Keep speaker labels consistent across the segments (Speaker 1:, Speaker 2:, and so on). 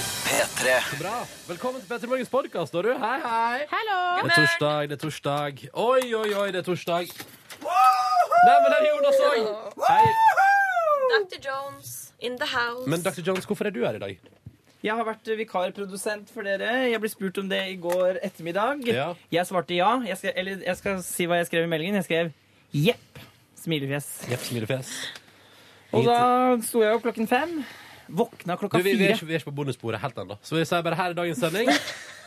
Speaker 1: P3.
Speaker 2: Bra. Velkommen til Petter Morgens podkast, da, du. Hei, hei.
Speaker 3: Hallo!
Speaker 2: Det er torsdag, det er torsdag. Oi, oi, oi, det er torsdag. Nei, men der er Jonas òg. Hei.
Speaker 3: Dr. Jones in the house.
Speaker 2: Men Dr. Jones, hvorfor er du her i dag?
Speaker 4: Jeg har vært vikarprodusent for dere. Jeg ble spurt om det i går ettermiddag.
Speaker 2: Ja.
Speaker 4: Jeg svarte ja. Jeg skal, eller jeg skal si hva jeg skrev i meldingen. Jeg skrev jepp. Smilefjes.
Speaker 2: Jepp, smilefjes.
Speaker 4: Og da sto jeg opp klokken fem. Våkna
Speaker 2: Du,
Speaker 4: klokka
Speaker 2: vi, vi, er
Speaker 4: fire.
Speaker 2: ikke, vi er ikke på bonussporet helt ennå. Så vi sier bare her i dagens sending.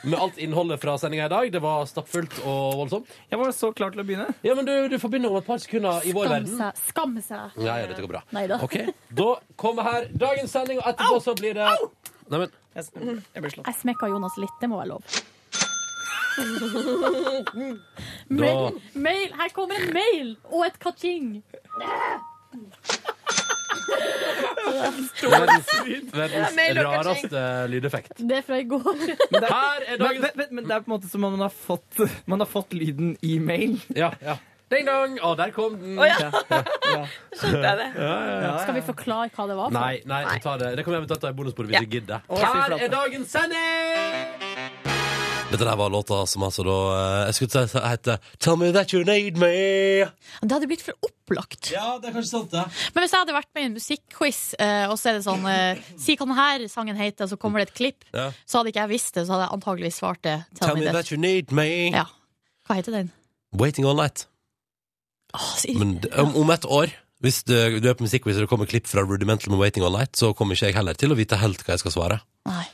Speaker 2: Med alt innholdet fra sendinga i dag. Det var stappfullt og voldsomt.
Speaker 4: Jeg var så klar til å begynne.
Speaker 2: Ja, men du, du får begynne om et par sekunder i vår
Speaker 5: Skamme
Speaker 2: verden.
Speaker 5: seg. Skamme seg.
Speaker 2: Ja, ja, dette går bra.
Speaker 5: Neida.
Speaker 2: Ok, Da kommer her dagens sending, og etterpå så blir det Neimen,
Speaker 4: Jeg, jeg ble slått.
Speaker 5: Jeg smekka Jonas litt, det må være lov.
Speaker 2: da
Speaker 5: Mail, mail. Her kommer en mail og et kaching.
Speaker 2: Verdens,
Speaker 3: mail
Speaker 2: verdens
Speaker 3: og
Speaker 2: rareste lydeffekt.
Speaker 5: Det er fra i går.
Speaker 2: Her
Speaker 4: Men,
Speaker 2: er dagens
Speaker 4: men, men det er på en måte som om man har fått, man har fått lyden i mail.
Speaker 2: Ja, ja. Ding dong! Å, der kom den.
Speaker 3: Å, ja.
Speaker 4: Ja.
Speaker 3: Skjønte jeg det?
Speaker 5: Skal vi forklare hva det var? for?
Speaker 2: Nei, nei, vi tar det. Det kan vi eventuelt ta i bonusbordet hvis
Speaker 3: Ja.
Speaker 2: vi gidder.
Speaker 4: Å, fy
Speaker 2: Her
Speaker 4: flate.
Speaker 2: er dagens sending! Dette der var låta som altså da eh, Jeg skulle si heter Tell me that you need me.
Speaker 5: Det hadde blitt for opplagt.
Speaker 2: Ja, det er kanskje sant, det.
Speaker 5: Men hvis jeg hadde vært med i en musikkquiz, eh, og så er det sånn eh, Si hva denne sangen heter, og så kommer det et klipp,
Speaker 2: Ja.
Speaker 5: så hadde ikke jeg visst det, så hadde jeg antageligvis svart det. Tell
Speaker 2: Tell
Speaker 5: me
Speaker 2: me
Speaker 5: that.
Speaker 2: that you need me.
Speaker 5: Ja. Hva heter den?
Speaker 2: Waiting all night.
Speaker 5: Åh, så irri-
Speaker 2: Men d- om, om et år, hvis du, du er på musikkquiz og det kommer klipp fra Rudimental med Waiting all night, så kommer ikke jeg heller til å vite helt hva jeg skal svare.
Speaker 5: Nei.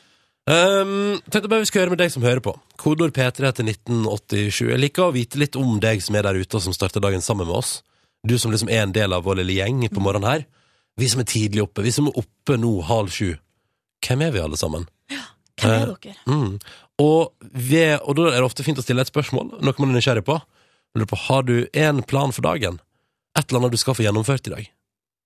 Speaker 2: Um, tenkte bare vi skulle høre med deg som hører på. Kodord P3 til 1987. Jeg liker å vite litt om deg som er der ute, og som starter dagen sammen med oss. Du som liksom er en del av vår lille gjeng på morgenen her. Vi som er tidlig oppe. Vi som er oppe nå halv sju. Hvem er vi alle sammen?
Speaker 5: Hvem er dere?
Speaker 2: Mm. Og, ved, og da er det ofte fint å stille et spørsmål, noe man er nysgjerrig på. Jeg Lurer på, Har du en plan for dagen? Et eller annet du skal få gjennomført i dag?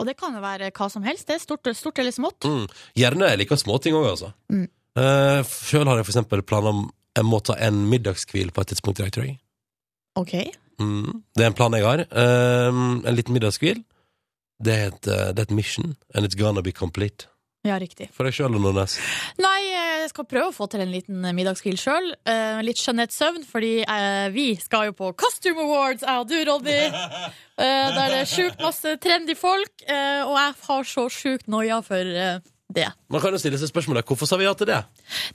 Speaker 5: Og det kan jo være hva som helst. Det er stort, stort eller smått.
Speaker 2: Mm. Gjerne jeg liker småting òg, altså.
Speaker 5: Mm.
Speaker 2: Eh, Sjøl har jeg for eksempel planer om jeg må ta en middagshvil på et tidspunkt i dag, tror jeg.
Speaker 5: Ok.
Speaker 2: Mm. Det er en plan jeg har. Eh, en liten middagshvil. Det er, et, eh, det er et mission, and it's gonna be complete.
Speaker 5: Ja, riktig.
Speaker 2: For deg sjøl og Nordnes.
Speaker 5: Nei, jeg skal prøve å få til en liten eh, middagskvil sjøl. Eh, litt skjønnhetssøvn, fordi eh, vi skal jo på Costume Awards, jeg og du, Ronny. Eh, der det er sjukt masse trendy folk, eh, og jeg har så sjukt noia for eh, det.
Speaker 2: Man kan jo stille seg spørsmålet hvorfor sa vi ja til det?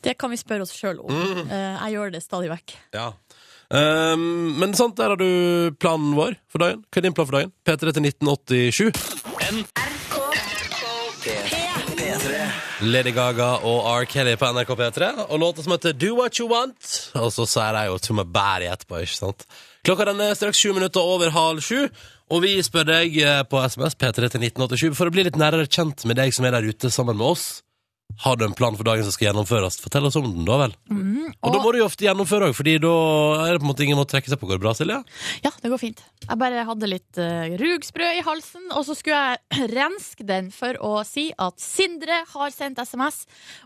Speaker 5: Det kan vi spørre oss sjøl om. Eh, jeg gjør det stadig vekk.
Speaker 2: Ja. Ehm, men sant, der har du planen vår for dagen. Hva er din plan for dagen? P3 til 1987. Lady Gaga og R. Kelly på NRK P3, og låta som heter Do What You Want. Og så sier de jo Tumma Bæri etterpå, ikke sant? Klokka den er straks sju minutter over halv sju, og vi spør deg eh, på SMS P3 til 1987 for å bli litt nærere kjent med deg som er der ute sammen med oss. Har du en plan for dagen som skal gjennomføres? Fortell oss om den, da vel. Og da må du jo ofte gjennomføre òg, fordi da er det på en måte ingen må trekke seg på. Går det bra, Silje?
Speaker 5: Ja, det går fint. Jeg bare hadde litt eh, rugsprø i halsen, og så skulle jeg renske den for å si at Sindre har sendt SMS,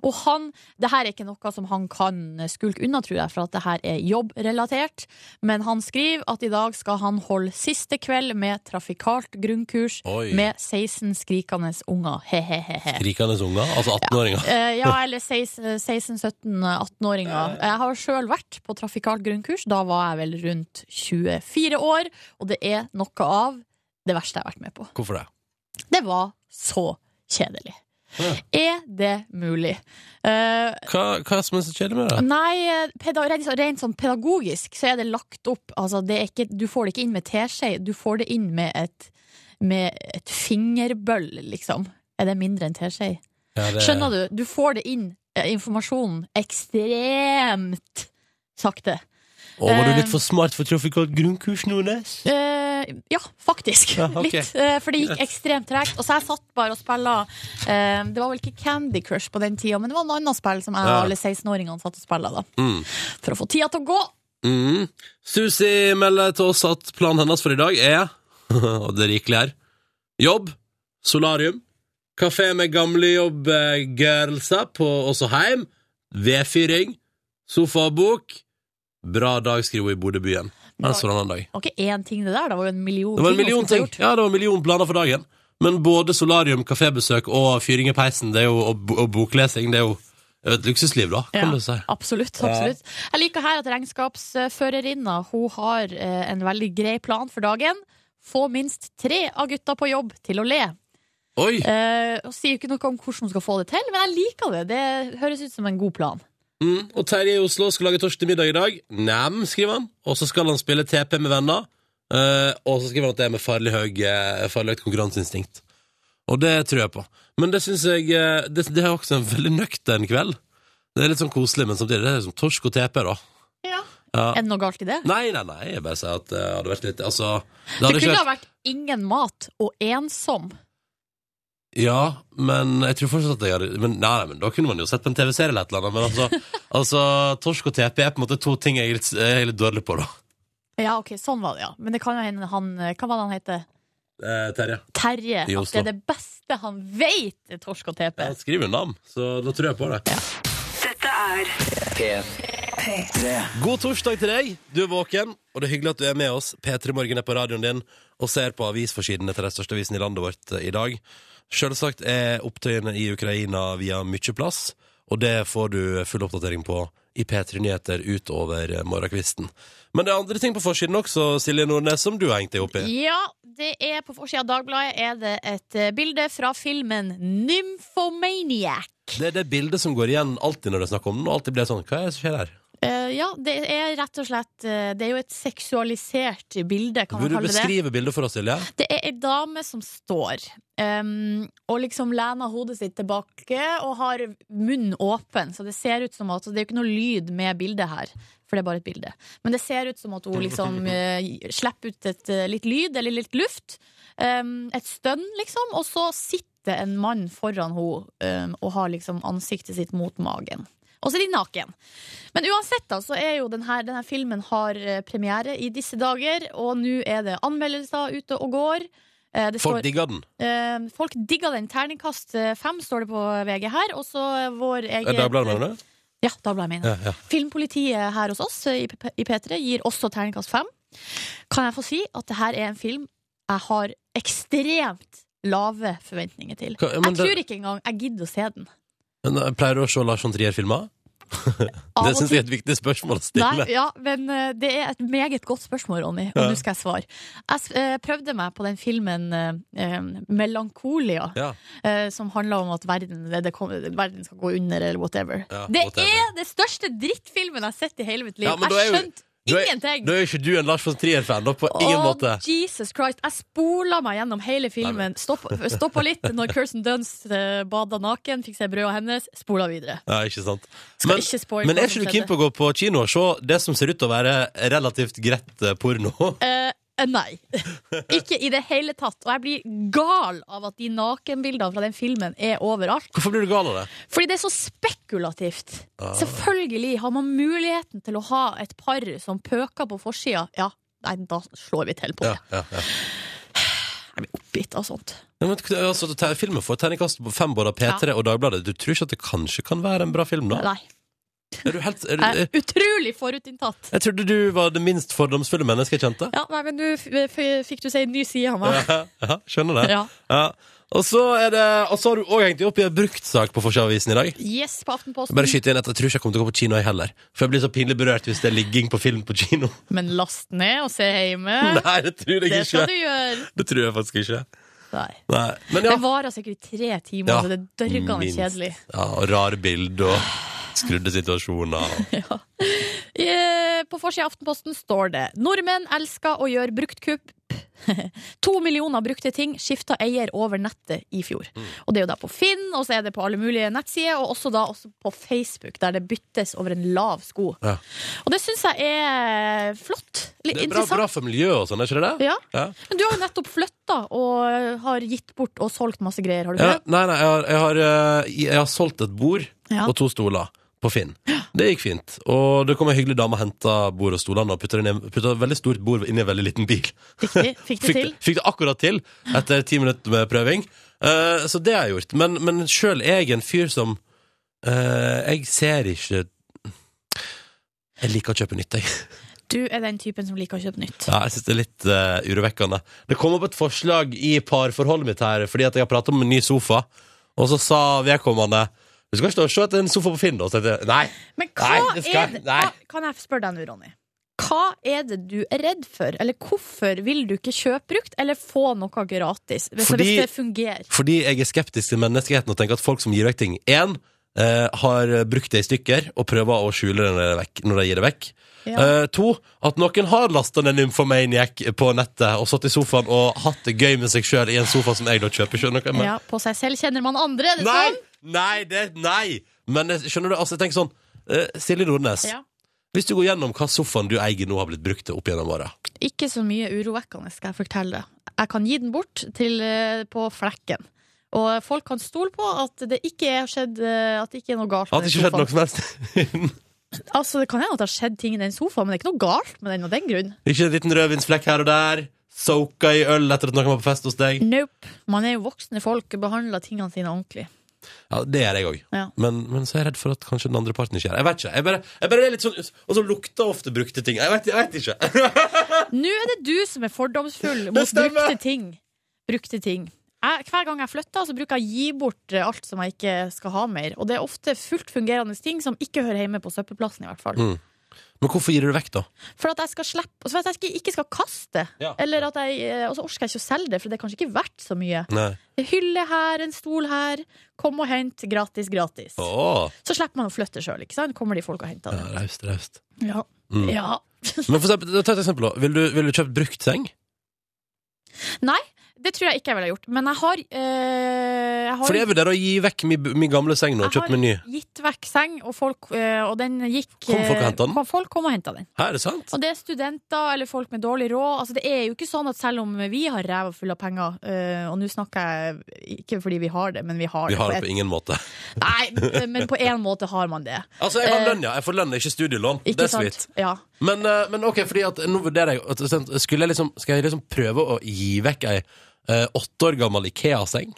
Speaker 5: og han Det her er ikke noe som han kan skulke unna, tror jeg, for at det her er jobbrelatert, men han skriver at i dag skal han holde siste kveld med trafikalt grunnkurs
Speaker 2: Oi.
Speaker 5: med 16 skrikende unger. He-he-he.
Speaker 2: Rikende unger, altså 18-åringer.
Speaker 5: Eh, ja, eller 16-17-18-åringer. Jeg har sjøl vært på trafikalt grunnkurs. Da var jeg vel rundt 24 år, og det er noe av det verste jeg har vært med på.
Speaker 2: Hvorfor det?
Speaker 5: Det var så kjedelig.
Speaker 2: Ja.
Speaker 5: Er det mulig? Eh,
Speaker 2: Hva, hva er det som er så kjedelig med det?
Speaker 5: nei, peda rent, sånn- rent sånn pedagogisk så er det lagt opp altså, det er ikke, Du får det ikke inn med teskje, du får det inn med et, med et fingerbøll, liksom. Er det mindre enn teskje?
Speaker 2: Ja, det
Speaker 5: Skjønner du? Du får det inn, eh, informasjonen, ekstremt sakte.
Speaker 2: Å, var du eh, litt for smart for trafikalt grunnkurs, Nordnes?
Speaker 5: Eh, ja, faktisk.
Speaker 2: Ja, ok.
Speaker 5: Litt. eh, for det gikk ekstremt tregt. Og så jeg satt bare og spilla eh, Det var vel ikke Candy Crush på den tida, men det var noe annet spill som jeg og
Speaker 2: Ja.
Speaker 5: alle 16-åringene satt og spilla da.
Speaker 2: Mm.
Speaker 5: For å få tida til å gå.
Speaker 2: Mm. Susi melder til oss at planen hennes for i dag er Og det er rikelig her Jobb, solarium, kafé med gamlejobb-girlsa på også heim, vedfyring, sofa og bok. Bra dag, skriver hun i Bodø-byen. Det er en strålende dag.
Speaker 5: Det var ikke én ting, det der. Det var jo en million
Speaker 2: Det var en
Speaker 5: man
Speaker 2: million
Speaker 5: skulle
Speaker 2: ting.
Speaker 5: få gjort.
Speaker 2: Ja, det var en million planer for dagen. Men både solarium, kafébesøk og fyring i peisen det er jo, og, bo- og boklesing det er jo Det er jo et luksusliv, da, kan
Speaker 5: Ja,
Speaker 2: du si.
Speaker 5: Absolutt. absolutt. Jeg liker her at regnskapsførerinna hun har eh, en veldig grei plan for dagen. Få minst tre av gutta på jobb til å le.
Speaker 2: Oi!
Speaker 5: Eh, og sier ikke noe om hvordan hun skal få det til, men jeg liker det. Det høres ut som en god plan.
Speaker 2: Mm. Og Terje i Oslo skal lage torsk til middag i dag. Nem, skriver han. Og så skal han spille TP med venner. Eh, og så skriver han at det er med farlig, høy, eh, farlig høyt konkurranseinstinkt. Og det tror jeg på. Men det syns jeg eh, det, det er også en veldig nøktern kveld. Det er litt sånn koselig, men samtidig det er som torsk og TP, da. Ja.
Speaker 5: Er det noe galt i det?
Speaker 2: Nei, nei, nei, jeg bare sier at det hadde vært litt Altså, det
Speaker 5: Det
Speaker 2: hadde ikke
Speaker 5: kunne ha
Speaker 2: vært
Speaker 5: vært ingen mat og ensom.
Speaker 2: Ja, men jeg tror fortsatt at jeg hadde men, nei, nei, men da kunne man jo sett på en TV-serie eller et eller annet, men altså, altså Torsk og TP er på en måte to ting jeg er litt, jeg er litt dårlig på, da.
Speaker 5: Ja, ok, sånn var det, ja. Men det kan jo hende han Hva var det han heter?
Speaker 2: Eh, Terje.
Speaker 5: Terje.
Speaker 2: I
Speaker 5: At det
Speaker 2: Oslo.
Speaker 5: er det beste han veit, er torsk og TP.
Speaker 2: Han skriver navn, så da tror jeg på det. God torsdag til deg. Du er våken, og det er hyggelig at du er med oss. P3 Morgen er på radioen din og ser på avisforsidene til den største avisen i landet vårt eh, i dag. Selvsagt er opptøyene i Ukraina via mye plass, og det får du full oppdatering på i P3 Nyheter utover eh, morgenkvisten. Men det er andre ting på forsiden også, Silje Nordnes, som du har hengt deg opp i.
Speaker 5: Ja, det er på forsida av Dagbladet er det et eh, bilde fra filmen Nymphomaniac.
Speaker 2: Det er det bildet som går igjen alltid når det er snakk om den, og alltid blir sånn Hva er det som skjer her?
Speaker 5: Eh, ja, det er rett og slett eh, Det er jo et seksualisert bilde, kan man
Speaker 2: Vil du
Speaker 5: kalle det det.
Speaker 2: beskrive bildet for oss, Silje?
Speaker 5: Det er ei dame som står ehm, og liksom lener hodet sitt tilbake og har munnen åpen, så det ser ut som at Det er jo ikke noe lyd med bildet her, for det er bare et bilde. Men det ser ut som at hun liksom eh, slipper ut et, eh, litt lyd eller litt luft. ehm, et stønn, liksom. Og så sitter en mann foran henne ehm, og har liksom ansiktet sitt mot magen. Og så er de naken. Men uansett da, så er jo denne, denne filmen har eh, premiere i disse dager, og nå er det anmeldelser ute og går. Eh, det står,
Speaker 2: Folk digger den.
Speaker 5: eh, folk digger den. Terningkast eh, fem står det på VG her. Og så eh, vår
Speaker 2: Er
Speaker 5: egen
Speaker 2: Dagbladet mener du?
Speaker 5: Ja, Dagbladet mener jeg.
Speaker 2: Ja, ja.
Speaker 5: Filmpolitiet her hos oss eh, i P- i P3 gir også terningkast fem. Kan jeg få si at det her er en film jeg har ekstremt lave forventninger til.
Speaker 2: Hva- men
Speaker 5: Jeg
Speaker 2: det-
Speaker 5: tror ikke engang jeg gidder å se den.
Speaker 2: Men eh, pleier du å se Lars von Trier-filmer?
Speaker 5: Av
Speaker 2: Det
Speaker 5: og
Speaker 2: syns jeg er et viktig spørsmål å stille.
Speaker 5: Nei, ja, men eh, det er et meget godt spørsmål, Ronny, og
Speaker 2: Ja.
Speaker 5: nå skal jeg svare. Jeg s- eh, prøvde meg på den filmen eh, eh, Melankolia,
Speaker 2: Ja.
Speaker 5: eh, som handler om at verden, eh, det, det kom, verden skal gå under, eller whatever.
Speaker 2: Ja,
Speaker 5: det
Speaker 2: whatever.
Speaker 5: er den største drittfilmen jeg har sett i hele mitt liv.
Speaker 2: Ja, men da er
Speaker 5: jeg
Speaker 2: jo-
Speaker 5: skjønte
Speaker 2: da er-
Speaker 5: ingenting.
Speaker 2: Da er jo ikke du en Lars von Trier-fan, da, på ingen
Speaker 5: Å,
Speaker 2: måte.
Speaker 5: Jesus Christ. Jeg spola meg gjennom hele
Speaker 2: Nei,
Speaker 5: filmen. Stoppa stoppa litt når Kirsten Dunst eh, bada naken, fikk se brødet hennes, spola videre.
Speaker 2: Ja, ikke sant.
Speaker 5: Skal
Speaker 2: Men,
Speaker 5: ikke spoil
Speaker 2: men
Speaker 5: hva
Speaker 2: er
Speaker 5: som
Speaker 2: ikke du
Speaker 5: skjedde.
Speaker 2: keen på å gå på kino og se det som ser ut til å være relativt greit eh, porno?
Speaker 5: Eh, eh, nei. Ikke i det hele tatt. Og jeg blir gal av at de nakenbildene fra den filmen er overalt.
Speaker 2: Hvorfor blir du gal av det?
Speaker 5: Fordi det er så spekulativt.
Speaker 2: Ah.
Speaker 5: Selvfølgelig har man muligheten til å ha et par som pøker på forsida. Ja, nei, da slår vi til på
Speaker 2: Ja,
Speaker 5: det.
Speaker 2: ja, ja.
Speaker 5: Jeg blir oppgitt av sånt.
Speaker 2: Ja, men, altså, te- filmen får terningkast på fem både av P3 og Dagbladet. Du tror ikke at det kanskje kan være en bra film, da?
Speaker 5: Nei. Eh.
Speaker 2: Er du helt, er,
Speaker 5: Jeg
Speaker 2: du-
Speaker 5: er utrolig forutinntatt.
Speaker 2: jeg trodde du var det minst fordomsfulle mennesket jeg kjente.
Speaker 5: Ja, nei, men nå f- f- fikk du se en ny side av meg.
Speaker 2: Ja, ja, skjønner det.
Speaker 5: Ja.
Speaker 2: Ja. Og så er det Og så har du òg hengt deg opp i en bruktsak på Forsida-avisen i dag.
Speaker 5: Yes, på Aftenposten.
Speaker 2: Bare skyte inn at Jeg tror ikke jeg kommer til å gå på kino jeg heller. For jeg blir så pinlig berørt hvis det er ligging på film på kino.
Speaker 5: Men last ned og se hjemme.
Speaker 2: Nei, det tror jeg
Speaker 5: Det skal
Speaker 2: ikke.
Speaker 5: du gjøre.
Speaker 2: Det tror jeg faktisk ikke.
Speaker 5: Nei.
Speaker 2: Nei. Men ja.
Speaker 5: Det varer sikkert i tre timer,
Speaker 2: Ja,
Speaker 5: så det er dørgende
Speaker 2: minst.
Speaker 5: kjedelig.
Speaker 2: ja og rare bilder og skrudde situasjoner. og-
Speaker 5: Eh, På forsida av Aftenposten står det Nordmenn elsker å gjøre bruktkupp. to millioner brukte ting skifta eier over nettet i fjor.
Speaker 2: Mm.
Speaker 5: Og det er jo da på Finn, og så er det på alle mulige nettsider, og også da også på Facebook, der det byttes over en lav sko.
Speaker 2: Ja.
Speaker 5: Og det syns jeg er flott. Litt
Speaker 2: Det er bra,
Speaker 5: interessant.
Speaker 2: bra for miljøet og sånn, er ikke det det?
Speaker 5: Ja.
Speaker 2: Ja.
Speaker 5: Men du har jo nettopp flytta og har gitt bort og solgt masse greier, har du
Speaker 2: Ja,
Speaker 5: ikke det?
Speaker 2: nei, nei, jeg har, jeg har, eh, jeg har solgt et bord
Speaker 5: Ja.
Speaker 2: og to stoler på Finn. Det gikk fint. Og det kom ei hyggelig dame og henta bord og stolene og putta det ned- putta et veldig stort bord inn i en veldig liten bil.
Speaker 5: Riktig. Fikk det
Speaker 2: Fikk,
Speaker 5: til?
Speaker 2: det- fikk det akkurat til etter ti minutter med prøving. Eh, så det har jeg gjort. Men, men sjøl er jeg en fyr som eh, Jeg ser ikke Jeg liker å kjøpe nytt, jeg.
Speaker 5: Du er den typen som liker å kjøpe nytt.
Speaker 2: Ja, jeg synes det er litt eh, urovekkende. Det kom opp et forslag i parforholdet mitt her, fordi at jeg har pratet om en ny sofa, og så sa vedkommende Du skal ikke stå og se etter en sofa på Finn, da. og så tenkte jeg, Nei.
Speaker 5: Men hva
Speaker 2: Nei, det skal-
Speaker 5: er det
Speaker 2: nei.
Speaker 5: hva, Kan jeg spørre deg nå, Ronny? Hva er det du er redd for, eller hvorfor vil du ikke kjøpe brukt eller få noe gratis? Hvis,
Speaker 2: Fordi-
Speaker 5: hvis det fungerer.
Speaker 2: Fordi jeg er skeptisk til menneskeheten og tenker at folk som gir vekk ting En, eh, har brukt det i stykker og prøver å skjule det når de, vekk, når de gir det vekk.
Speaker 5: Ja.
Speaker 2: Eh, to, at noen har lasta ned Nymphomaniac på nettet og satt i sofaen og hatt det gøy med seg sjøl i en sofa som jeg da kjøper. Skjønner du? hva jeg mener?
Speaker 5: Ja, på seg selv kjenner man andre, er det
Speaker 2: Nei!
Speaker 5: sånn?
Speaker 2: Nei! Det, nei! Men jeg- skjønner du, altså, jeg tenker sånn eh, Silje Nordnes,
Speaker 5: Ja.
Speaker 2: hvis du går gjennom hva sofaen du eier nå har blitt brukt til opp gjennom åra
Speaker 5: Ikke så mye urovekkende, skal jeg fortelle deg. Jeg kan gi den bort til, eh, på flekken. Og folk kan stole på at det ikke er skjedd eh, At det ikke er noe galt
Speaker 2: Har det
Speaker 5: den
Speaker 2: ikke skjedd
Speaker 5: sofaen.
Speaker 2: noe som helst?
Speaker 5: Altså, det kan hende at det har skjedd ting i den sofaen, men det er ikke noe galt med den av den grunn.
Speaker 2: ikke en liten rødvinsflekk her og der? Soka i øl etter at noen var på fest hos deg?
Speaker 5: Nope. Man er jo voksne folk og behandler tingene sine ordentlig.
Speaker 2: Ja, Det gjør jeg òg.
Speaker 5: Ja.
Speaker 2: Men, men så er jeg redd for at kanskje den andre parten ikke gjør det. Jeg vet ikke. Jeg bare, jeg bare er litt sånn Og så lukter ofte brukte ting. Jeg vet, jeg vet ikke.
Speaker 5: Nå er det du som er fordomsfull
Speaker 2: Det
Speaker 5: mot
Speaker 2: stemmer.
Speaker 5: brukte ting. Brukte ting. Jeg, hver gang jeg flytter, så bruker jeg å gi bort eh, alt som jeg ikke skal ha mer. Og det er ofte fullt fungerende ting som ikke hører hjemme på søppelplassen, i hvert fall.
Speaker 2: Mm. Men hvorfor gir du det vekk, da?
Speaker 5: For at jeg skal slippe Og så vet jeg at jeg ikke- ikke skal kaste det.
Speaker 2: Ja.
Speaker 5: Eller at jeg, eh, og så orker jeg ikke å selge det, for det er kanskje ikke verdt så mye.
Speaker 2: Nei.
Speaker 5: En hylle her, en stol her. Kom og hent. Gratis, gratis.
Speaker 2: Åh,
Speaker 5: Så slipper man å flytte sjøl, ikke sant? Kommer de folk og henter
Speaker 2: ja,
Speaker 5: det.
Speaker 2: Raust, raust.
Speaker 5: Ja.
Speaker 2: Mm.
Speaker 5: ja.
Speaker 2: Men for eksempel, ta et eksempel, da. Vil du, vil du kjøpt brukt seng?
Speaker 5: Det tror jeg ikke jeg ville ha gjort. Men jeg har, eh, jeg har
Speaker 2: For jeg vurderer å gi vekk mi, mi gamle seng nå og
Speaker 5: Jeg
Speaker 2: kjøpt
Speaker 5: har-
Speaker 2: meg ny.
Speaker 5: gitt vekk seng, og, folk, eh, og den gikk
Speaker 2: Kom folk og
Speaker 5: eh,
Speaker 2: hentet den?
Speaker 5: kom- Folk kom og henta den.
Speaker 2: Hæ, er det sant?
Speaker 5: Og det er studenter eller folk med dårlig råd. Altså, det er jo ikke sånn at selv om vi har ræva full av penger, eh, og nå snakker jeg ikke fordi vi har det, men vi har
Speaker 2: Vi har det
Speaker 5: det.
Speaker 2: på ingen måte.
Speaker 5: et- Nei, men på en måte har man det.
Speaker 2: Altså, jeg har
Speaker 5: Eh,
Speaker 2: lønn, ja. Jeg får lønn, ikke studielån.
Speaker 5: Ikke
Speaker 2: det er
Speaker 5: sant?
Speaker 2: sweet.
Speaker 5: Ja.
Speaker 2: Men, eh, men ok, fordi at nå vurderer jeg at, sånn, skulle jeg liksom, Skal jeg liksom prøve å gi vekk ei eh, åtte år gammel Ikea-seng?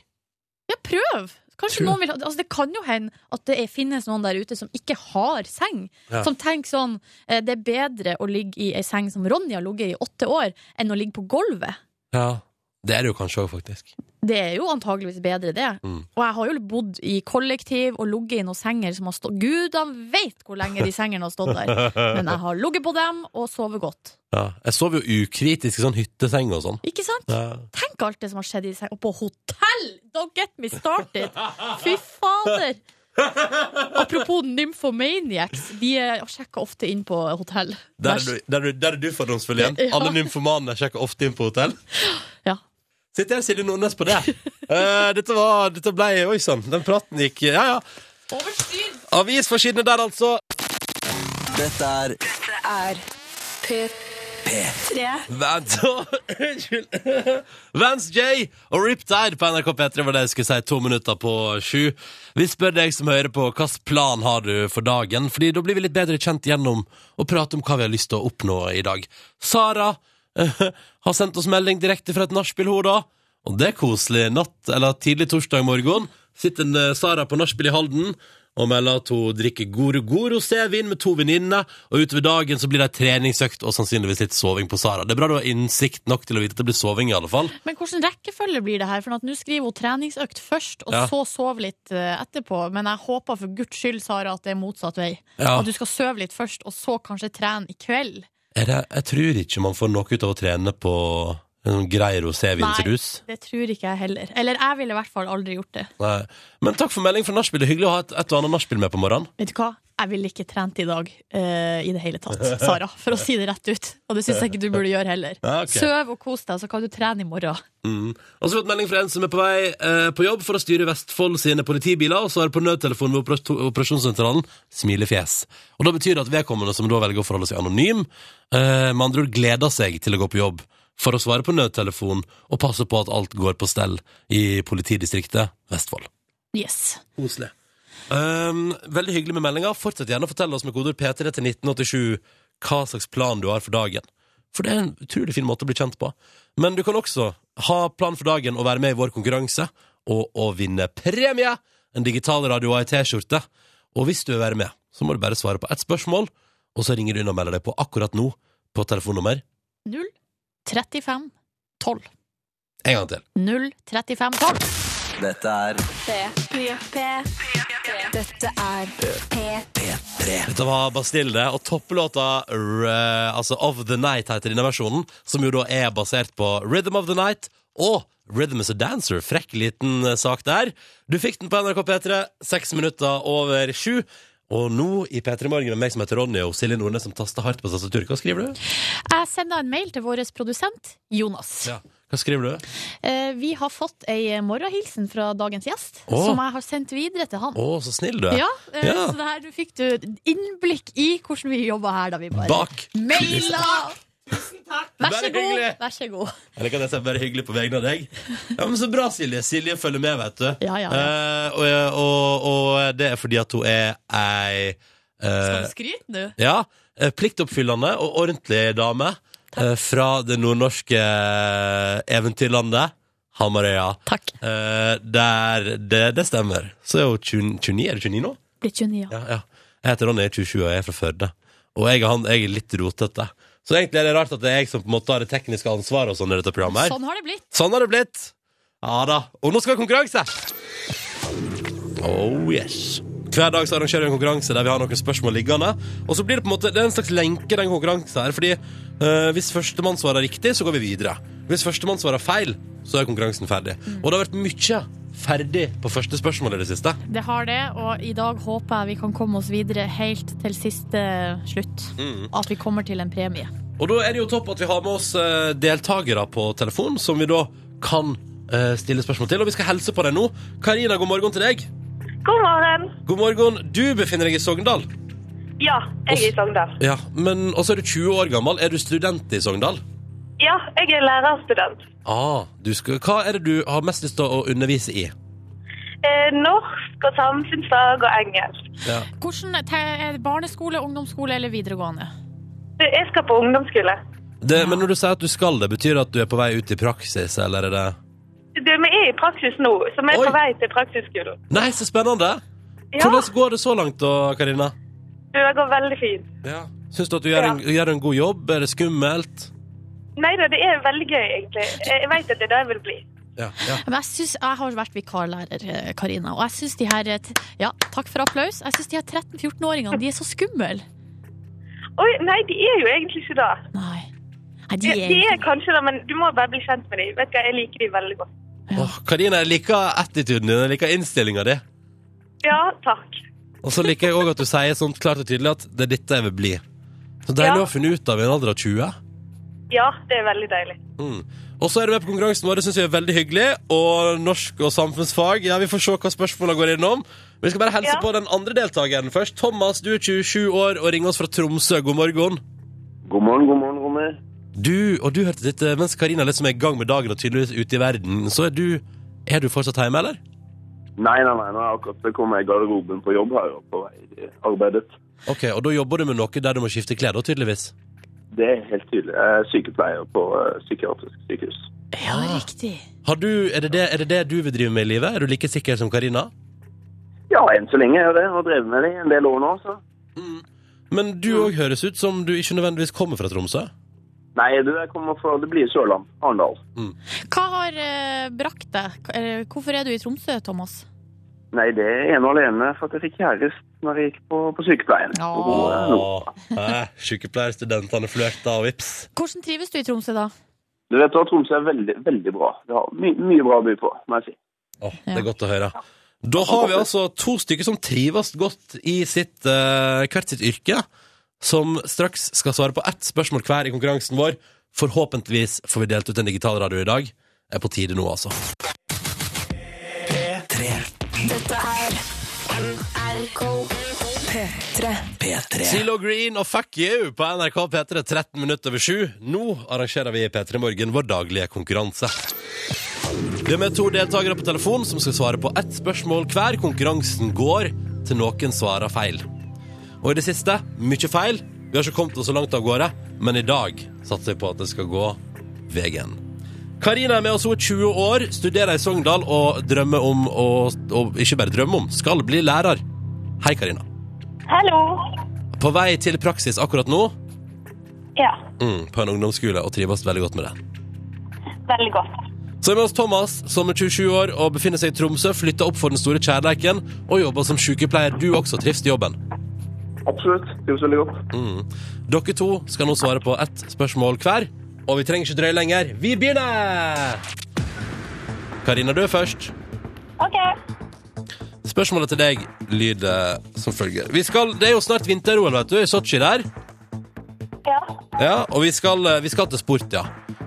Speaker 5: ja, prøv! Kanskje
Speaker 2: Tror jeg.
Speaker 5: noen vil ha, altså Det kan jo hende at det er, finnes noen der ute som ikke har seng.
Speaker 2: Ja.
Speaker 5: Som tenker sånn eh, Det er bedre å ligge i ei seng som Ronja har ligget i i åtte år, enn å ligge på gulvet.
Speaker 2: Ja. Det er det jo kanskje òg, faktisk.
Speaker 5: Det er jo antageligvis bedre, det.
Speaker 2: Mm.
Speaker 5: Og jeg har jo bodd i kollektiv og ligget i noen senger som har stått Gudene vet hvor lenge de sengene har stått der! Men jeg har ligget på dem og sovet godt.
Speaker 2: Ja. Jeg sov jo ukritisk i sånn hytteseng og sånn.
Speaker 5: Ikke sant?
Speaker 2: Ja.
Speaker 5: Tenk alt det som har skjedd i seng Og på hotell! Don't get me started! Fy fader! Apropos nymphomaniacs, de eh, sjekker ofte inn på hotell.
Speaker 2: Der er du, der er du, der er du fordomsfull igjen.
Speaker 5: Ja.
Speaker 2: Alle nymfomanene sjekker ofte inn på hotell.
Speaker 5: Ja.
Speaker 2: Sitter her Silje Nordnes på det. Eh, dette, var, dette ble Oi sann, den praten gikk Ja, ja. Avisforsidene der, altså.
Speaker 1: Dette er
Speaker 2: Vans Unnskyld. Vans J og Rip Tide på NRK P3 var det jeg skulle si to minutter på sju. Vi spør deg som hører på, hvilken plan har du for dagen? Fordi da blir vi litt bedre kjent gjennom å prate om hva vi har lyst til å oppnå i dag. Sara eh, har sendt oss melding direkte fra et nachspiel, hun da. Og det er koselig. Natt eller tidlig torsdag morgen sitter en, eh, Sara på nachspiel i Halden. Og melder at hun drikker god god rosévin med to venninner. Og utover dagen så blir det ei treningsøkt og sannsynligvis litt soving på Sara. Det er bra du har innsikt nok til å vite at det blir soving, i alle fall.
Speaker 5: Men hvordan rekkefølge blir det her? For at Nå skriver hun treningsøkt først, og
Speaker 2: Ja.
Speaker 5: så sove litt eh, etterpå. Men jeg håper for guds skyld, Sara, at det er motsatt vei.
Speaker 2: Ja.
Speaker 5: At du skal sove litt først, og så kanskje trene i kveld.
Speaker 2: Er det, jeg tror ikke man får nok ut av å trene på en sånn grei rosévinsrus.
Speaker 5: Det tror ikke jeg heller. Eller jeg ville i hvert fall aldri gjort det.
Speaker 2: Nei. Men takk for melding fra nachspiel. Det er Hyggelig å ha et, et og annet nachspiel med på morgenen.
Speaker 5: Vet du hva? Jeg ville ikke trent i dag eh, i det hele tatt, Sara, for å si det rett ut. Og det syns jeg ikke du burde gjøre heller.
Speaker 2: Ja, ok.
Speaker 5: Søv og kos deg, så kan du trene i morgen.
Speaker 2: Mm. Og så har vi fått melding fra en som er på vei eh, på jobb for å styre Vestfold sine politibiler, og så er det på nødtelefonen ved operas- operasjonssentralen smilefjes. Og da betyr det at vedkommende som da velger å forholde seg anonym, eh, med andre ord gleder seg til å gå på jobb for å svare på nødtelefonen og passe på at alt går på stell i politidistriktet Vestfold.
Speaker 5: Yes.
Speaker 2: Koselig. Um, veldig hyggelig med meldinga. Fortsett gjerne å fortelle oss med kodeord P3 til 1987 hva slags plan du har for dagen. For det er en utrolig fin måte å bli kjent på. Men du kan også ha plan for dagen og være med i vår konkurranse og å vinne premie! En digital radio og ei T-skjorte. Og hvis du vil være med, så må du bare svare på ett spørsmål, og så ringer du inn og melder deg på akkurat nå på telefonnummer
Speaker 5: 0 35 12.
Speaker 2: en gang til.
Speaker 5: 0 35 12.
Speaker 1: Dette er
Speaker 6: P3. Dette er P3.
Speaker 2: Dette var Bastille, og topplåta r- altså Of The Night heter denne versjonen, som jo da er basert på Rhythm of the Night og Rhythm is a Dancer. Frekk liten eh, sak der. Du fikk den på NRK P3, seks minutter over sju. Og nå i P3 Morgen med meg som heter Ronny og Silje Nordnes som taster hardt på tastaturet. Hva skriver du?
Speaker 5: Jeg sender en mail til vår produsent Jonas.
Speaker 2: Hva skriver du?
Speaker 5: Eh, Vi har fått ei morgenhilsen fra dagens gjest,
Speaker 2: Åh.
Speaker 5: som jeg har sendt videre til han.
Speaker 2: Å, så snill du er.
Speaker 5: Ja, eh,
Speaker 2: Ja.
Speaker 5: Så det her du fikk du innblikk i hvordan vi jobba her da vi bare
Speaker 2: Bak.
Speaker 5: maila! Vær så
Speaker 2: Bare
Speaker 5: god.
Speaker 2: hyggelig.
Speaker 5: Vær så god.
Speaker 2: Eller kan jeg si bare hyggelig på vegne av deg? Ja, men Så bra, Silje. Silje følger med, vet du.
Speaker 5: Ja, ja,
Speaker 2: Eh, og, og, og det er fordi at hun er ei eh,
Speaker 5: Skryt nå.
Speaker 2: ja, eh, pliktoppfyllende og ordentlig dame eh, fra det nordnorske eh, eventyrlandet Hamarøya.
Speaker 5: Takk.
Speaker 2: Eh, der det, det stemmer. Så er hun 20 29, er du 29 nå?
Speaker 5: Blitt 29, ja.
Speaker 2: Ja, ja. Jeg heter Ronny, jeg er 27 og jeg er fra Førde. Og jeg, og han, jeg er litt rotete. Så egentlig er det rart at det er jeg som på en måte har det tekniske ansvaret og sånn i dette programmet. her.
Speaker 5: Sånn har det blitt.
Speaker 2: Sånn har det blitt. Ja da. Og nå skal vi ha konkurranse! Oh yes. Hver dag så arrangerer vi en konkurranse der vi har noen spørsmål liggende. Og så blir det på en måte det er en slags lenke, den konkurransen her. Fordi eh, hvis førstemann svarer riktig, så går vi videre. Hvis førstemann svarer feil, så er konkurransen ferdig. Og det har vært mye ferdig på første spørsmål i det siste.
Speaker 5: Det har det, og i dag håper jeg vi kan komme oss videre helt til siste slutt.
Speaker 2: Mm.
Speaker 5: At vi kommer til en premie.
Speaker 2: Og da er det jo topp at vi har med oss eh, deltakere på telefon, som vi da kan eh, stille spørsmål til. Og vi skal helse på deg nå. Karina, god morgen til deg.
Speaker 7: God morgen.
Speaker 2: God morgen. Du befinner deg i Sogndal.
Speaker 7: Ja, jeg er i Sogndal.
Speaker 2: Ja, men Og så er du 20 år gammel. Er du student i Sogndal?
Speaker 7: Ja, jeg er lærerstudent.
Speaker 2: Ah, du skal, hva er det du har mest lyst til å undervise i?
Speaker 7: Eh, norsk og samfunnsfag og engelsk.
Speaker 2: Ja.
Speaker 5: Hvordan, te- er det barneskole, ungdomsskole eller videregående?
Speaker 7: Du, Jeg skal på ungdomsskole.
Speaker 2: Det, men når du sier at du skal det, betyr det at du er på vei ut i praksis, eller er det
Speaker 7: Du, vi er i praksis nå, så vi er
Speaker 2: Oi.
Speaker 7: på vei til praksisskolen.
Speaker 2: Nei, så spennende!
Speaker 7: Ja,
Speaker 2: Hvordan går det så langt da, Karina?
Speaker 7: du, det går veldig fint.
Speaker 2: Ja. Syns du at du gjør en, gjør en god jobb? Er det skummelt?
Speaker 7: Nei da, det er veldig gøy, egentlig. Eh, Jeg jeg vet at det er det jeg vil bli.
Speaker 2: Ja, ja.
Speaker 5: Men jeg, synes, jeg har vært vikarlærer, eh, Karina, og jeg syns de her eh, t- Ja, takk for applaus. Jeg syns de her 13-14-åringene, de er så skumle.
Speaker 7: Oi, nei, de er jo egentlig ikke det.
Speaker 5: Nei. Nei, de
Speaker 7: De,
Speaker 5: er
Speaker 7: de er kanskje det, men du må bare bli kjent med dem. Vet du hva, jeg liker dem veldig godt.
Speaker 2: Åh, Karina, jeg liker attituden din, jeg liker innstillinga di.
Speaker 7: Ja, takk.
Speaker 2: Og så liker jeg òg at du sier sånn klart og tydelig at det er dette jeg vil bli. Så deilig
Speaker 7: Ja.
Speaker 2: å finne ut av i en alder av 20.
Speaker 7: Ja, det er veldig deilig.
Speaker 2: Og så er du med på konkurransen vår, det syns vi er veldig hyggelig. Og norsk og samfunnsfag. Ja, Vi får se hva spørsmåla går innom. Vi skal bare hilse
Speaker 7: Ja.
Speaker 2: på den andre deltakeren først. Thomas, du er 27 år og ringer oss fra Tromsø. God morgen.
Speaker 8: God morgen, god morgen, Ronny.
Speaker 2: Du, og du hørte dette mens Karina liksom er i gang med dagen og tydeligvis ute i verden. Så er du Er du fortsatt hjemme, eller?
Speaker 8: Nei, nei, nei, nå har jeg akkurat kommet i garderoben på jobb her og på vei til arbeidet.
Speaker 2: OK, og da jobber du med noe der du må skifte klær, da, tydeligvis?
Speaker 8: Det er helt tydelig. Jeg er sykepleier på eh, psykiatrisk sykehus.
Speaker 5: Ja, riktig.
Speaker 2: Har du, er, det det, er det det du vil drive med i livet? Er du like sikker som Karina?
Speaker 8: Ja, enn så lenge er jeg det. Har drevet med det i en del år nå, så.
Speaker 2: Men du òg høres ut som du ikke nødvendigvis kommer fra Tromsø.
Speaker 8: Nei, du, jeg kommer fra Det blir Sørland. Arendal.
Speaker 5: Hva har eh, brakt deg? Hva- eller Hvorfor er du i Tromsø, Thomas?
Speaker 8: Nei, det er ene og alene for at jeg fikk kjæreste når jeg gikk på, på sykepleien.
Speaker 5: Ja.
Speaker 8: Og hun er nå-
Speaker 2: Hæ? Sykepleierstudentene flørter og vips.
Speaker 5: Hvordan trives du i Tromsø, da?
Speaker 8: Du vet at Tromsø er veldig, veldig bra. Det har my mye bra å by på, må jeg si.
Speaker 2: Åh, Det
Speaker 5: Ja.
Speaker 2: er godt å høre. Da har vi altså to stykker som trives godt i sitt, eh, hvert sitt yrke, som straks skal svare på ett spørsmål hver i konkurransen vår. Forhåpentligvis får vi delt ut en digital radio i dag. Er på tide nå, altså.
Speaker 6: Dette er NRK P3.
Speaker 1: P3.
Speaker 2: Zelo Green og Fuck You på NRK P3 13 minutter over 7. Nå arrangerer vi i P3 Morgen vår daglige konkurranse. Vi har med to deltakere på telefon som skal svare på ett spørsmål hver. Konkurransen går til noen svarer feil. Og i det siste mye feil. Vi har ikke kommet oss så langt av gårde, men i dag satser vi på at det skal gå veien. Karina er med oss, hun er 20 år, studerer i Sogndal og drømmer om å Og ikke bare drømmer om, skal bli lærer. Hei, Karina.
Speaker 7: Hallo.
Speaker 2: På vei til praksis akkurat nå
Speaker 7: Ja,
Speaker 2: mm, på en ungdomsskole og trives veldig godt med det.
Speaker 7: veldig godt.
Speaker 2: Så er vi med oss Thomas, som er 27 år og befinner seg i Tromsø, flytta opp for den store kjærleiken og jobber som sykepleier. Du også trives i jobben.
Speaker 8: Absolutt. Trives veldig godt.
Speaker 2: Dere to skal nå svare på ett spørsmål hver, og vi trenger ikke drøye lenger. Vi begynner! Karina, du er først.
Speaker 7: OK.
Speaker 2: Spørsmålet til deg lyder som følger. Vi skal, det er jo snart vinter-OL, vet du, i Sotsji der.
Speaker 7: Ja.
Speaker 2: Ja, og vi skal, eh, vi skal til sport, ja.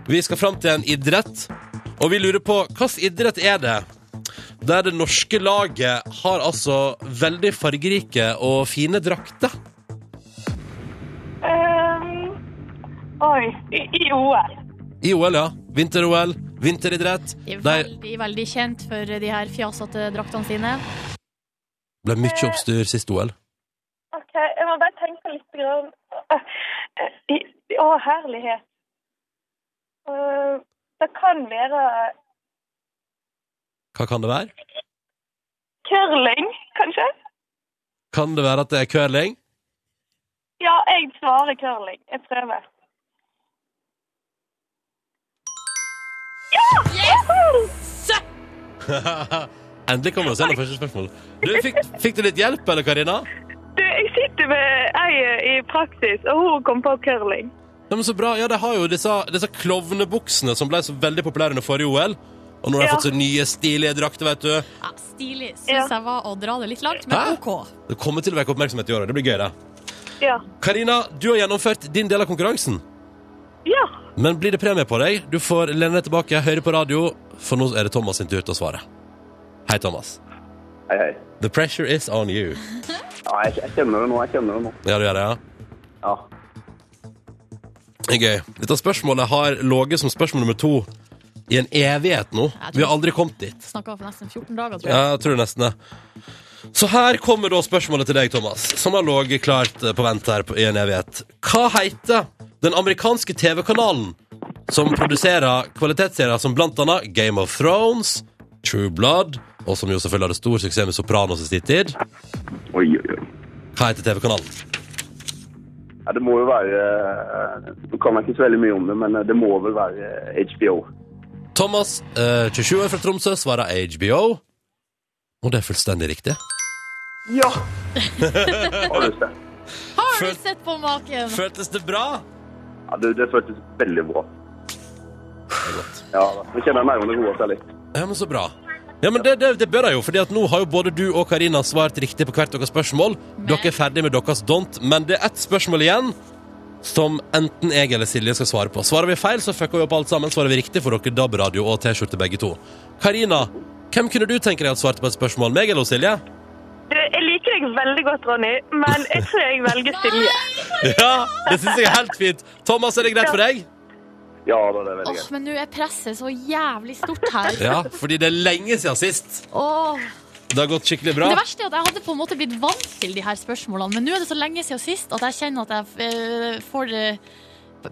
Speaker 2: Vi skal fram til en idrett, og vi lurer på hvilken idrett er det der det norske laget har altså veldig fargerike og fine drakter.
Speaker 7: Ehm, oi. I, I OL.
Speaker 2: I OL, ja. Vinter-OL, vinteridrett.
Speaker 5: De er
Speaker 2: De
Speaker 5: veldig, veldig kjent for de her fjasete draktene sine.
Speaker 2: ble mye oppstyr sist OL.
Speaker 7: OK, jeg må bare tenke litt. Grann. Eh, I, i, å, herlighet. Eh, det kan være
Speaker 2: Hva kan det være?
Speaker 7: curling, kanskje?
Speaker 2: Kan det være at det er curling?
Speaker 7: Ja, jeg svarer curling. Jeg prøver.
Speaker 2: Endelig kommer vi oss gjennom første spørsmål. Du, fikk, fikk du litt hjelp, eller, Karina?
Speaker 7: Du, jeg sitter med ei eh, i praksis, og hun kom på curling.
Speaker 2: Ja, men så bra. Ja, de har jo disse, disse klovnebuksene som ble så veldig populære under forrige OL. Og nå har de
Speaker 7: Ja.
Speaker 2: fått så nye, stilige drakter, vet du.
Speaker 5: Ja, stilig
Speaker 7: Ja.
Speaker 5: syns jeg var å dra det litt langt,
Speaker 2: Hæ?
Speaker 5: men OK.
Speaker 2: Det kommer til å vekke oppmerksomhet i året. Det blir gøy, det.
Speaker 7: Ja.
Speaker 2: Karina, du har gjennomført din del av konkurransen.
Speaker 7: Ja.
Speaker 2: Men blir det premie på deg? Du får lene deg tilbake, høre på radio, for nå er det Thomas sin tur til å svare. Hei, Thomas.
Speaker 8: Hei, hei.
Speaker 2: The pressure is on you.
Speaker 8: Ja, jeg, jeg kjenner det nå. Jeg kjenner det nå.
Speaker 2: Ja, du gjør det, ja?
Speaker 8: Ja.
Speaker 2: Det er Gøy. Dette spørsmålet har ligget som spørsmål nummer to i en evighet nå.
Speaker 5: Jeg tror-
Speaker 2: Vi har aldri kommet dit.
Speaker 5: Snakka for nesten 14 dager, tror jeg.
Speaker 2: Ja, jeg tror nesten det. Så her kommer da spørsmålet til deg, Thomas, som har ligget klart eh, på vent her på- i en evighet. Hva heter den amerikanske TV-kanalen som produserer kvalitetsserier som blant annet Game of Thrones, True Blood, og som jo selvfølgelig hadde stor suksess med Sopranos i sin tid?
Speaker 8: Oi, oi, oi.
Speaker 2: Hva heter TV-kanalen?
Speaker 8: Ja, det må jo være eh, Nå kan jeg ikke så veldig mye om det, men eh, det må vel være eh, HBO.
Speaker 2: Thomas, eh, 27 år fra Tromsø, svarer HBO. Og det er fullstendig riktig.
Speaker 8: Ja! Har du lyst til?
Speaker 5: Har
Speaker 2: Føl-
Speaker 5: du sett på maken?
Speaker 2: Føltes det bra?
Speaker 8: Ja, det, det føltes veldig bra. Ja, da. Nå kjenner jeg nervene roer seg litt.
Speaker 2: Ja, men så bra. Ja, men det, det, det bør jeg jo, fordi at nå har jo både du og Karina svart riktig på hvert deres spørsmål. Dere er ferdig med deres dont, men det er ett spørsmål igjen som enten jeg eller Silje skal svare på. Svarer vi feil, så fucker vi opp alt sammen. Svarer vi riktig, får dere DAB-radio og T-skjorte begge to. Karina, hvem kunne du tenke deg at svarte på et spørsmål? Meg eller Silje?
Speaker 7: Du, jeg liker deg veldig godt, Ronny, men jeg tror jeg velger Silje.
Speaker 2: Ja, det syns jeg er helt fint. Thomas, er det greit for deg?
Speaker 8: Ja, da, det er veldig
Speaker 5: Åh,
Speaker 8: greit.
Speaker 5: men nå er presset så jævlig stort her.
Speaker 2: Ja, fordi det er lenge siden sist.
Speaker 5: Åh.
Speaker 2: Det har gått skikkelig bra.
Speaker 5: Det verste er at jeg hadde på en måte blitt vant til de her spørsmålene, men nå er det så lenge siden sist at jeg kjenner at jeg eh, får eh,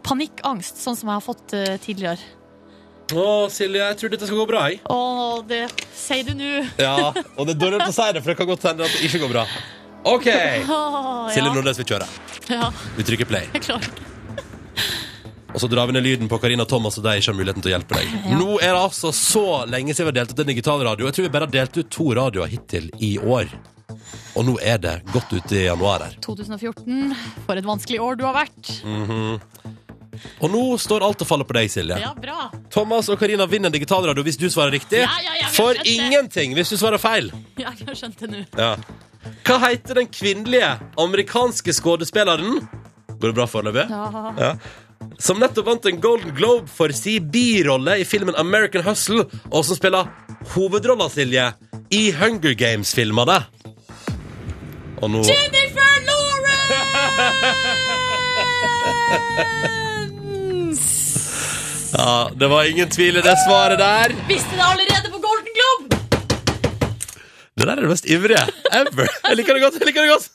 Speaker 5: panikkangst, sånn som jeg har fått eh, tidligere.
Speaker 2: Å, Silje, jeg tror dette skal gå bra, jeg.
Speaker 5: Åh, det sier du nå.
Speaker 2: Ja, og det er dårlig å si det, for det kan godt hende at det ikke går bra. OK.
Speaker 5: Åh,
Speaker 2: Silje
Speaker 5: ja.
Speaker 2: Nordnes vil kjøre.
Speaker 5: ja,
Speaker 2: Vi trykker play.
Speaker 5: jeg klarer ikke.
Speaker 2: Og så drar vi ned lyden på Karina og Thomas, og de ikke har muligheten til å hjelpe deg.
Speaker 5: Ja.
Speaker 2: Nå er det altså så lenge siden vi har delt ut en digital radio. Jeg tror vi bare har delt ut to radioer hittil i år. Og nå er det godt ute i januar her.
Speaker 5: 2014, for et vanskelig år du har vært.
Speaker 2: Mm. Og nå står alt og faller på deg, Silje.
Speaker 5: Ja, bra.
Speaker 2: Thomas og Karina vinner en digital radio hvis du svarer riktig.
Speaker 5: Ja, ja, ja, vi har
Speaker 2: For
Speaker 5: skjønt det.
Speaker 2: ingenting hvis du svarer feil.
Speaker 5: Ja, Jeg har skjønt det nå.
Speaker 2: Ja. Hva heter den kvinnelige amerikanske skuespilleren? Går det bra foreløpig?
Speaker 5: Ja.
Speaker 2: Som nettopp vant en Golden Globe for sin birolle i filmen American Hustle, og som spiller hovedrolla, Silje, i Hunger Games-filmene. Og nå
Speaker 5: Jennifer Lawrence!
Speaker 2: Ja, det var ingen tvil i det svaret der.
Speaker 5: Visste det allerede på Golden Globe!
Speaker 2: Det der er det mest ivrige ever. Jeg liker det godt. jeg liker det godt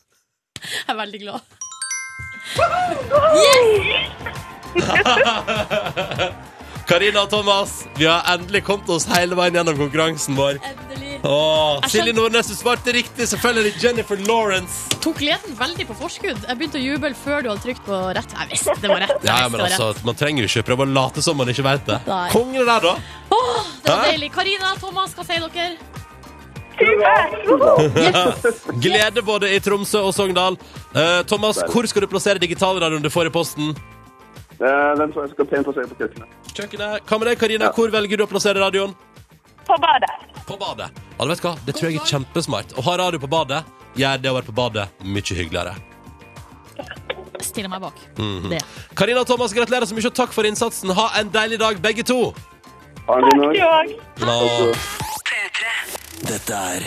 Speaker 5: Jeg er veldig glad.
Speaker 2: Karina og Thomas, vi har endelig kommet oss hele veien gjennom konkurransen vår.
Speaker 5: Endelig.
Speaker 2: Åh,
Speaker 5: Jeg
Speaker 2: Silje
Speaker 5: skjønte-
Speaker 2: Nordnes, du svarte riktig. Selvfølgelig Jennifer Lawrence.
Speaker 5: Tok gleden veldig på forskudd. Jeg begynte å juble før du hadde trykt på rett. Jeg visste det var rett. Jeg
Speaker 2: Ja,
Speaker 5: visste det
Speaker 2: men
Speaker 5: var
Speaker 2: altså, Man trenger jo ikke prøve å late som man ikke vet det.
Speaker 5: Nei.
Speaker 2: Kongen der, da.
Speaker 5: rett. Åh, det var
Speaker 2: Hæ?
Speaker 5: deilig. Karina, Thomas, hva sier dere?
Speaker 2: Glede både i Tromsø og Sogndal. Eh, Thomas, hvor skal du plassere digitalradioen du får i posten?
Speaker 8: Eh, Den tror jeg skal pent plassere på kjøkkenet.
Speaker 2: Kjøkkenet. Hva med deg, Karina? Hvor velger du å plassere radioen?
Speaker 7: På badet.
Speaker 2: På badet. Ja, du vet hva? Det tror jeg er kjempesmart. Å ha radio på badet gjør det å være på badet mye hyggeligere.
Speaker 5: Stiller meg bak.
Speaker 2: Mhm.
Speaker 5: Det.
Speaker 2: Karina og Thomas, gratulerer så mye, og takk for innsatsen. Ha en deilig dag, begge to.
Speaker 8: Ha en
Speaker 7: Takk
Speaker 8: god
Speaker 7: du
Speaker 8: dag.
Speaker 7: òg.
Speaker 2: Nå.
Speaker 1: Dette er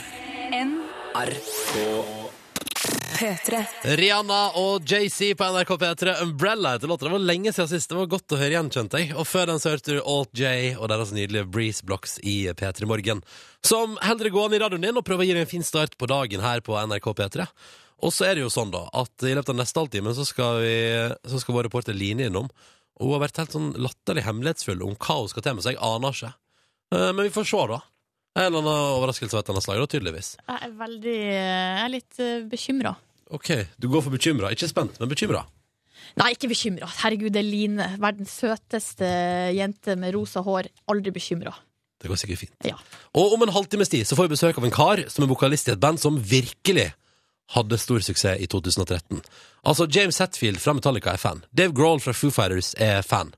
Speaker 6: P3.
Speaker 2: Rihanna og JC på NRK P3. Umbrella heter låta. Det var lenge siden sist. Det var godt å høre igjen, kjente jeg. Og før den så hørte du Alt J og deres nydelige Breeze Blocks i P3 Morgen. Som holder det gående i radioen din og prøver å gi deg en fin start på dagen her på NRK P3. Og så er det jo sånn, da, at i løpet av neste halvtime så skal vi Så skal vår reporter Line innom. Og hun har vært helt sånn latterlig hemmelighetsfull om hva hun skal til med seg. Jeg aner ikke. Eh, Men vi får se, da. En eller annen overraskelse av et eller annet slag, da, tydeligvis.
Speaker 5: Jeg er veldig Jeg er litt eh, bekymra.
Speaker 2: OK, du går for bekymra. Ikke spent, men bekymra.
Speaker 5: Nei, ikke bekymra. Herregud, det er Line. Verdens søteste jente med rosa hår. Aldri bekymra.
Speaker 2: Det går sikkert fint.
Speaker 5: Ja.
Speaker 2: Og om en halvtimes tid så får vi besøk av en kar som er vokalist i et band som virkelig hadde stor suksess i 2013. Altså, James Hetfield fra Metallica er fan. Dave Grohl fra Foo Fighters er fan.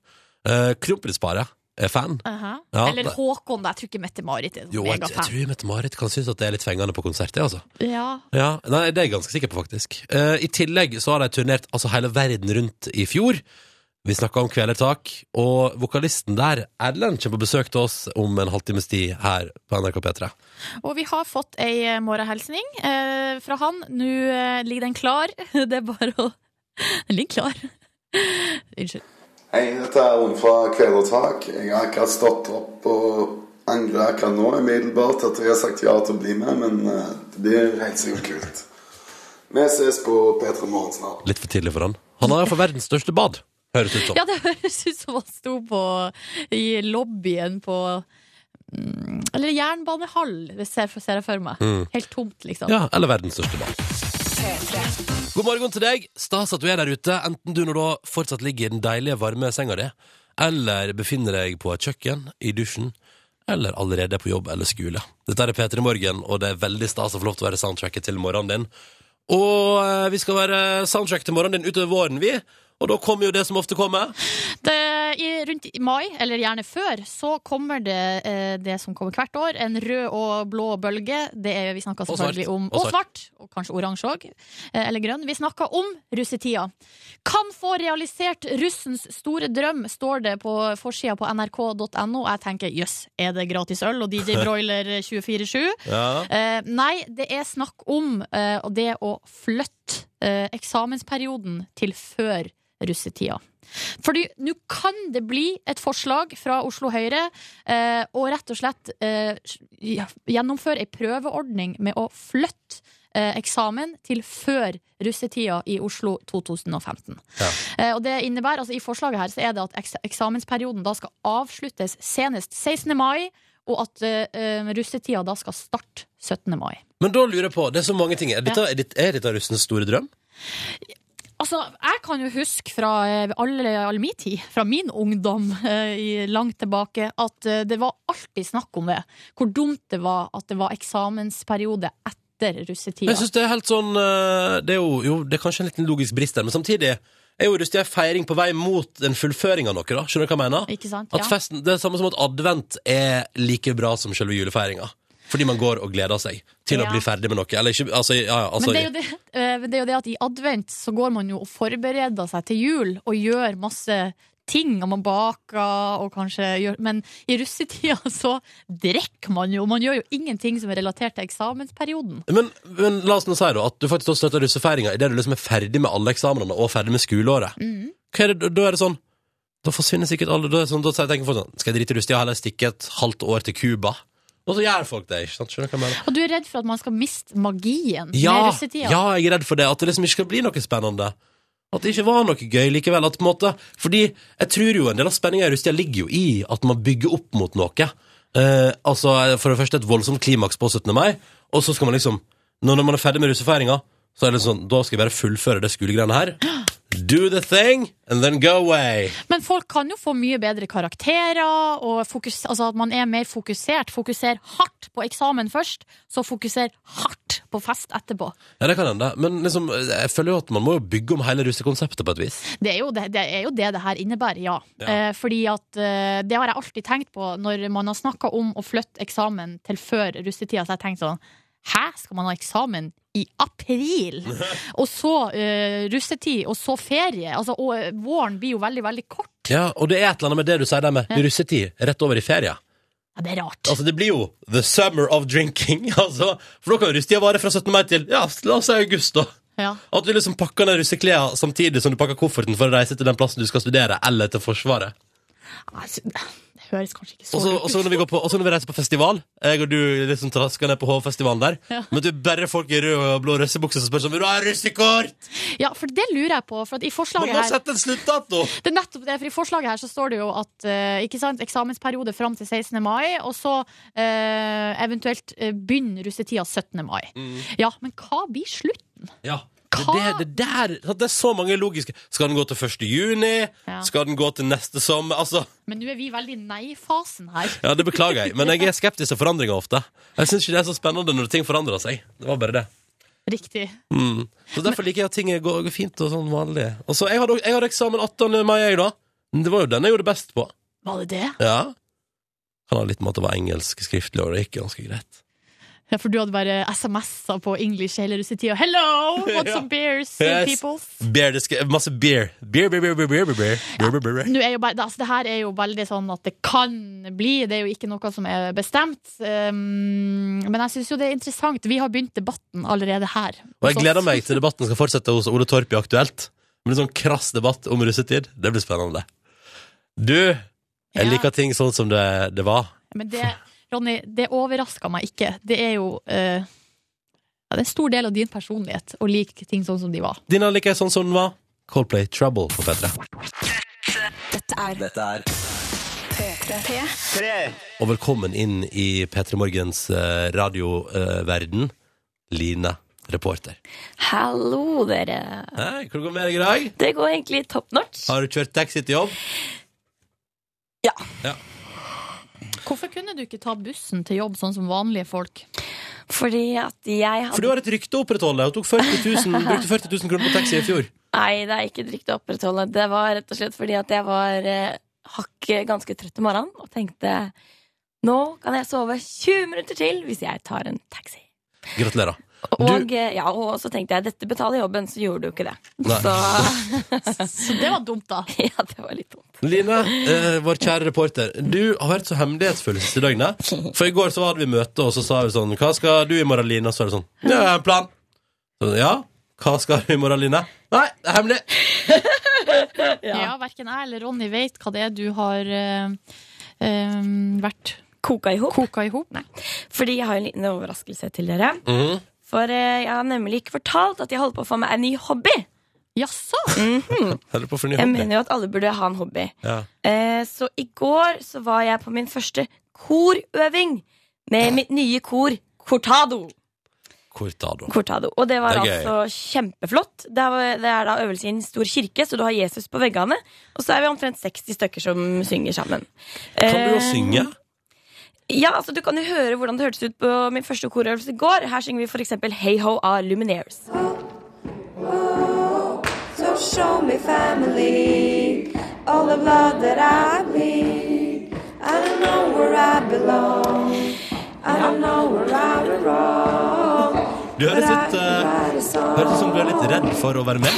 Speaker 2: Uh, Kronprinsparet er fan.
Speaker 5: Aha.
Speaker 2: Ja,
Speaker 5: Eller
Speaker 2: det-
Speaker 5: Håkon, da. Jeg tror ikke Mette-Marit er sånn
Speaker 2: Jo, jeg, jeg
Speaker 5: megafan.
Speaker 2: tror Mette-Marit kan synes at det er litt fengende på konsert, det, altså.
Speaker 5: Ja.
Speaker 2: Ja, nei, det er jeg ganske sikker på, faktisk. Eh, I tillegg så har de turnert altså, hele verden rundt i fjor. Vi snakka om Kvelertak, og vokalisten der, Erlend, kommer på besøk til oss om en halvtimes tid her på NRK P3.
Speaker 5: Og vi har fått ei eh, morgenhilsning eh, fra han. Nå eh, ligger den klar. Det er bare å Den ligger klar. Unnskyld.
Speaker 9: Hei, dette er Ron fra Kvelertak. Jeg har akkurat stått opp og angrer akkurat nå umiddelbart at jeg har sagt ja til å bli med, men eh, det blir helt sikkert kult. Vi ses på P3 Morgen snart.
Speaker 2: Litt for tidlig for han. Han har iallfall verdens største bad, høres ut som.
Speaker 5: Ja, det høres ut som han sto på i lobbyen på mm, Eller jernbanehall, hvis jeg ser det for meg.
Speaker 2: Mm.
Speaker 5: Helt tomt, liksom.
Speaker 2: Ja, eller verdens største bad. God morgen til deg. Stas at du er der ute, enten du når da fortsatt ligger i den deilige, varme senga di, eller befinner deg på et kjøkken, i dusjen, eller allerede er på jobb eller skole. Dette er P3 Morgen, og det er veldig stas å få lov til å være soundtracket til morgenen din. Og eh, vi skal være soundtrack til morgenen din utover våren, vi. Og da kommer jo det som ofte kommer.
Speaker 5: Det, i, rundt i mai, eller gjerne før, så kommer det eh, det som kommer hvert år. En rød og blå bølge. Det er, vi snakka
Speaker 2: Og
Speaker 5: selvfølgelig
Speaker 2: svart.
Speaker 5: om
Speaker 2: Og
Speaker 5: Og svart. Og kanskje oransje òg. Eh, eller grønn. Vi snakka om russetida. Kan få realisert russens store drøm, står det på forsida på nrk.no. Jeg tenker jøss, er det gratis øl og DJ Broiler 24-7?
Speaker 2: Ja.
Speaker 5: Eh, nei, det er snakk om eh, og det å flytte eh, eksamensperioden til før russetida. Fordi nå kan det bli et forslag fra Oslo Høyre eh, å rett og slett eh, ja, gjennomføre ei prøveordning med å flytte eh, eksamen til før russetida i Oslo 2015.
Speaker 2: Ja.
Speaker 5: Eh, og det innebærer, altså I forslaget her så er det at eks eksamensperioden da skal avsluttes senest 16. mai, og at eh, russetida da skal starte 17. mai.
Speaker 2: Men da lurer jeg på, det er så mange ting. Er dette, er dette, er dette russens store drøm?
Speaker 5: Altså, Jeg kan jo huske fra eh, alle, all min tid, fra min ungdom eh, i- langt tilbake, at eh, det var alltid snakk om det. Hvor dumt det var at det var eksamensperiode etter russetida.
Speaker 2: Jeg synes det er helt sånn eh, Det er jo, jo, det er kanskje en liten logisk brist der, men samtidig er jo rustig en feiring på vei mot en fullføring av noe, da. Skjønner du hva jeg mener?
Speaker 5: Ikke sant?
Speaker 2: At festen, Det er samme som at advent er like bra som selve julefeiringa. Fordi man går og gleder seg til
Speaker 5: Ja.
Speaker 2: å bli ferdig med noe. Eller ikke Altså, ja, ja, altså
Speaker 5: Men det er, jo det, eh, men det er jo det at i advent så går man jo og forbereder seg til jul og gjør masse ting. Og man baker og kanskje gjør Men i russetida så drikker man jo. Man gjør jo ingenting som er relatert til eksamensperioden.
Speaker 2: men, men la oss nå si da at du faktisk da støtter russefeiringa idet du liksom er ferdig med alle eksamenene og ferdig med skoleåret.
Speaker 5: Mhm.
Speaker 2: Hva er det, da er det sånn Da forsvinner sikkert alle Da, er det sånn, da tenker folk sånn Skal jeg drite i russetida og heller stikke et halvt år til Cuba? Og så gjør folk det, ikke sant? Skjønner du hva jeg mener?
Speaker 5: Og du er redd for at man skal miste magien med
Speaker 2: Ja,
Speaker 5: russetida.
Speaker 2: ja, jeg er redd for det. At det liksom ikke skal bli noe spennende. At det ikke var noe gøy likevel. At, på en måte, fordi jeg tror jo en del av spenninga i Rustia ligger jo i at man bygger opp mot noe. eh, altså, for det første et voldsomt klimaks på 17. mai, og så skal man liksom Når når man er ferdig med russefeiringa, så er det sånn Da skal jeg bare fullføre det skolegreiene her. Do the thing, and then go away.
Speaker 5: Men folk kan jo få mye bedre karakterer, og fokus, altså at man er mer fokusert. Fokuser hardt på eksamen først, så fokuser hardt på fest etterpå.
Speaker 2: Ja, det kan hende. Men liksom, jeg føler jo at man må jo bygge om hele russekonseptet på et vis.
Speaker 5: Det er jo det det, er jo det, det her innebærer, ja.
Speaker 2: Ja.
Speaker 5: Eh, fordi at eh, det har jeg alltid tenkt på når man har snakka om å flytte eksamen til før russetida, så har jeg tenkt sånn Hæ, skal man ha eksamen i april? og så eh, russetid, og så ferie. Altså, og eh, våren blir jo veldig, veldig kort.
Speaker 2: Ja, Og det er et eller annet med det du sier der med
Speaker 5: Ja.
Speaker 2: russetid rett over i ferie.
Speaker 5: Ja, det er rart.
Speaker 2: Altså, det blir jo the summer of drinking. altså. For da kan jo russetida vare fra 17. mai til ja, la oss si august, da.
Speaker 5: Ja.
Speaker 2: At du liksom pakker ned russeklærne samtidig som du pakker kofferten for å reise til den plassen du skal studere, eller til Forsvaret.
Speaker 5: Altså, det høres kanskje ikke så
Speaker 2: Og så
Speaker 5: ut.
Speaker 2: og så når, vi går på- og så når vi reiser på festival, jeg og du liksom trasker ned på Hovfestivalen der,
Speaker 5: Ja.
Speaker 2: men du bare folk i rød og blå russebukse som spør sånn 'Vil du ha russekort?'
Speaker 5: Ja, for det lurer jeg på. For at i
Speaker 2: Man
Speaker 5: forslaget
Speaker 2: må
Speaker 5: her
Speaker 2: sette en sluttdato!
Speaker 5: Det er nettopp det, for I forslaget her så står det jo at eh, ikke sant, eksamensperiode fram til 16. mai, og så eh, eventuelt eh, begynner russetida 17. mai.
Speaker 2: Mm.
Speaker 5: Ja, men hva blir slutt?
Speaker 2: Ja. Det,
Speaker 5: Hva?
Speaker 2: det, det, der, sant, det er så mange logiske Skal den gå til 1. juni?
Speaker 5: Ja.
Speaker 2: Skal den gå til neste sommer? Altså,
Speaker 5: Men nå er vi veldig i nei-fasen her.
Speaker 2: ja, Det beklager jeg, men jeg er skeptisk til forandringer ofte. Jeg syns ikke det er så spennende når ting forandrer seg. Det var bare det.
Speaker 5: Riktig.
Speaker 2: Mm. Så derfor liker jeg at ting går, går fint og sånn vanlig. Og så jeg hadde, jeg hadde eksamen 18. mai, jeg, da. Men Det var jo den jeg gjorde best på.
Speaker 5: Var det det?
Speaker 2: Ja. Kan ha litt med at det var engelsk skriftlig, og det gikk ganske greit.
Speaker 5: Ja, For du hadde bare SMS-er på English hele russetida. Hello! Want
Speaker 2: Ja.
Speaker 5: some beers,
Speaker 2: Yes.
Speaker 5: peoples?
Speaker 2: Beer, det skal, masse beer. Beer, beer, beer, beer, beer, beer, beer, beer, beer, beer.
Speaker 5: Nå er jo bare, altså, det her er jo veldig sånn at det kan bli, det er jo ikke noe som er bestemt. Um, men jeg syns jo det er interessant. Vi har begynt debatten allerede her.
Speaker 2: Og jeg
Speaker 5: hos
Speaker 2: gleder
Speaker 5: oss.
Speaker 2: meg til debatten skal fortsette hos Ole Torp i Aktuelt. Med en sånn krass debatt om russetid. Det blir spennende. Du, jeg
Speaker 5: Ja.
Speaker 2: liker ting sånn som det, det var.
Speaker 5: Men det, Ronny, det overrasker meg ikke. Det er jo eh, ja, Det er en stor del av din personlighet å like ting sånn som de var.
Speaker 2: Dina liker jeg sånn som den var. Coldplay Trouble på P3.
Speaker 10: Dette er
Speaker 11: Dette er
Speaker 10: P3.
Speaker 2: Og velkommen inn i P3 Morgens eh, radioverden. Line, reporter.
Speaker 12: Hallo, dere.
Speaker 2: Hei, hvordan går det med deg i dag?
Speaker 12: Det går egentlig top notch.
Speaker 2: Har du kjørt taxi til jobb?
Speaker 5: Hvorfor kunne du ikke ta bussen til jobb sånn som vanlige folk?
Speaker 12: Fordi at jeg
Speaker 2: For du har et rykte å opprettholde. og tok 40 000, brukte 40 000 kroner på taxi i fjor.
Speaker 12: Nei, det er ikke et rykte å opprettholde. Det var rett og slett fordi at jeg var eh, hakk ganske trøtt om morgenen og tenkte nå kan jeg sove 20 minutter til hvis jeg tar en taxi.
Speaker 2: Gratulerer.
Speaker 12: Og, eh, ja, og så tenkte jeg dette betaler jobben, så gjorde du ikke det.
Speaker 2: Nei.
Speaker 12: Så
Speaker 5: Så det var dumt, da.
Speaker 12: ja, det var litt dumt.
Speaker 2: Line, eh, vår kjære reporter, du har vært så hemmelighetsfull siste døgnet. For i går så hadde vi møte, og så sa vi sånn Hva skal du i morgen, Line? Og så er det sånn Ja, jeg har en plan. Så, ja, hva skal du i morgen, Line? Nei, det er hemmelig.
Speaker 5: Ja. Verken jeg eller Ronny vet hva det er du har eh, eh, vært
Speaker 12: Koka i hop.
Speaker 5: koka i hop.
Speaker 12: Fordi jeg har en liten overraskelse til dere.
Speaker 2: Mhm.
Speaker 12: For eh, jeg har nemlig ikke fortalt at jeg holder på å få meg en ny hobby. Mhm.
Speaker 5: Jaså?
Speaker 2: Holder på for ny
Speaker 12: Jeg
Speaker 2: hobby.
Speaker 12: mener jo at alle burde ha en hobby.
Speaker 2: Ja.
Speaker 12: Eh, så i går så var jeg på min første korøving med mitt nye kor, Cortado.
Speaker 2: Cortado.
Speaker 12: Cortado. Og det var
Speaker 2: Det er gøy.
Speaker 12: altså kjempeflott. Det er, det er da øvelse i en stor kirke, så du har Jesus på veggene. Og så er vi omtrent 60 stykker som synger sammen.
Speaker 2: Kan du
Speaker 12: Eh,
Speaker 2: jo synge?
Speaker 12: Ja, altså Du kan jo høre hvordan det hørtes ut på min første korøvelse i går. Her synger vi f.eks. Hey Ho av Lumineers.
Speaker 6: So show me family, all the love that I bleed. I don't know where I belong. I don't know where I belong.
Speaker 2: Du
Speaker 6: But
Speaker 2: høres
Speaker 6: I
Speaker 2: ut
Speaker 6: can
Speaker 2: eh,
Speaker 6: write a
Speaker 2: Høres ut som du er
Speaker 6: song.
Speaker 2: litt redd for å være med.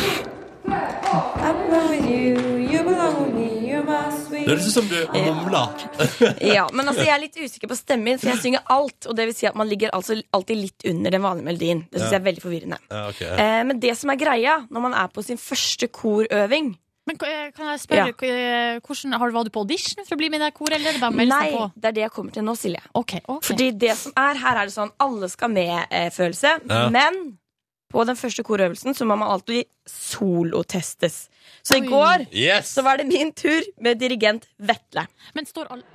Speaker 6: I belong with you, you belong with me, you're my
Speaker 2: Det
Speaker 6: sweet. Eh,
Speaker 2: høres ut som du mumler.
Speaker 12: Ja, men altså Jeg er litt usikker på stemmen min, for jeg synger alt. Og det vil si at man ligger altså alltid litt under den vanlige melodien. Det synes jeg er veldig forvirrende.
Speaker 2: Ja, ok.
Speaker 12: Eh, men det som er greia når man er på sin første korøving
Speaker 5: Men eh, kan jeg spørre, eh, hvordan, har, var du på audition for å bli med i det her koret, eller er det bare å melde
Speaker 12: Nei,
Speaker 5: seg på?
Speaker 12: det er det jeg kommer til nå, Silje.
Speaker 5: Ok, ok.
Speaker 12: Fordi det som er, Her er det sånn alle skal med-følelse.
Speaker 2: Ja.
Speaker 12: Men på den første korøvelsen så må man alltid solotestes. Så
Speaker 5: Oi.
Speaker 12: i går
Speaker 2: Yes!
Speaker 12: så var det min tur med dirigent Vetle.
Speaker 5: Men står alle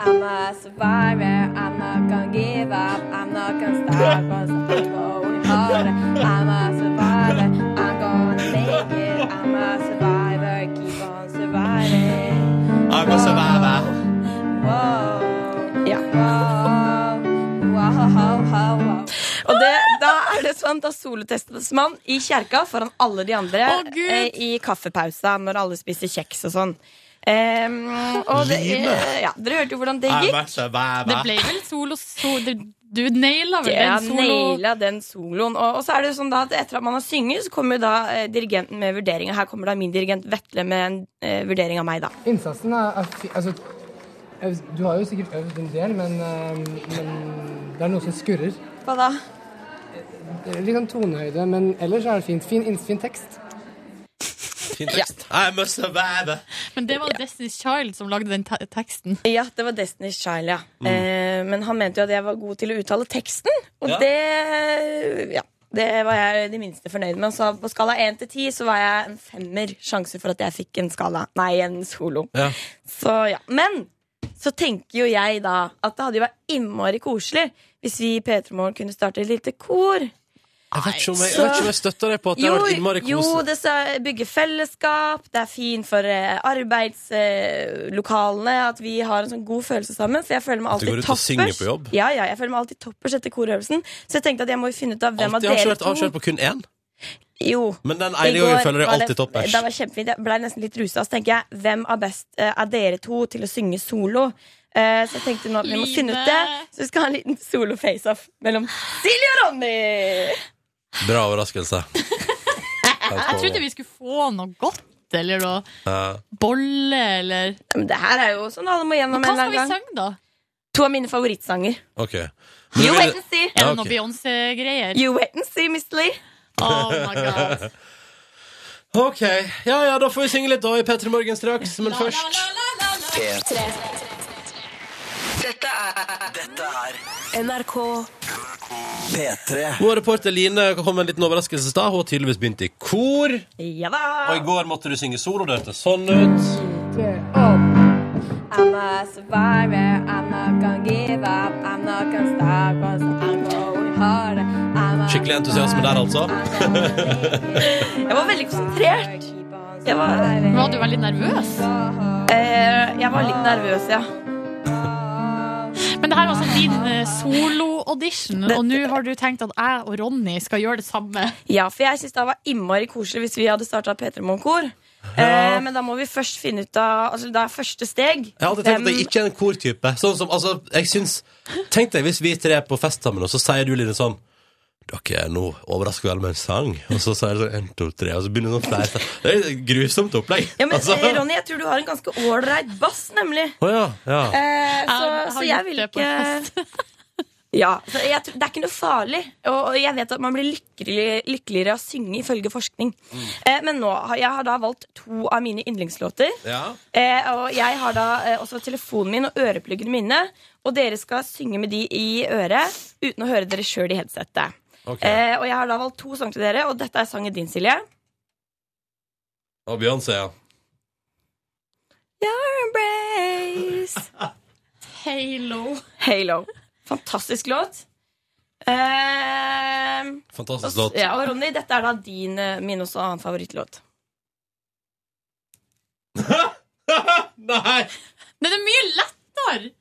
Speaker 6: I'm a survivor. I'm not gonna give up. I'm not gonna stop. Cause I'm going hard. I'm a survivor. I'm gonna make it. I'm a survivor. Keep on surviving.
Speaker 2: I'm a survivor.
Speaker 6: Wow. Ja. Wow. Wow, wow, wow, wow.
Speaker 12: Og det, da er det sånn, da solotestes man i kjerka foran alle de andre eh, i kaffepausa når alle spiser kjeks og sånn. Em, og det, eh,
Speaker 5: Livet.
Speaker 12: ja, dere hørte jo hvordan det
Speaker 2: I'm
Speaker 12: gikk.
Speaker 2: a survivor.
Speaker 5: Det ble vel solo, so, du, du naila vel
Speaker 12: Ja,
Speaker 5: den solo...
Speaker 12: naila den soloen. Og, og så er det jo sånn da at etter at man har synget, så kommer jo da eh, dirigenten med vurdering. Og her kommer da min dirigent Vetle med en eh, vurdering av meg, da.
Speaker 13: Innsatsen er, er fi- altså, øv- Du har jo sikkert øvd en del, men, eh, men det er noe som skurrer.
Speaker 12: Hva da?
Speaker 13: Det er Litt sånn tonehøyde, men ellers er det fint. Fin, inn- fin tekst.
Speaker 2: Fin tekst. I'm a survivor.
Speaker 5: Men det var Destiny's Child som lagde den te teksten.
Speaker 12: Ja, det var Destiny's Child, ja. Eh, men han mente jo at jeg var god til å uttale teksten, og
Speaker 5: Ja.
Speaker 12: det ja, det var jeg det minste fornøyd med. Så på skala 1 til 10 så var jeg en femmer sjanse for at jeg fikk en skala. Nei, en solo.
Speaker 2: Ja.
Speaker 12: Så ja, Men så tenker jo jeg da at det hadde jo vært innmari koselig hvis vi i P3 Morgen kunne starte et lite kor.
Speaker 2: Jeg vet ikke om jeg,
Speaker 12: Så-
Speaker 2: jeg, vet ikke om jeg støtter deg på at det har vært innmari
Speaker 12: jo,
Speaker 2: koselig.
Speaker 12: det skal bygge fellesskap, det er fint for eh, arbeidslokalene at vi har en sånn god følelse sammen. Så jeg føler meg
Speaker 2: At du
Speaker 12: alltid
Speaker 2: går ut og synger
Speaker 12: toppers.
Speaker 2: på jobb?
Speaker 12: Ja, ja, jeg føler meg alltid toppers etter korøvelsen. Så jeg tenkte at jeg må jo finne ut av hvem
Speaker 2: Alltid
Speaker 12: av dere
Speaker 2: avslørt,
Speaker 12: to
Speaker 2: avslørt på kun én.
Speaker 12: Jo.
Speaker 2: Men den
Speaker 12: I
Speaker 2: ene
Speaker 12: går
Speaker 2: gangen føler jeg
Speaker 12: var
Speaker 2: alltid toppers.
Speaker 12: Det var kjempefint. Jeg ble nesten litt rusa. Så tenker jeg, hvem er best eh, av dere to til å synge solo? Eh, så jeg tenkte nå at vi må
Speaker 5: Line.
Speaker 12: finne ut det. Så vi skal ha en liten solo-face-off mellom Silje og Ronny!
Speaker 2: Bra overraskelse.
Speaker 5: Jeg trodde vi skulle få noe godt eller noe
Speaker 2: Ja.
Speaker 5: bolle eller
Speaker 12: Men det her er jo sånn alle må gjennom
Speaker 5: Men hva
Speaker 12: en eller
Speaker 5: skal vi
Speaker 12: annen gang.
Speaker 5: synge, da?
Speaker 12: To av mine favorittsanger.
Speaker 2: Ok. Men
Speaker 12: You
Speaker 2: vil-
Speaker 12: wait and see.
Speaker 5: Er det
Speaker 2: Ja,
Speaker 5: noe
Speaker 2: ok.
Speaker 5: Beyoncé-greier?
Speaker 12: You wait and see, Mr. Lee.
Speaker 5: Oh my god.
Speaker 2: OK. Ja ja, da får vi synge litt da i P3 Morgen straks, men først
Speaker 14: P3. Dette er Dette er NRK P3.
Speaker 2: Vår reporter Line kom med en liten overraskelse i stad. Hun har tydeligvis begynt i kor.
Speaker 12: Ja da.
Speaker 2: Og i går måtte du synge solo. Det hørtes sånn ut.
Speaker 6: I'm a survivor. I'm not gonna give up. I'm not gonna stop. Cause I'm going hard. I'm a
Speaker 2: Skikkelig entusiasme der, altså.
Speaker 12: Jeg var veldig konsentrert. Jeg var,
Speaker 5: var du veldig nervøs?
Speaker 12: Eh, jeg var litt nervøs, ja.
Speaker 5: Men det her var altså din eh, solo-audition, og nå har du tenkt at jeg og Ronny skal gjøre det samme.
Speaker 12: Ja, for jeg syns det var innmari koselig hvis vi hadde starta P3 Morgen-kor. Eh, men da må vi først finne ut av altså, Det er første steg.
Speaker 2: Jeg har alltid tenkt at
Speaker 12: Hvem-
Speaker 2: jeg ikke er en kortype. Sånn som, altså, jeg syns, Tenk deg hvis vi tre er på fest sammen, og så sier du Line sånn dere, nå overrasker vi alle med en sang. Og så sier du sånn en, to, tre, og så begynner noen flere. Det er et grusomt opplegg.
Speaker 12: ja, men,
Speaker 2: altså.
Speaker 12: eh, Ronny, jeg tror du har en ganske ålreit bass, nemlig.
Speaker 2: Å ja, ja.
Speaker 12: Eh,
Speaker 5: Jeg
Speaker 12: så,
Speaker 5: har
Speaker 12: så
Speaker 5: gjort
Speaker 12: jeg vil
Speaker 5: det på en
Speaker 12: ikke Ja, så jeg, tror- Det er ikke noe farlig. Og og jeg vet at man blir lykkelig, lykkeligere av å synge, ifølge forskning. Eh, men nå, har- jeg har da valgt to av mine yndlingslåter.
Speaker 2: Ja.
Speaker 12: Eh, og jeg har da eh, også telefonen min og øreplugger mine. Og dere skal synge med de i øret uten å høre dere sjøl i headsetet.
Speaker 2: Ok.
Speaker 12: Eh, og jeg har da valgt to sanger til dere, og dette er sangen din, Silje.
Speaker 2: Og Beyoncé, ja.
Speaker 12: Your embrace.
Speaker 5: Halo.
Speaker 12: Halo. Fantastisk låt. Eh,
Speaker 2: Fantastisk
Speaker 12: og,
Speaker 2: låt.
Speaker 12: ja, og Ronny, dette er da din, eh, min også annen favorittlåt.
Speaker 2: Nei!
Speaker 5: Den er mye lettere!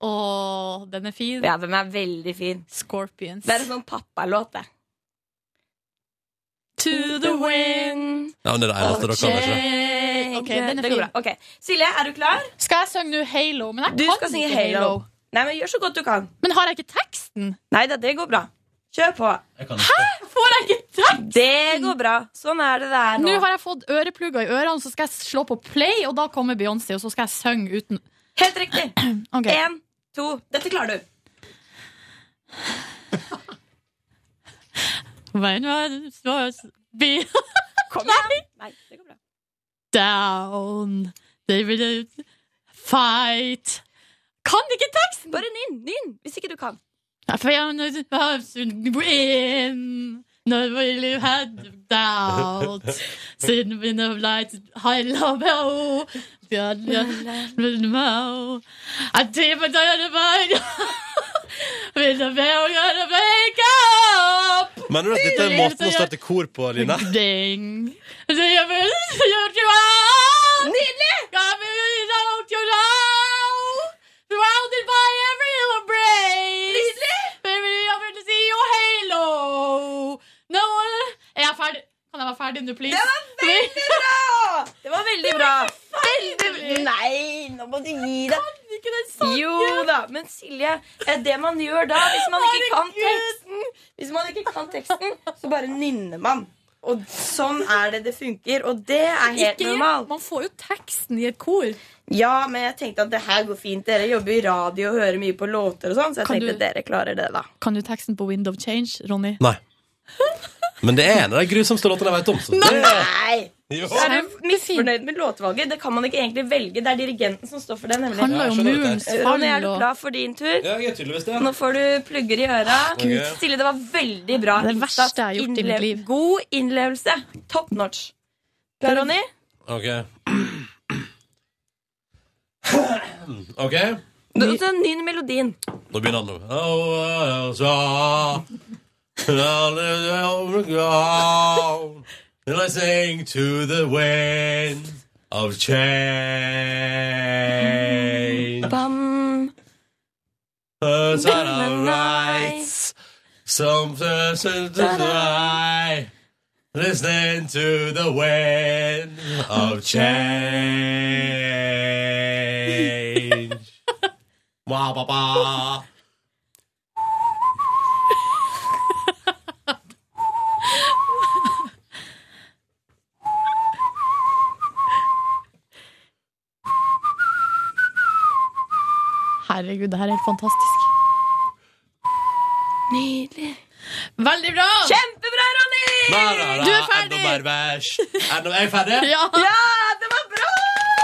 Speaker 5: Å, den er fin.
Speaker 12: Ja, den er veldig fin.
Speaker 5: Scorpions.
Speaker 12: Det er en sånn pappalåt, det.
Speaker 5: To the
Speaker 12: wind.
Speaker 2: Ja, men det er det eneste dere kan, ikke det?
Speaker 5: Ok, den er
Speaker 12: det går
Speaker 5: fin.
Speaker 12: bra. Ok. Silje, er du klar?
Speaker 5: Skal jeg synge nå Halo? Men jeg
Speaker 12: Du
Speaker 5: kan
Speaker 12: skal synge
Speaker 5: ikke
Speaker 12: Halo. Nei, men Gjør så godt du kan.
Speaker 5: Men har jeg ikke teksten?
Speaker 12: Nei da, det går bra. Kjør på.
Speaker 5: Får jeg ikke tekst?
Speaker 12: Det går bra. Sånn er det det er
Speaker 5: Nå
Speaker 12: nå.
Speaker 5: har jeg fått øreplugger i ørene, så skal jeg slå på play, og da kommer Beyoncé, og så skal jeg synge uten
Speaker 12: Helt riktig.
Speaker 5: Ok.
Speaker 12: Én, to. Dette klarer du.
Speaker 5: When I was be
Speaker 12: Kom igjen. Nei, det går bra.
Speaker 5: down They will fight Kan ikke teksten!
Speaker 12: Bare nynn, nynn, hvis ikke du kan.
Speaker 5: I found a house and win No really had doubt Sin wind of light High love oh Bjarne Vil meg At det på døren meg Vil du velge meg opp
Speaker 2: Mener du at dette er måten å starte kor på, Line?
Speaker 5: Ding Så jeg vil gjøre det bra Nydelig Jeg vil gjøre det bra til deg Surrounded by every embrace Nydelig Baby, jeg vil si jo halo No Er jeg ferdig? Kan jeg være ferdig nå, please? Det var veldig bra!
Speaker 12: Det var veldig bra. Veldig, nei, nå må du gi deg. Jo da, men Silje, eh, det man gjør da, hvis man ikke kan teksten, hvis man ikke kan teksten så bare nynner man. Og sånn er det det funker, og det er helt
Speaker 5: Ikke-
Speaker 12: normalt.
Speaker 5: Man får jo teksten i et kor.
Speaker 12: Ja, men jeg tenkte at det her går fint. Dere jobber i radio og hører mye på låter og sånn, så jeg
Speaker 5: Kan
Speaker 12: tenkte
Speaker 5: du-
Speaker 12: at dere klarer det, da.
Speaker 5: Kan du teksten på Wind of Change, Ronny?
Speaker 2: Nei. Men det er en av de grusomste låtene jeg vet om. Så det...
Speaker 12: Nei!
Speaker 2: Jo.
Speaker 12: Er du misfornøyd med låtvalget? Det kan man ikke egentlig velge. Det er dirigenten som står for det. nemlig.
Speaker 2: Handler jo om Ja, jeg skjønner murens dette. fall
Speaker 12: Ronny, er du
Speaker 2: og-
Speaker 12: klar for din tur?
Speaker 2: Ja, jeg er tydeligvis det.
Speaker 12: Nå får du plugger i øra.
Speaker 2: Gud.
Speaker 12: Silje, det var veldig bra.
Speaker 5: Det er det verste jeg har gjort i mitt
Speaker 12: Innlev-
Speaker 5: liv.
Speaker 12: God innlevelse. Top notch. Klar, Ronny?
Speaker 2: Ok. Ok,
Speaker 12: Du må ta Nyn melodien.
Speaker 2: nå begynner han nå. Oh, oh, oh, so- And I sing to the wind of change.
Speaker 12: Bam.
Speaker 2: Birds are alright. Some persons die. Listening to the wind of change. Wah, bah, bah.
Speaker 5: Herregud, det her er helt fantastisk.
Speaker 12: Nydelig.
Speaker 5: Veldig bra!
Speaker 12: Kjempebra, Ronny!
Speaker 2: Nei, nei, nei,
Speaker 5: Du er ferdig!
Speaker 2: Enda mer bæsj. Enda, er jeg ferdig?
Speaker 5: Ja.
Speaker 12: det var bra!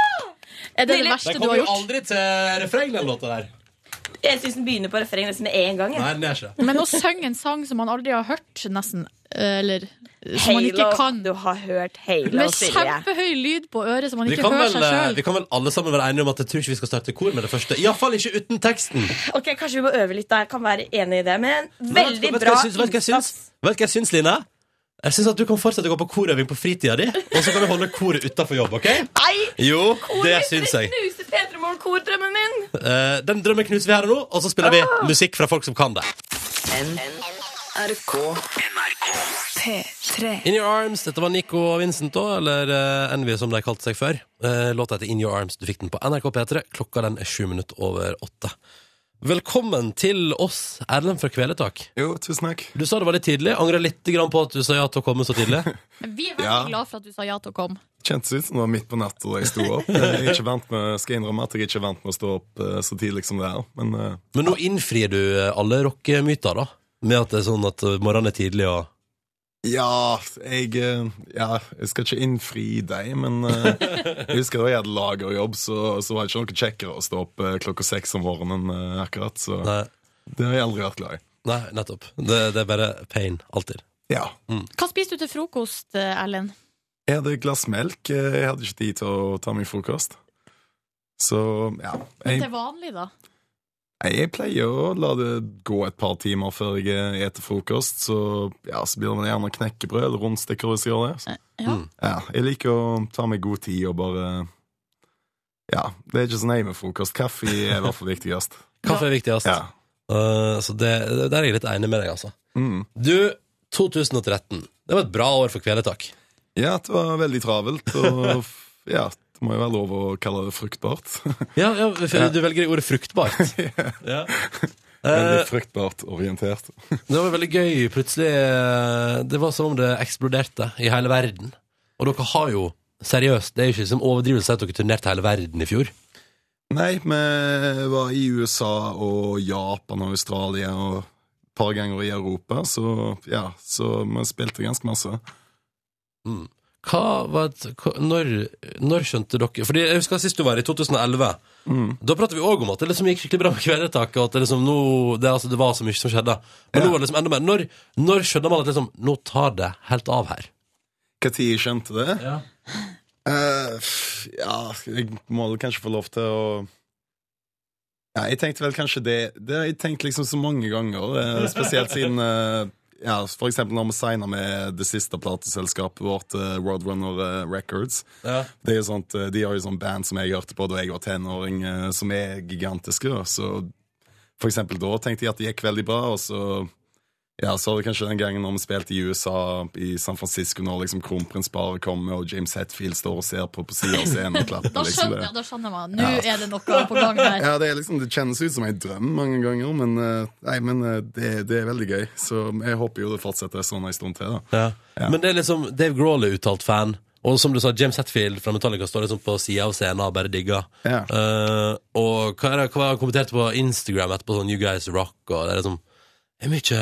Speaker 5: Er det det
Speaker 12: Nydelig.
Speaker 5: verste
Speaker 2: Den
Speaker 5: du
Speaker 2: kommer
Speaker 5: har
Speaker 2: jo
Speaker 5: gjort?
Speaker 2: aldri til refreng, den låta der.
Speaker 12: Jeg syns den begynner på refrenget nesten med en gang. jeg.
Speaker 2: Nei, den gjør ikke det.
Speaker 5: Men å synge en sang som man aldri har hørt, nesten, eller som man ikke
Speaker 12: Halo.
Speaker 5: kan
Speaker 12: Du har hørt Halo,
Speaker 5: Med
Speaker 12: Silje.
Speaker 5: kjempehøy lyd på øret som man
Speaker 2: Vi
Speaker 5: ikke
Speaker 2: kan,
Speaker 5: hører
Speaker 2: vel,
Speaker 5: seg
Speaker 2: eh,
Speaker 5: sjøl.
Speaker 2: vi kan vel alle sammen være enige om at jeg tror ikke vi skal starte kor med det første. Iallfall ikke uten teksten.
Speaker 12: Ok, Kanskje vi må øve litt, da. Jeg kan være enig i det. Men
Speaker 2: Men vet du-
Speaker 12: veldig
Speaker 2: vet du hva
Speaker 12: bra
Speaker 2: jeg syns- Vet du hva jeg syns? Vet du hva jeg syns, Line? Jeg syns at du kan fortsette å gå på korøving på fritida di, og så kan vi holde koret utafor jobb, OK?
Speaker 12: Nei!
Speaker 2: Jo, det
Speaker 12: Koret
Speaker 2: syns jeg.
Speaker 12: knuser P3morgen-kordrømmen min!
Speaker 2: Eh, Den drømmen knuser vi her og nå, og så spiller vi
Speaker 12: Ah!
Speaker 2: musikk fra folk som kan det.
Speaker 6: NRK. NRK. P3.
Speaker 2: In Your Arms, dette var Nico og Vincent da, eller eh, Envy som de kalte seg før. Eh, Låta heter In Your Arms, du fikk den på NRK P3, klokka den er sju minutter over åtte. Velkommen til oss, Erlend fra Kveletak.
Speaker 15: Jo, tusen takk.
Speaker 2: Du sa det var litt tidlig, angrer litt grann på at du sa ja til å komme så tidlig.
Speaker 5: Men vi er veldig
Speaker 15: Ja.
Speaker 5: glad for at du sa ja til å komme.
Speaker 15: Kjentes ut som det var midt på natta da jeg sto opp. Jeg er ikke vant med, skal innrømme at jeg ikke er vant med å stå opp eh, så tidlig som det er. Men eh,
Speaker 2: Men nå innfrir du eh, alle rockemyter da, med at det er sånn at eh, morgenen er tidlig og...
Speaker 15: ja, jeg, eh, ja, jeg skal ikke innfri deg, men eh, jeg husker da jeg hadde lagerjobb, så, så var det ikke noe kjekkere å stå opp eh, klokka seks om morgenen eh, akkurat. Så det har jeg aldri vært glad i.
Speaker 2: Nei, nettopp. Det, det er bare pain, alltid.
Speaker 15: Ja.
Speaker 5: Hva spiste du til frokost, eh, Erlend?
Speaker 15: Jeg hadde et glass melk. eh, Jeg hadde ikke tid til å ta meg frokost. Så ja. Jeg,
Speaker 5: Til vanlig, da?
Speaker 15: Nei, Jeg pleier å la det gå et par timer før jeg eter frokost, så, ja, så blir det gjerne knekkebrød eller rundstykker hvis jeg gjør det. Så.
Speaker 5: Ja.
Speaker 15: Ja, jeg liker å ta meg god tid og bare Ja, det er ikke så nøye med frokost. Kaffe er i hvert fall viktigst.
Speaker 2: Kaffe er viktigst. Eh, så det, der er jeg litt enig med deg, altså.
Speaker 15: Mm.
Speaker 2: Du, 2013. Det var et bra år for Kveletak.
Speaker 15: Ja, det var veldig travelt, og f- ja, det må jo være lov å kalle det fruktbart.
Speaker 2: Ja, ja, for du velger ordet fruktbart. ja.
Speaker 15: Veldig
Speaker 2: Eh,
Speaker 15: fruktbart orientert.
Speaker 2: Det var veldig gøy. Plutselig eh, Det var som om det eksploderte i hele verden. Og dere har jo Seriøst, det er jo ikke som overdrivelse at dere turnerte hele verden i fjor.
Speaker 15: Nei, vi var i USA og Japan og Australia og et par ganger i Europa, så ja, så vi spilte ganske masse.
Speaker 2: Hva var et, hva, når, når skjønte dere Fordi jeg husker sist du var her, i 2011. Da pratet vi òg om at det liksom gikk skikkelig bra med kvelertaket, og at det, liksom nå, det, altså, det var så mye som skjedde. Men nå var det liksom enda mer. Når, når skjønner man at liksom, nå tar det helt av her?
Speaker 15: Når jeg skjønte det? Eh, pff, ja, jeg må vel kanskje få lov til å ja, Jeg tenkte vel kanskje det Det har jeg tenkt liksom så mange ganger, eh, spesielt siden eh, ja, For eksempel når vi signa med det siste plateselskapet vårt, eh, Roadrunner eh, Records.
Speaker 2: Ja.
Speaker 15: Det er jo sånt, eh, de har jo sånn band som jeg hørte på da jeg var tenåring, eh, som er gigantiske. da. Så for eksempel da tenkte jeg at det gikk veldig bra, og så ja, så var det kanskje den gangen når vi spilte i USA, i San Francisco, når liksom kronprinsparet kommer, og James Hetfield står og ser på på siden av scenen og klapper.
Speaker 5: Da
Speaker 15: liksom
Speaker 5: skjønner,
Speaker 15: det.
Speaker 5: ja, da skjønner man. Nå
Speaker 15: Ja.
Speaker 5: er det noe på gang her.
Speaker 15: Ja, det, er liksom, det kjennes ut som en drøm mange ganger, men, eh, nei, men eh, det, det er veldig gøy. Så jeg håper jo det fortsetter sånn en stund til. da
Speaker 2: Ja. Men det er liksom Dave Grohl er uttalt fan. Og som du sa, James Hetfield fra Metallica står liksom på sida av scenen og bare digger. Eh, og hva er det hva kommenterte på Instagram etterpå, sånn You Guys Rock, og det er liksom Det er mye,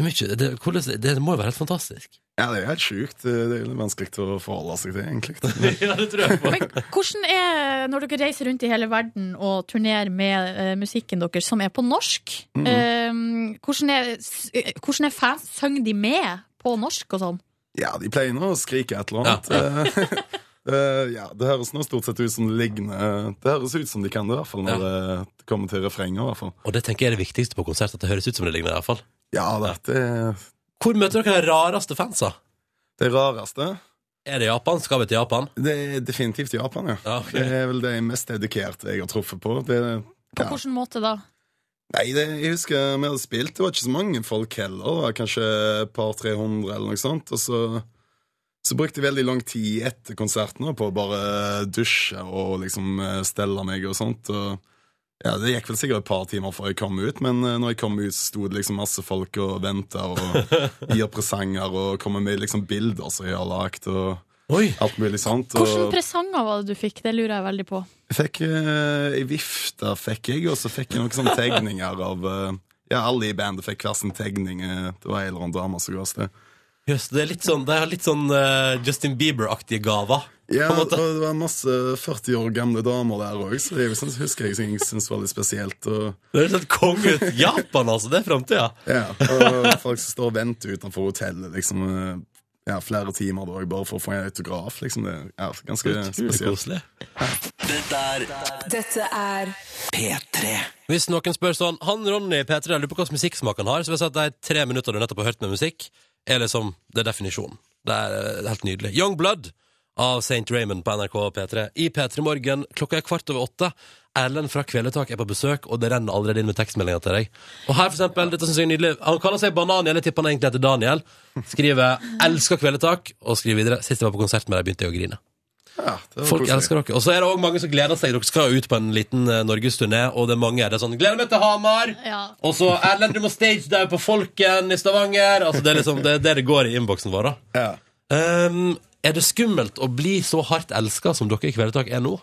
Speaker 2: det, er mye det, hvordan, det må jo være helt fantastisk.
Speaker 15: Ja, det er helt sjukt. Det er litt vanskelig å forholde seg til, egentlig.
Speaker 2: ja, det tror jeg på.
Speaker 5: Hvordan er når dere reiser rundt i hele verden og turnerer med eh, musikken deres, som er på norsk?
Speaker 2: Mm.
Speaker 15: Mhm.
Speaker 5: eh, hvordan, er, s- eh, hvordan er fans? Synger de med på norsk og sånn?
Speaker 15: Ja, de pleier nå å skrike et eller annet. Eh, eh, ja, det høres nå stort sett ut som det ligner Det høres ut som de kan det, i hvert fall når det kommer til refrenget. i hvert fall.
Speaker 2: Og det tenker jeg er det viktigste på konsert, at det høres ut som det ligner, i hvert fall.
Speaker 15: Ja, dette er
Speaker 2: Hvor møter dere de rareste fansa?
Speaker 15: Det rareste?
Speaker 2: Er det Japan? Skal vi til Japan?
Speaker 15: Det er definitivt Japan, ja.
Speaker 2: ok.
Speaker 15: Det er vel det mest dedikerte jeg har truffet på. Det,
Speaker 5: På hvilken måte da?
Speaker 15: nei, det, jeg husker vi hadde spilt, det var ikke så mange folk heller. Det var kanskje et par-tre hundre eller noe sånt. Og så, så brukte jeg veldig lang tid etter konserten da, på å bare dusje og liksom eh, stelle meg og sånt. Og ja, Det gikk vel sikkert et par timer før jeg kom ut, men eh, når jeg kom ut, så sto det liksom masse folk og venta og gir presanger og kommer med liksom bilder som jeg har lagd, og alt mulig sånt. og-
Speaker 5: Hvilke presanger var det du fikk? Det lurer jeg veldig på.
Speaker 15: jeg fikk eh, ei vifte, fikk jeg, og så fikk jeg noen sånne tegninger av eh, Ja, alle i bandet fikk hver sin tegning. eh, det var ei eller annen dame som ga oss det.
Speaker 2: Jøss, det er litt sånn, det er litt sånn eh, Justin Bieber-aktige gaver.
Speaker 15: Ja, og det var masse 40 år gamle damer der òg, så det er jo sånn- husker jeg som jeg syntes var litt spesielt. Og,
Speaker 2: Det er litt sånn konge ut. Japan, altså! Det er framtida.
Speaker 15: ja, og folk som står og venter utenfor hotellet liksom, eh, ja, flere timer da, bare for å få en autograf. Liksom, det er ganske
Speaker 2: Utrolig
Speaker 15: spesielt.
Speaker 6: Dette er P3.
Speaker 2: Hvis noen spør sånn Han Ronny P3, jeg lurer på hvilken musikksmak han har, så vil jeg si at de tre minuttene du nettopp har hørt med musikk, er liksom Det er definisjonen. Det er eh, helt nydelig. Young Blood av St. Raymond på NRK P3. I P3 Morgen klokka er kvart over åtte. Erlend fra Kvelertak er på besøk, og det renner allerede inn med tekstmeldinger til deg. Og her, for eksempel, dette synes jeg er nydelig Han kaller seg Bananiel, jeg tipper han egentlig heter Daniel. Skriver 'Elsker Kvelertak', og skriver videre 'Sist jeg var på konsert med deg, begynte jeg å grine'.
Speaker 15: det var
Speaker 2: Folk
Speaker 15: koselig.
Speaker 2: elsker dere. Og så er det også mange som gleder seg. Dere skal jo ut på en liten eh, norgesturné, og det er mange er det sånn 'Gleder meg til Hamar'. Og så 'Erlend, du må stage deg på Folken i Stavanger'. Altså Det er liksom det, er det det går i innboksen vår, da. Um, er det skummelt å bli så hardt elska som dere i Kvelertak er nå?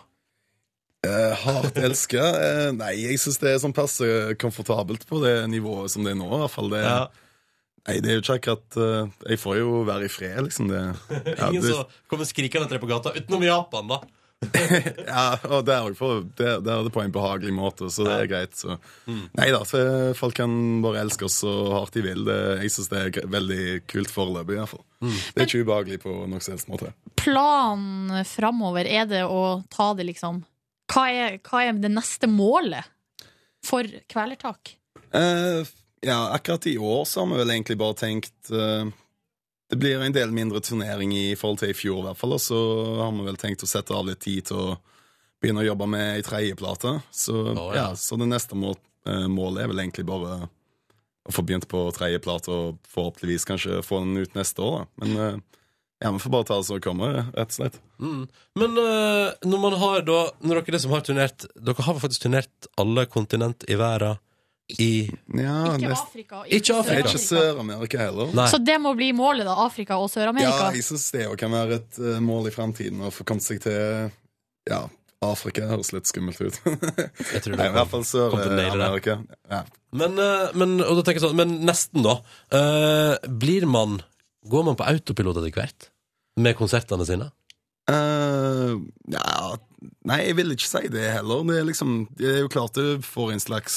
Speaker 15: Eh, hardt elska? Eh, nei, jeg syns det er sånn passe komfortabelt på det nivået som det er nå. I hvert fall det, Nei, det er jo ikke akkurat eh, Jeg får jo være i fred, liksom. Det, ja,
Speaker 2: Ingen
Speaker 15: det,
Speaker 2: som kommer skrikende etter deg på gata, utenom i Japan, da.
Speaker 15: ja, og der er det på- der- der er det på en behagelig måte, så det er greit. Så. Nei da, så folk kan bare elske oss så hardt de vil. Det, jeg syns det er gre- veldig kult foreløpig, i hvert fall. Det er ikke ubehagelig på noen som helst måte.
Speaker 5: Planen framover, er det å ta det liksom Hva er, hva er det neste målet for Kvelertak?
Speaker 15: Eh, ja, akkurat i år så har vi vel egentlig bare tenkt eh, Det blir en del mindre turnering i forhold til i fjor, i hvert fall. Og så har vi vel tenkt å sette av litt tid til å begynne å jobbe med ei tredjeplate. Så,
Speaker 2: ja.
Speaker 15: ja, så det neste må eh, målet er vel egentlig bare å få begynt på tredjeplate, og forhåpentligvis kanskje få den ut neste år. Da. Men eh, ja, vi får bare ta det som det kommer, rett og slett.
Speaker 2: Mm. Men eh, når man har da Når dere er det som har turnert Dere har faktisk turnert alle kontinent i verden i
Speaker 15: Ikke
Speaker 5: nest- Afrika, ikke
Speaker 2: Ikke Afrika.
Speaker 15: Ah, Ikke Sør-Amerika heller.
Speaker 5: Så det må bli målet, da. Afrika og
Speaker 15: Ja,
Speaker 5: Sør-Amerika.
Speaker 15: jeg syns det jo kan være et eh, mål i framtiden å få kommet seg til Ja, Afrika høres litt skummelt ut. jeg
Speaker 2: tror det
Speaker 15: Nei, I hvert fall
Speaker 2: kom til å naile det.
Speaker 15: Sør-Amerika. Ja.
Speaker 2: Men, eh, men, og da tenker jeg sånn, men nesten, da. Eh, blir man Går man på autopilot etter hvert? Med konsertene sine?
Speaker 15: Eh, ja Nei, jeg vil ikke si det heller. Det er, liksom, det er jo klart du får en slags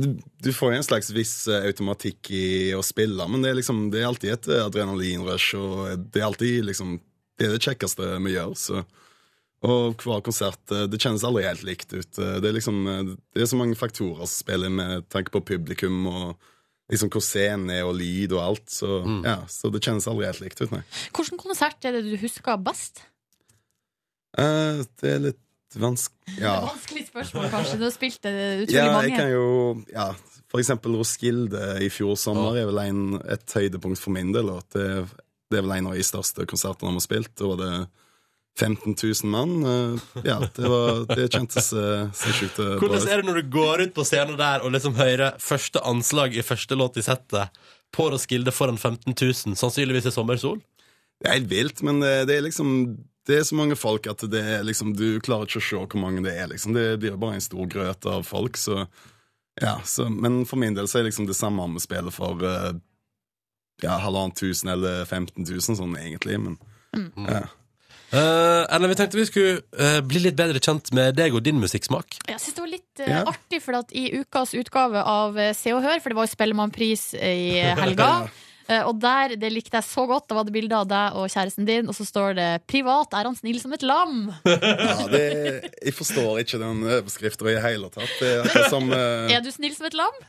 Speaker 15: du, du får jo en slags viss eh, automatikk i å spille, men det er, liksom, det er alltid et eh, adrenalinrush, og det er alltid liksom Det er det kjekkeste vi gjør. Så. Og hver konsert eh, Det kjennes aldri helt likt ut. Eh, Det er liksom eh, Det er så mange faktorer som spiller inn med tanke på publikum og liksom hvor scenen er, og lyd og alt. Så, ja, så det kjennes aldri helt likt ut, nei.
Speaker 5: Hvilken konsert er det du husker best?
Speaker 15: Eh, det er litt vanskelig Ja.
Speaker 5: Vanskelig spørsmål, kanskje. Du har spilt eh, utrolig
Speaker 15: Ja, jeg
Speaker 5: mange.
Speaker 15: kan jo ja, For eksempel Roskilde i fjor sommer er vel en, et høydepunkt for min del. Og at det, det er vel en av de største konsertene vi har spilt. Da var det 15 000 mann. eh, Ja, det, var, det kjentes eh, så sjukt eh, bra
Speaker 2: Hvordan er det når du går rundt på scenen der og liksom hører første anslag i første låt i settet på Roskilde foran 15 000, sannsynligvis i sommersol?
Speaker 15: Det er helt vilt, men eh, det er liksom det er så mange folk at det er liksom, du klarer ikke å se hvor mange det er. Liksom. Det blir bare en stor grøt av folk. Så, ja, så, men for min del så er liksom det samme om vi spiller for eh, ja, halvannen tusen eller 15 000, sånn egentlig. Men, ja.
Speaker 2: Eh, Ellen, vi tenkte vi skulle eh, bli litt bedre kjent med deg og din musikksmak.
Speaker 5: Jeg synes det var litt eh,
Speaker 2: Ja.
Speaker 5: artig, for at i ukas utgave av eh, Se og Hør, for det var jo Spellemannpris i eh, helga, eh, og der, det likte jeg så godt, da var det bilde av deg og kjæresten din, og så står det 'Privat er han snill som et lam'.
Speaker 15: ja, det, jeg forstår ikke den overskriften i det hele tatt. Det er akkurat som eh,
Speaker 5: Er du snill som et lam?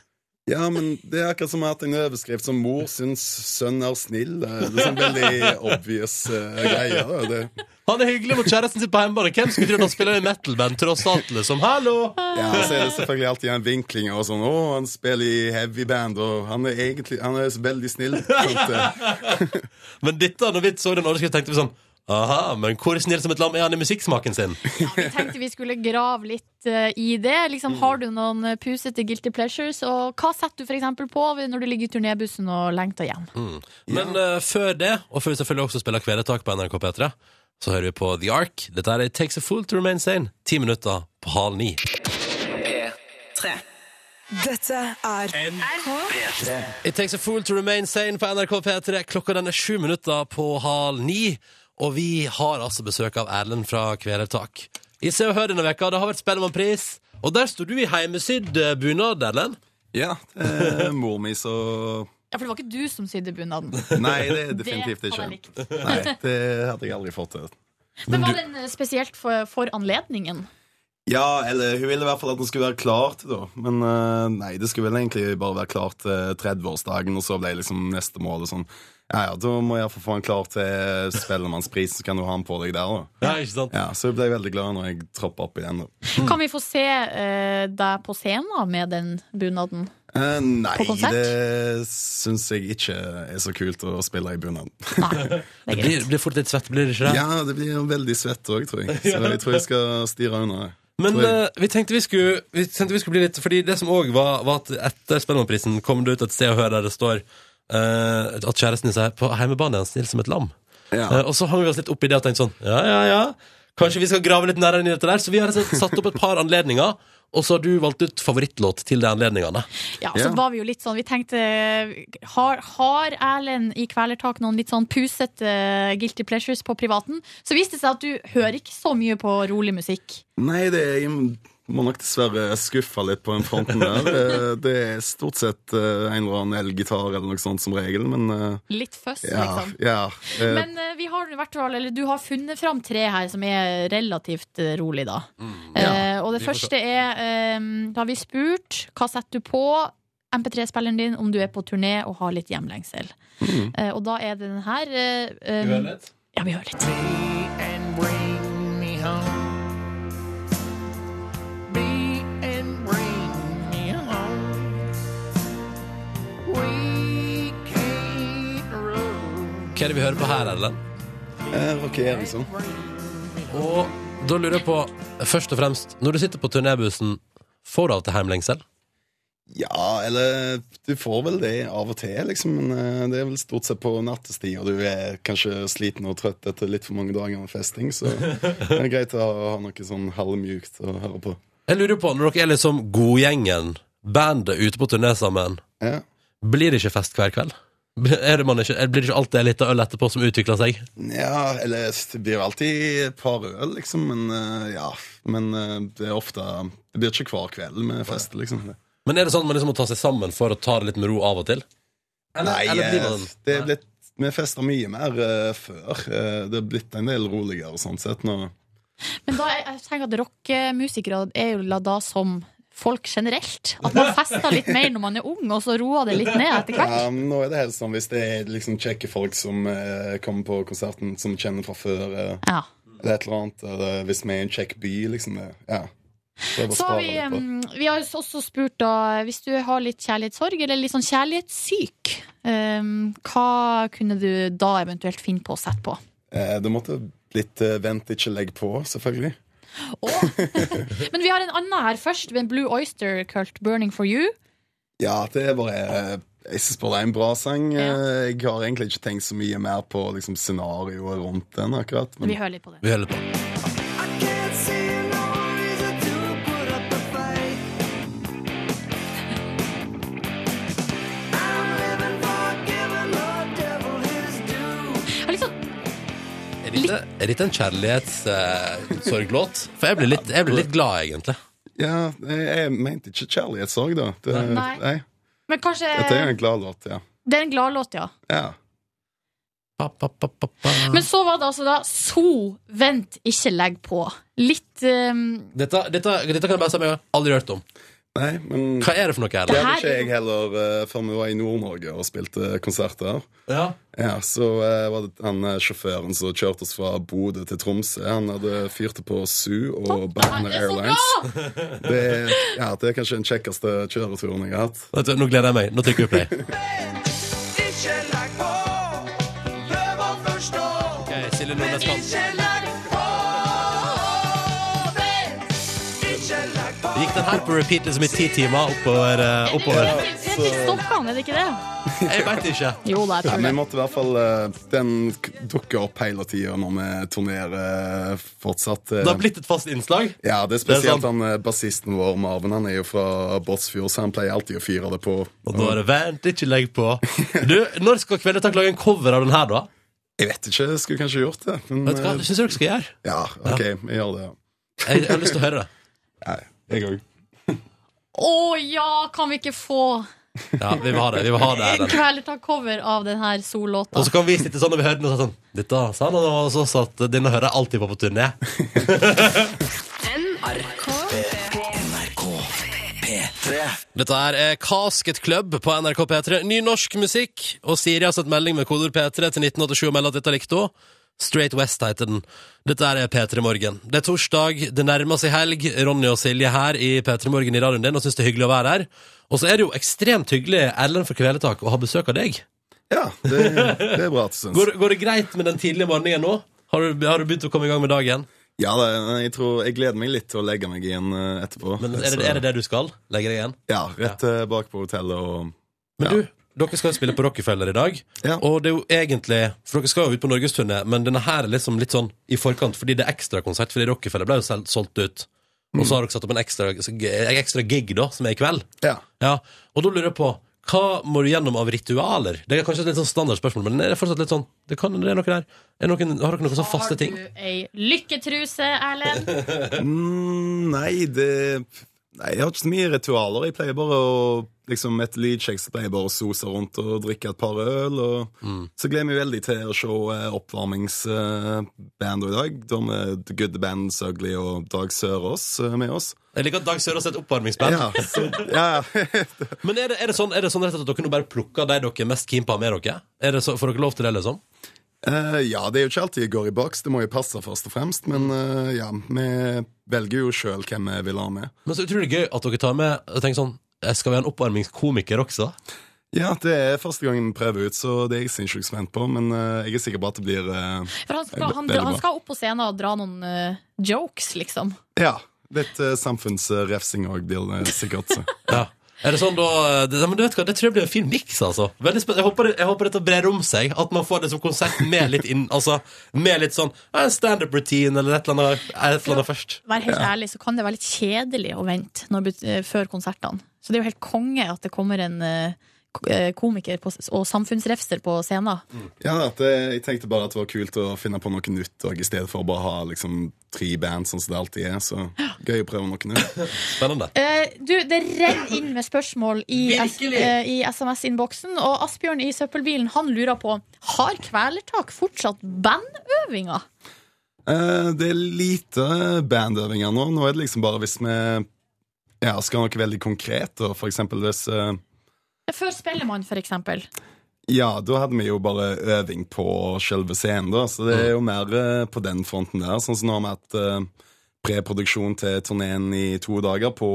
Speaker 15: Ja, men det er akkurat som jeg har hatt en overskrift som 'Mor syns sønn er snill'. Det er sånn veldig obvious eh, greier. da. Det,
Speaker 2: Han er hyggelig mot kjæresten sin på hjemmebane. Hvem skulle trodd han spiller i metal-band, tross alt, liksom? Hallo!
Speaker 15: Ja, så er det selvfølgelig alltid en vinkling og sånn 'Å, han spiller i heavy band', og han er egentlig han er veldig snill. Sånt, eh.
Speaker 2: Men dette, når vi så den overskriften, tenkte vi sånn Aha, men hvor snill som et lam er han i musikksmaken sin?
Speaker 5: Vi tenkte vi skulle grave litt eh, i det. Liksom, har du noen eh, pusete guilty pleasures? Og hva setter du for eksempel på når du ligger i turnébussen og lengter hjem?
Speaker 2: Mm. Men eh, før det, og før vi selvfølgelig også spiller Kvelertak på NRK P3, så hører vi på The Ark. Dette er It Takes a Fool to Remain Sane. Ti minutter på halv ni.
Speaker 6: P3. Dette er P3.
Speaker 2: It Takes a Fool to Remain Sane på NRK P3. Klokka den er sju minutter på halv ni, og vi har altså besøk av Erlend fra Kvelertak. I Se og Hør denne veka, det har vært Spellemannpris, og der sto du i heimesydd eh, bunad, Erlend.
Speaker 15: Ja, det er mor mi så
Speaker 5: Ja, For det var ikke du som sydde bunaden.
Speaker 15: Nei, det er definitivt
Speaker 5: Det
Speaker 15: ikke.
Speaker 5: hadde jeg likt.
Speaker 15: Nei, det hadde jeg aldri fått til.
Speaker 5: Men var den eh, spesielt for, for anledningen?
Speaker 15: Ja, eller hun ville i hvert fall at den skulle være klar til, da. Men eh, nei, det skulle vel egentlig bare være klar til 30-årsdagen, og så ble liksom neste mål og sånn. Ja, ja, da må jeg få få han klar til Spellemannsprisen, så kan du ha han på deg der, da.
Speaker 2: Ja, ikke sant?
Speaker 15: Ja, så jeg ble veldig glad når jeg troppa opp igjen, da.
Speaker 5: Kan vi få se eh, deg på scenen med den bunaden?
Speaker 15: Eh, nei,
Speaker 5: På konsert?
Speaker 15: det syns jeg ikke er så kult å spille i bunad.
Speaker 5: Det
Speaker 2: blir, blir fort litt svett, blir det ikke det?
Speaker 15: Ja, det blir veldig svett òg, tror jeg. Så
Speaker 2: Ja.
Speaker 15: jeg tror jeg skal stirre unna.
Speaker 2: Men
Speaker 15: Tror jeg.
Speaker 2: eh, vi tenkte vi skulle Vi tenkte vi skulle bli litt Fordi det som òg var, var at etter Spellemannprisen kom det ut et sted og hør der det står eh, at kjæresten din sier på heimebane er han snill som et lam.
Speaker 15: Ja.
Speaker 2: Eh, og så hang vi oss litt opp i det og tenkte sånn Ja, ja, ja. Kanskje vi skal grave litt nærmere inn i dette der. Så vi har altså satt opp et par anledninger, og så har du valgt ut favorittlåt til de anledningene.
Speaker 5: Ja, så var vi jo litt sånn Vi tenkte Har, har Erlend i Kvelertak noen litt sånn pusete eh, guilty pleasures på privaten? Så viste det seg at du hører ikke så mye på rolig musikk.
Speaker 15: Nei, det er, jeg må nok dessverre skuffe litt på den fronten der. Eh, Det er stort sett eh, en eller annen elgitar eller noe sånt som regel, men eh,
Speaker 5: Litt føss,
Speaker 15: ja,
Speaker 5: liksom.
Speaker 15: ja, eh,
Speaker 5: Men eh, vi har i hvert fall, eller du har funnet fram tre her som er relativt eh, rolig, da. Eh, og
Speaker 16: Mm, vi får
Speaker 5: det
Speaker 16: se.
Speaker 5: første er eh, Da har vi spurt hva setter du på MP3-spilleren din om du er på turné og har litt hjemlengsel.
Speaker 16: Mm.
Speaker 5: Eh, og da er det den her. eh, eh, Ja, vi hører litt.
Speaker 2: Hva er det vi hører på her, Erlend?
Speaker 15: Eh, Rocky Eriksson.
Speaker 2: Og da lurer jeg på, først og fremst, når du sitter på turnébussen, får du av til heimlengsel?
Speaker 15: ja, eller du får vel det av og til, liksom, men eh, det er vel stort sett på nattestid, og du er kanskje sliten og trøtt etter litt for mange dager med festing, så det er greit å ha noe sånn halvmjukt å høre på.
Speaker 2: Jeg lurer på, når dere er liksom godgjengen, bandet ute på turné sammen, blir det ikke fest hver kveld? Er det man ikke, blir det ikke alltid en liten øl etterpå som utvikler seg?
Speaker 15: Ja, eller det blir jo alltid et par øl, liksom, men eh, ja. Men eh, det er ofte Det blir ikke hver kveld med fest, liksom.
Speaker 2: Men er det sånn at man liksom må ta seg sammen for å ta det litt med ro av og til? Eller-
Speaker 15: Nei,
Speaker 2: eller blir
Speaker 15: eh,
Speaker 2: man-
Speaker 15: det er blitt fest, vi festa mye mer eh, før. Eh, det er blitt en del roligere sånn sett nå.
Speaker 5: Men da, jeg tenker at rockemusikere er jo la da som folk generelt. At man fester litt mer når man er ung, og så roer det litt ned etter hvert.
Speaker 15: Ja, men nå er det helt sånn hvis det er liksom kjekke folk som eh, kommer på konserten, som kjenner fra før. eh,
Speaker 5: Ja.
Speaker 15: Eller et eller annet. Eller hvis vi er i en kjekk by, liksom. det- Ja. Så,
Speaker 5: Så har vi, um, vi har jo også spurt da Hvis du har litt kjærlighetssorg eller litt sånn kjærlighetssyk, um, hva kunne du da eventuelt finne på å sette på?
Speaker 15: eh, det måtte blitt eh, vent, ikke legg på, selvfølgelig.
Speaker 5: Men vi har en annen her først, med Blue Oyster Cult, 'Burning for you'.
Speaker 15: Ja, det er bare eh, Jeg synes bare det er en bra sang. Eh, Jeg har egentlig ikke tenkt så mye mer på liksom, scenarioet rundt den, akkurat.
Speaker 5: Vi hører litt på det.
Speaker 2: Vi hører litt på. Er dette, er dette en kjærlighetssorglåt? For jeg blir, litt, jeg blir litt glad, egentlig.
Speaker 15: Ja, jeg, jeg mente ikke kjærlighetssorg, da. Det,
Speaker 5: Nei.
Speaker 15: nei.
Speaker 5: Men kanskje
Speaker 15: Dette er en gladlåt, ja.
Speaker 5: Det er en gladlåt, ja.
Speaker 15: ja.
Speaker 5: Men så var det altså da 'So, vent, ikke legg på'. Litt um,
Speaker 2: Dette, dette, dette kan jeg bare si meg aldri hørt om.
Speaker 15: Nei, men
Speaker 2: Hva er det for noe her?
Speaker 15: Det
Speaker 2: da?
Speaker 15: hadde ikke jeg heller eh, før vi var i Nord-Norge og spilte konserter.
Speaker 2: Ja.
Speaker 15: Ja, Så eh, var det han eh, sjåføren som kjørte oss fra Bodø til Tromsø. Han hadde fyrte på Zoo og Banner Airlines. Det er, ja, det er kanskje den kjekkeste kjøreturen jeg har hatt.
Speaker 2: Vet du, Nå gleder jeg meg. Nå trykker vi play.
Speaker 6: Ikke legg på. Prøv å forstå.
Speaker 2: Silje
Speaker 6: Men
Speaker 2: Nordnes kan.
Speaker 6: ikke legg på. Vent. Ikke legg på.
Speaker 2: Gikk den her på repeat liksom i ti timer oppover? eh, oppover.
Speaker 5: Stokkene, er det ikke det?
Speaker 2: Jeg veit ikke.
Speaker 5: Jo, det er
Speaker 15: Nei,
Speaker 5: tror
Speaker 15: men
Speaker 5: jeg.
Speaker 15: jeg måtte i hvert fall eh, Den k- dukker opp hele tida når vi turnerer eh, fortsatt. eh.
Speaker 2: Det har blitt et fast innslag?
Speaker 15: Ja, det er
Speaker 2: Det er
Speaker 15: spesielt
Speaker 2: sant.
Speaker 15: han eh, bassisten vår, Marvin. Han er jo fra Båtsfjord, så han pleier alltid å fyre det på.
Speaker 2: Og da er det vent, ikke legg på. Du, Når skal Kveldertak lage en cover av den her, da?
Speaker 15: Jeg vet ikke, jeg skulle kanskje gjort det. Men,
Speaker 2: Vet du hva,
Speaker 15: eh,
Speaker 2: Det syns jeg dere skal gjøre.
Speaker 15: Ja, ok, vi gjør det. ja.
Speaker 2: Jeg, jeg har lyst til å høre det.
Speaker 15: Nei, jeg òg.
Speaker 5: Å ja, kan vi ikke få
Speaker 2: Ja, vi vil ha det. vi vil ha det
Speaker 5: en
Speaker 2: Ellen.
Speaker 5: kveld ta cover av denne Sol-låta?
Speaker 2: Og så kan vi sitte sånn når vi hører den og si sånn Dette sa han, og så sa at denne hører jeg alltid på på turné.
Speaker 1: P3.
Speaker 2: Dette her er Casket Club på NRK P3. Ny norsk musikk. Og Siri har sett melding med kodord P3 til 1987 og melder at dette likte hun. Straight West heter den. Dette her er P3 Morgen. Det er torsdag, det nærmer seg helg. Ronny og Silje her i P3 Morgen i radioen din og syns det er hyggelig å være her. Og så er det jo ekstremt hyggelig, Ellen fra Kveletak, å ha besøk av deg.
Speaker 15: Ja, det, det er bra at du syns.
Speaker 2: Går, går det greit med den tidlige morgenen nå? Har du, har du begynt å komme i gang med dagen?
Speaker 15: Ja, det, jeg tror jeg gleder meg litt til å legge meg igjen eh, etterpå.
Speaker 2: Men er det, er det det du skal? Legge deg igjen?
Speaker 15: Ja, rett eh, bak på hotellet og
Speaker 2: Men du, dere skal jo spille på Rockefeller i dag. Og det er jo egentlig For dere skal jo ut på norgesturné, men denne her er liksom litt sånn i forkant fordi det er ekstrakonsert. Fordi Rockefeller ble jo selv solgt ut. Og så har dere satt opp en ekstra, en ekstra gig, da, som er i kveld.
Speaker 15: Ja.
Speaker 2: Og da lurer jeg på hva må du gjennom av ritualer? Det er kanskje et litt sånn standardspørsmål, men er det fortsatt litt sånn Det, kan, det er noe der. Er noen, har dere noen sånne faste ting?
Speaker 5: Har du ei lykketruse, Erlend?
Speaker 15: mm, Nei, det Nei, jeg har ikke så mye ritualer. Jeg pleier bare å liksom Et lydsjekk så pleier jeg bare å sose rundt og drikke et par øl. Og
Speaker 2: Mm.
Speaker 15: så gleder jeg meg veldig til å se oppvarmingsbandet i dag. Da med The Good Band Søgli og Dag Sørås eh, med oss.
Speaker 2: Jeg liker at Dag Sørås er et oppvarmingsband.
Speaker 15: Ja, så-
Speaker 2: Men er det, er, det sånn, er det sånn rett og slett at dere nå bare plukker de dere er mest keen på å ha med dere? Er det så, får dere lov til det, liksom?
Speaker 15: Eh, ja, det er jo ikke alltid jeg går i boks. Det må jo passe først og fremst. Men eh, ja, vi velger jo sjøl hvem vi vil ha med.
Speaker 2: Men så utrolig gøy at dere tar med og tenker sånn «Eh, Skal vi ha en oppvarmingskomiker også?
Speaker 15: Ja, det er første gangen vi prøver ut, så det er jeg sinnssykt spent på. Men eh, jeg er sikker på at det blir eh,
Speaker 5: For han skal, han,
Speaker 15: veldig bra.
Speaker 5: han skal opp på scenen og dra noen eh, jokes, liksom.
Speaker 15: Ja. Litt eh, samfunnsrefsing òg blir det sikkert. Så.
Speaker 2: ja. Er det sånn da eh, det, Men du vet hva, det tror jeg blir en fin miks, altså. Veldig spennende. Jeg håper, jeg håper dette brer om seg. At man får det som konsert med litt inn Altså med litt sånn eh, standup routine eller et eller annet, et eller annet først.
Speaker 5: Vær helt
Speaker 2: Ja.
Speaker 5: ærlig, så kan det være litt kjedelig å vente når, eh, før konsertene. Så det er jo helt konge at det kommer en eh, eh, komiker på, og samfunnsrefser på scenen.
Speaker 15: Ja, at det, Jeg tenkte bare at det var kult å finne på noe nytt og i stedet for å bare ha liksom, tre band sånn som det alltid er. Så gøy å prøve noe nytt.
Speaker 2: Spennende.
Speaker 5: Eh, du, det renner inn med spørsmål i, S- eh, i SMS-innboksen. Og Asbjørn i søppelbilen han lurer på Har Kvelertak fortsatt bandøvinger.
Speaker 15: Eh, det er lite bandøvinger nå. Nå er det liksom bare hvis vi ja, skal ha noe veldig konkret. Og for eksempel hvis eh,
Speaker 5: Før Spellemann, for eksempel.
Speaker 15: Ja, da hadde vi jo bare øving på selve scenen, da. Så det er jo mer eh, på den fronten der. Sånn som nå har vi hatt eh, preproduksjon til turneen i to dager på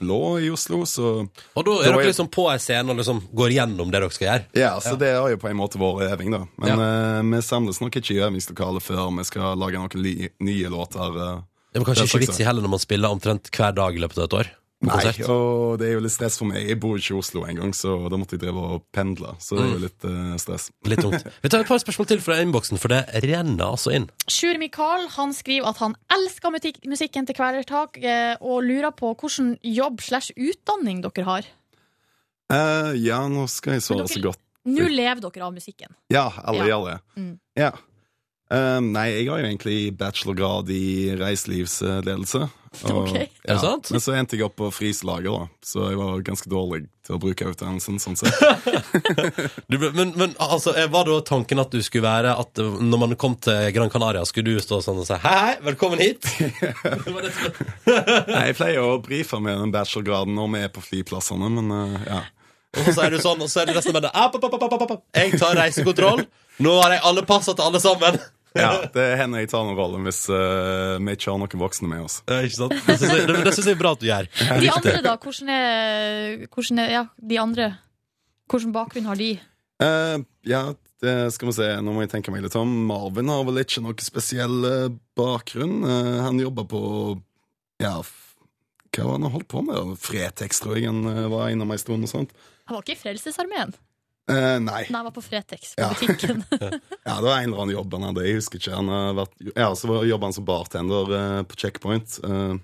Speaker 15: Blå i Oslo, så
Speaker 2: Og da er dere liksom på ei scene og liksom går gjennom det dere skal gjøre.
Speaker 15: Ja, så det har jo på en måte vært øving, da. Men eh, vi samles nok ikke i øvingslokalet før vi skal lage noen ly- nye låter. eh,
Speaker 2: Det var
Speaker 15: den
Speaker 2: kanskje ikke
Speaker 15: slags,
Speaker 2: vits
Speaker 15: da.
Speaker 2: i heller når man spiller omtrent hver dag i løpet av et år. på
Speaker 15: Nei,
Speaker 2: konsert.
Speaker 15: og det er jo litt stress for meg. Jeg bor ikke i Oslo engang, så da måtte jeg drive og pendle. Så det er
Speaker 5: Mm.
Speaker 15: jo litt eh, stress.
Speaker 2: Litt tungt. Vi tar et par spørsmål til fra innboksen, for det renner altså inn.
Speaker 5: Sjur Mikael han skriver at han elsker muti- musikken til Kvelertak, eh, og lurer på hvilken jobb slash utdanning dere har.
Speaker 15: Eh, ja, nå skal jeg svare så godt.
Speaker 5: Nå lever dere av musikken.
Speaker 15: Ja, alle
Speaker 5: Ja.
Speaker 15: gjør det.
Speaker 5: Mm.
Speaker 15: Ja. Eh, nei, jeg har jo egentlig bachelorgrad i reiselivsledelse. og-
Speaker 5: Ok. Er det
Speaker 15: ja.
Speaker 2: sant?
Speaker 15: Men så endte jeg opp på fryselager, da. Så jeg var ganske dårlig til å bruke utdannelsen. sånn sett.
Speaker 2: Du, ble- men, men altså, eh, var da tanken at du skulle være At eh, når man kom til Gran Canaria, skulle du stå sånn og si hei, hei, velkommen hit?
Speaker 15: Nei, jeg pleier å brife med den bachelorgraden når vi er på flyplassene, men eh, ja.
Speaker 2: Og så er du sånn, og så er det resten av bandet app, app, app, app, app, app. Jeg tar reisekontroll. Nå har jeg alle passa til alle sammen.
Speaker 15: ja. Det hender jeg tar noen rolle hvis eh, vi ikke har noen voksne med oss.
Speaker 2: ikke sant? Det syns jeg, det- det synes jeg er bra at du gjør.
Speaker 5: De andre, da? Hvordan er, hvordan er Ja, de andre. Hvilken bakgrunn har de?
Speaker 15: Eh, ja, det skal vi se. Nå må jeg tenke meg litt om. Marvin har vel ikke noe spesiell eh, bakgrunn. Eh, han jobba på Ja, f hva var det han holdt på med? Fretex, tror jeg han eh, var innom ei stund. og sånt.
Speaker 5: Han var ikke i Frelsesarmeen.
Speaker 15: Eh, nei.
Speaker 5: Nei, han var på Fretex, på
Speaker 15: Ja.
Speaker 5: butikken.
Speaker 15: Ja, det var en eller annen jobb han hadde. Jeg husker ikke. Han har vært, ja, så var- jobba han som bartender eh, på Checkpoint. Eh,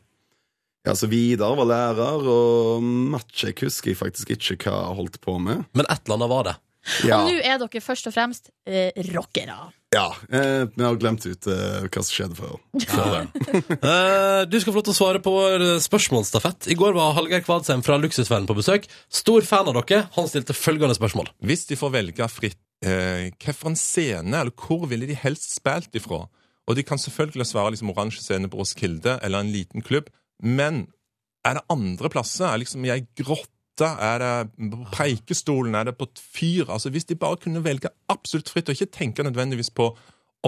Speaker 15: ja, så Vidar var lærer, og Matsjek husker jeg faktisk ikke hva han holdt på med.
Speaker 2: Men et eller annet var det.
Speaker 15: Ja.
Speaker 5: Og nå er dere først og fremst eh, rockere.
Speaker 15: Ja, eh, vi har glemt ut eh, hva som skjedde før. før det.
Speaker 2: Eh, du skal få lov til å svare på vår spørsmålsstafett. I går var Hallgeir Kvadsheim fra Luksusfellen på besøk. Stor fan av dere. Han stilte følgende spørsmål.
Speaker 17: Hvis de får velge fritt, eh, hvilken scene eller hvor ville de helst spilt ifra? Og de kan selvfølgelig svare liksom oransje scene på Roskilde eller en liten klubb, men er det andre plasser? Er liksom i ei grotte? Er det på Preikestolen? Er det på et fyr? Altså Hvis de bare kunne velge absolutt fritt, og ikke tenke nødvendigvis på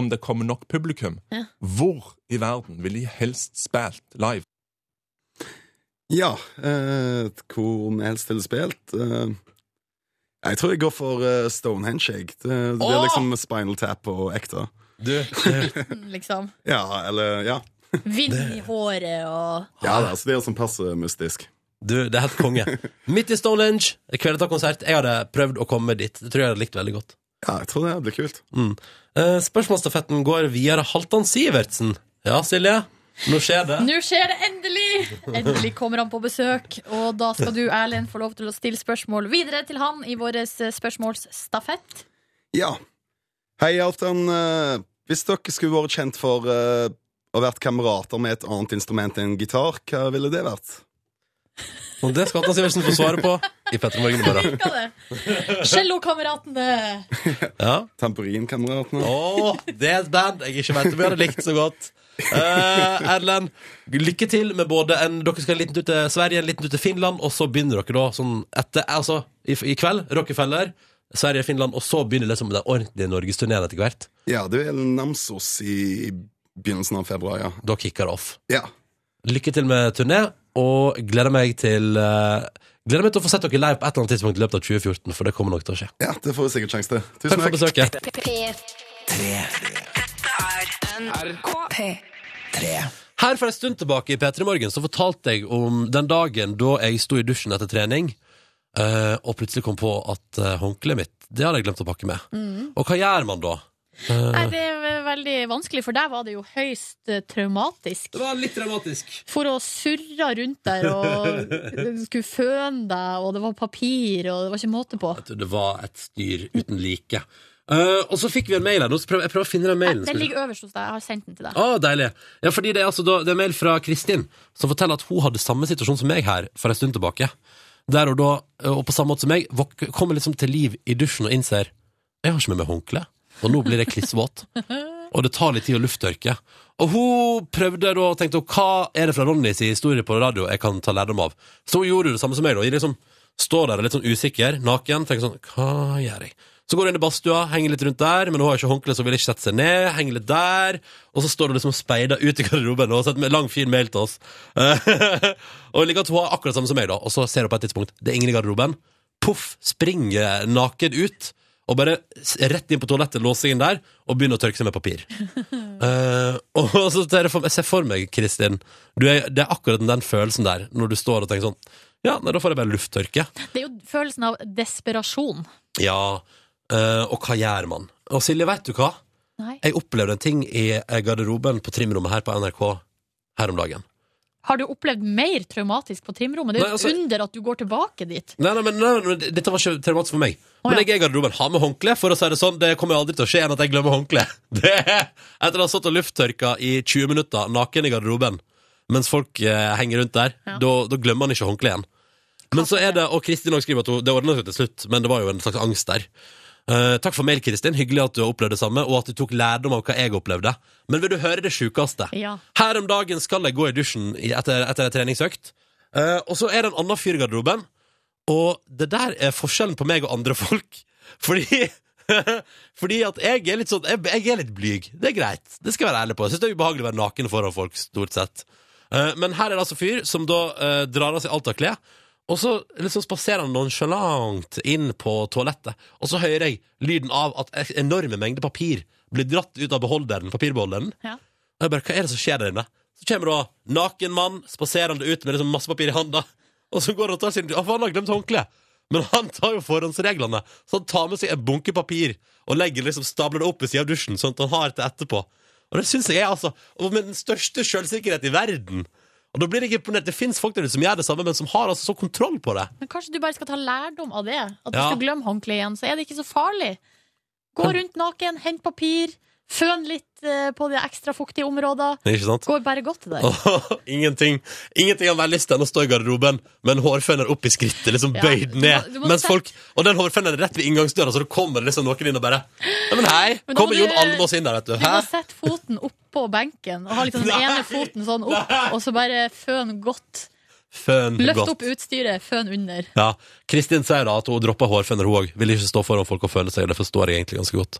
Speaker 17: om det kommer nok publikum,
Speaker 5: Ja.
Speaker 17: hvor i verden ville de helst spilt live?
Speaker 15: Ja, eh, hvor vi helst ville spilt. Eh, jeg tror jeg går for eh, Stonehenge. jeg. Det, det blir
Speaker 5: Åh!
Speaker 15: liksom Spinal Tap på ekte.
Speaker 5: Liksom.
Speaker 15: Ja, eller Ja,
Speaker 5: Vind i håret og
Speaker 15: ja da, så det er sånn passe mystisk.
Speaker 2: Du, det er helt konge. Midt i Stonehenge, Kvelertak-konsert. Jeg hadde prøvd å komme dit. Det tror jeg hadde likt veldig godt.
Speaker 15: Ja, jeg tror det blir kult.
Speaker 2: Mm. Eh, spørsmålsstafetten går videre. Halvdan Sivertsen. Ja, Silje? Nå skjer det.
Speaker 5: Nå skjer det endelig! Endelig kommer han på besøk. Og da skal du, Erlend, få lov til å stille spørsmål videre til han i vår eh, spørsmålsstafett.
Speaker 15: Ja. Hei, Halvdan. Eh, Hvis dere skulle vært kjent for eh, å vært kamerater med et annet instrument enn gitar, hva ville det vært?
Speaker 2: Og det skal Halvdan Sivertsen få svare på i Petter Morgen i morgen.
Speaker 5: Hva det? Cellokameratene!
Speaker 2: Ja.
Speaker 15: Tamburinkameratene.
Speaker 2: Å, det er et band jeg ikke vet om jeg hadde likt så godt. Eh, Erlend, lykke til med både en Dere skal en liten tur til Sverige, en liten tur til Finland, og så begynner dere da sånn etter Altså, i, i kveld, Rockefeller, Sverige, Finland, og så begynner liksom den ordentlige norgesturneen etter hvert.
Speaker 15: Ja, det er Namsos i begynnelsen av februar, ja.
Speaker 2: Da kicker det off.
Speaker 15: Ja.
Speaker 2: Lykke til med turné, og gleder meg til eh, Gleder meg til å få sett dere live på et eller annet tidspunkt i løpet av 2014, for det kommer nok til å skje.
Speaker 15: Ja, det får vi sikkert sjanse til. Tusen
Speaker 2: Takk for besøket. Her for en stund tilbake i P3 Morgen så fortalte jeg om den dagen da jeg sto i dusjen etter trening, eh, og plutselig kom på at eh, håndkleet mitt, det hadde jeg glemt å pakke med. Og hva gjør man da?
Speaker 5: Nei, det er veldig vanskelig. For deg var det jo høyst eh, traumatisk.
Speaker 2: Det var litt dramatisk.
Speaker 5: For å surre rundt der og skulle føne deg, og det var papir, og det var ikke måte på.
Speaker 2: Det var et styr uten like. Eh, og så fikk vi en mail her. Nå skal jeg prøve- jeg prøver å finne den mailen.
Speaker 5: Den ligger øverst hos deg. Jeg har sendt den til deg.
Speaker 2: Å, Ah, deilig. Ja, fordi det er, altså da, det er en mail fra Kristin som forteller at hun hadde samme situasjon som meg her for en stund tilbake. Der og da, eh, og på samme måte som meg, våk- kommer liksom til liv i dusjen og innser jeg har ikke med meg håndkle, og nå blir jeg klissvåt. Og det tar litt tid å lufttørke. Og hun prøvde da og tenkte hva er det fra Ronnys historie på radio jeg kan ta lærdom av? Så hun gjorde det samme som meg. da. Hun liksom står der og er litt sånn usikker, naken, tenker sånn hva gjør jeg? Så går hun inn i badstua, henger litt rundt der, men hun har ikke håndkle, så hun vil ikke sette seg ned. henger litt der, Og så står hun liksom speida ut i garderoben og har sendt en lang, fin mail til oss. og jeg liker at hun har akkurat samme som meg, da. Og så ser hun på et tidspunkt, det er ingen i garderoben. Poff, springer naken ut. Og bare s- rett inn på toalettet, låser seg inn der, og begynner å tørke seg med papir. Eh, og så ser jeg for, jeg ser for meg, Kristin, du er, det er akkurat den følelsen der, når du står og tenker sånn Ja, nei, da får jeg bare lufttørke.
Speaker 5: Det er jo følelsen av desperasjon.
Speaker 2: Ja, eh, og hva gjør man? Og Silje, vet du hva?
Speaker 5: Nei.
Speaker 2: Jeg opplevde en ting i eh, garderoben på trimrommet her på NRK her om dagen.
Speaker 5: Har du opplevd mer traumatisk på trimrommet? Det er jo
Speaker 2: Nei,
Speaker 5: et
Speaker 2: altså-
Speaker 5: under at du går tilbake dit.
Speaker 2: Nei, nei, men, nei, nei, men dette var ikke traumatisk for meg. Men jeg er i garderoben. Ha med håndkle, for å si det sånn. Det kommer jo aldri til å skje enn at jeg glemmer håndkle. Det, etter å ha stått og lufttørka i 20 minutter naken i garderoben mens folk eh, henger rundt der, da, da glemmer man ikke håndkle igjen. Men så er det, og Kristin også skriver at hun, det ordnet seg til slutt, men det var jo en slags angst der. Eh, takk for mail, Kristin. Hyggelig at du har opplevd det samme, og at du tok lærdom av hva jeg opplevde. Men vil du høre det sjukeste?
Speaker 5: Ja.
Speaker 2: Her om dagen skal jeg gå i dusjen i- etter, etter en treningsøkt. Eh, og så er det en annen fyr i garderoben. Og det der er forskjellen på meg og andre folk. Fordi Fordi at jeg er litt sånn jeg, jeg er litt blyg. Det er greit. Det skal jeg være ærlig på. Jeg syns det er ubehagelig å være naken foran folk, stort sett. Eh, men her er det altså fyr som da eh, drar av seg alt av klær. Og så liksom spaserer han nonchalant inn på toalettet, og så hører jeg lyden av at enorme mengder papir blir dratt ut av beholderen, papirbeholderen.
Speaker 5: Ja.
Speaker 2: Og jeg bare, hva er det som skjer der inne? Så kommer da naken mann, spaserende ut med liksom masse papir i handa, og så går han og tar sin... Ja, for han har glemt håndkle. Men han tar jo forhåndsreglene, så han tar med seg en bunke papir og legger liksom stabler det opp i siden av dusjen, sånn at han har det etterpå. Og det synes jeg er altså, og med den største selvsikkerhet i verden. Og da blir jeg imponert. Det finnes folk der ute som gjør det samme, men som har altså så kontroll på det.
Speaker 5: Men kanskje du bare skal ta lærdom av det? At hvis
Speaker 2: Ja.
Speaker 5: du glemmer håndkleet igjen, så er det ikke så farlig. Gå rundt naken, hent papir, føn litt eh, på de ekstra fuktige områdene.
Speaker 2: Ikke sant?
Speaker 5: Går bare godt til deg.
Speaker 2: Åh, ingenting Ingenting har mer lyst enn å stå i garderoben med en hårføner opp i skrittet, liksom
Speaker 5: Ja,
Speaker 2: bøyd
Speaker 5: du må-
Speaker 2: ned.
Speaker 5: du må
Speaker 2: mens
Speaker 5: se-
Speaker 2: folk, og den hårføneren er rett ved inngangsdøra, så det kommer liksom noen inn og bare Nei, men hei!
Speaker 5: Men da må
Speaker 2: Kommer
Speaker 5: du-
Speaker 2: Jon Almaas inn der, vet du.
Speaker 5: Du
Speaker 2: Hæ?
Speaker 5: må sette foten oppå benken og ha liksom den
Speaker 2: Nei!
Speaker 5: ene foten sånn opp, og så bare føn godt.
Speaker 2: Føn
Speaker 5: Løft
Speaker 2: godt.
Speaker 5: opp utstyret, føn under.
Speaker 2: Ja. Kristin sier da at hun dropper hårføner, hun òg. Vil ikke stå foran folk og føle seg, det forstår jeg egentlig ganske godt.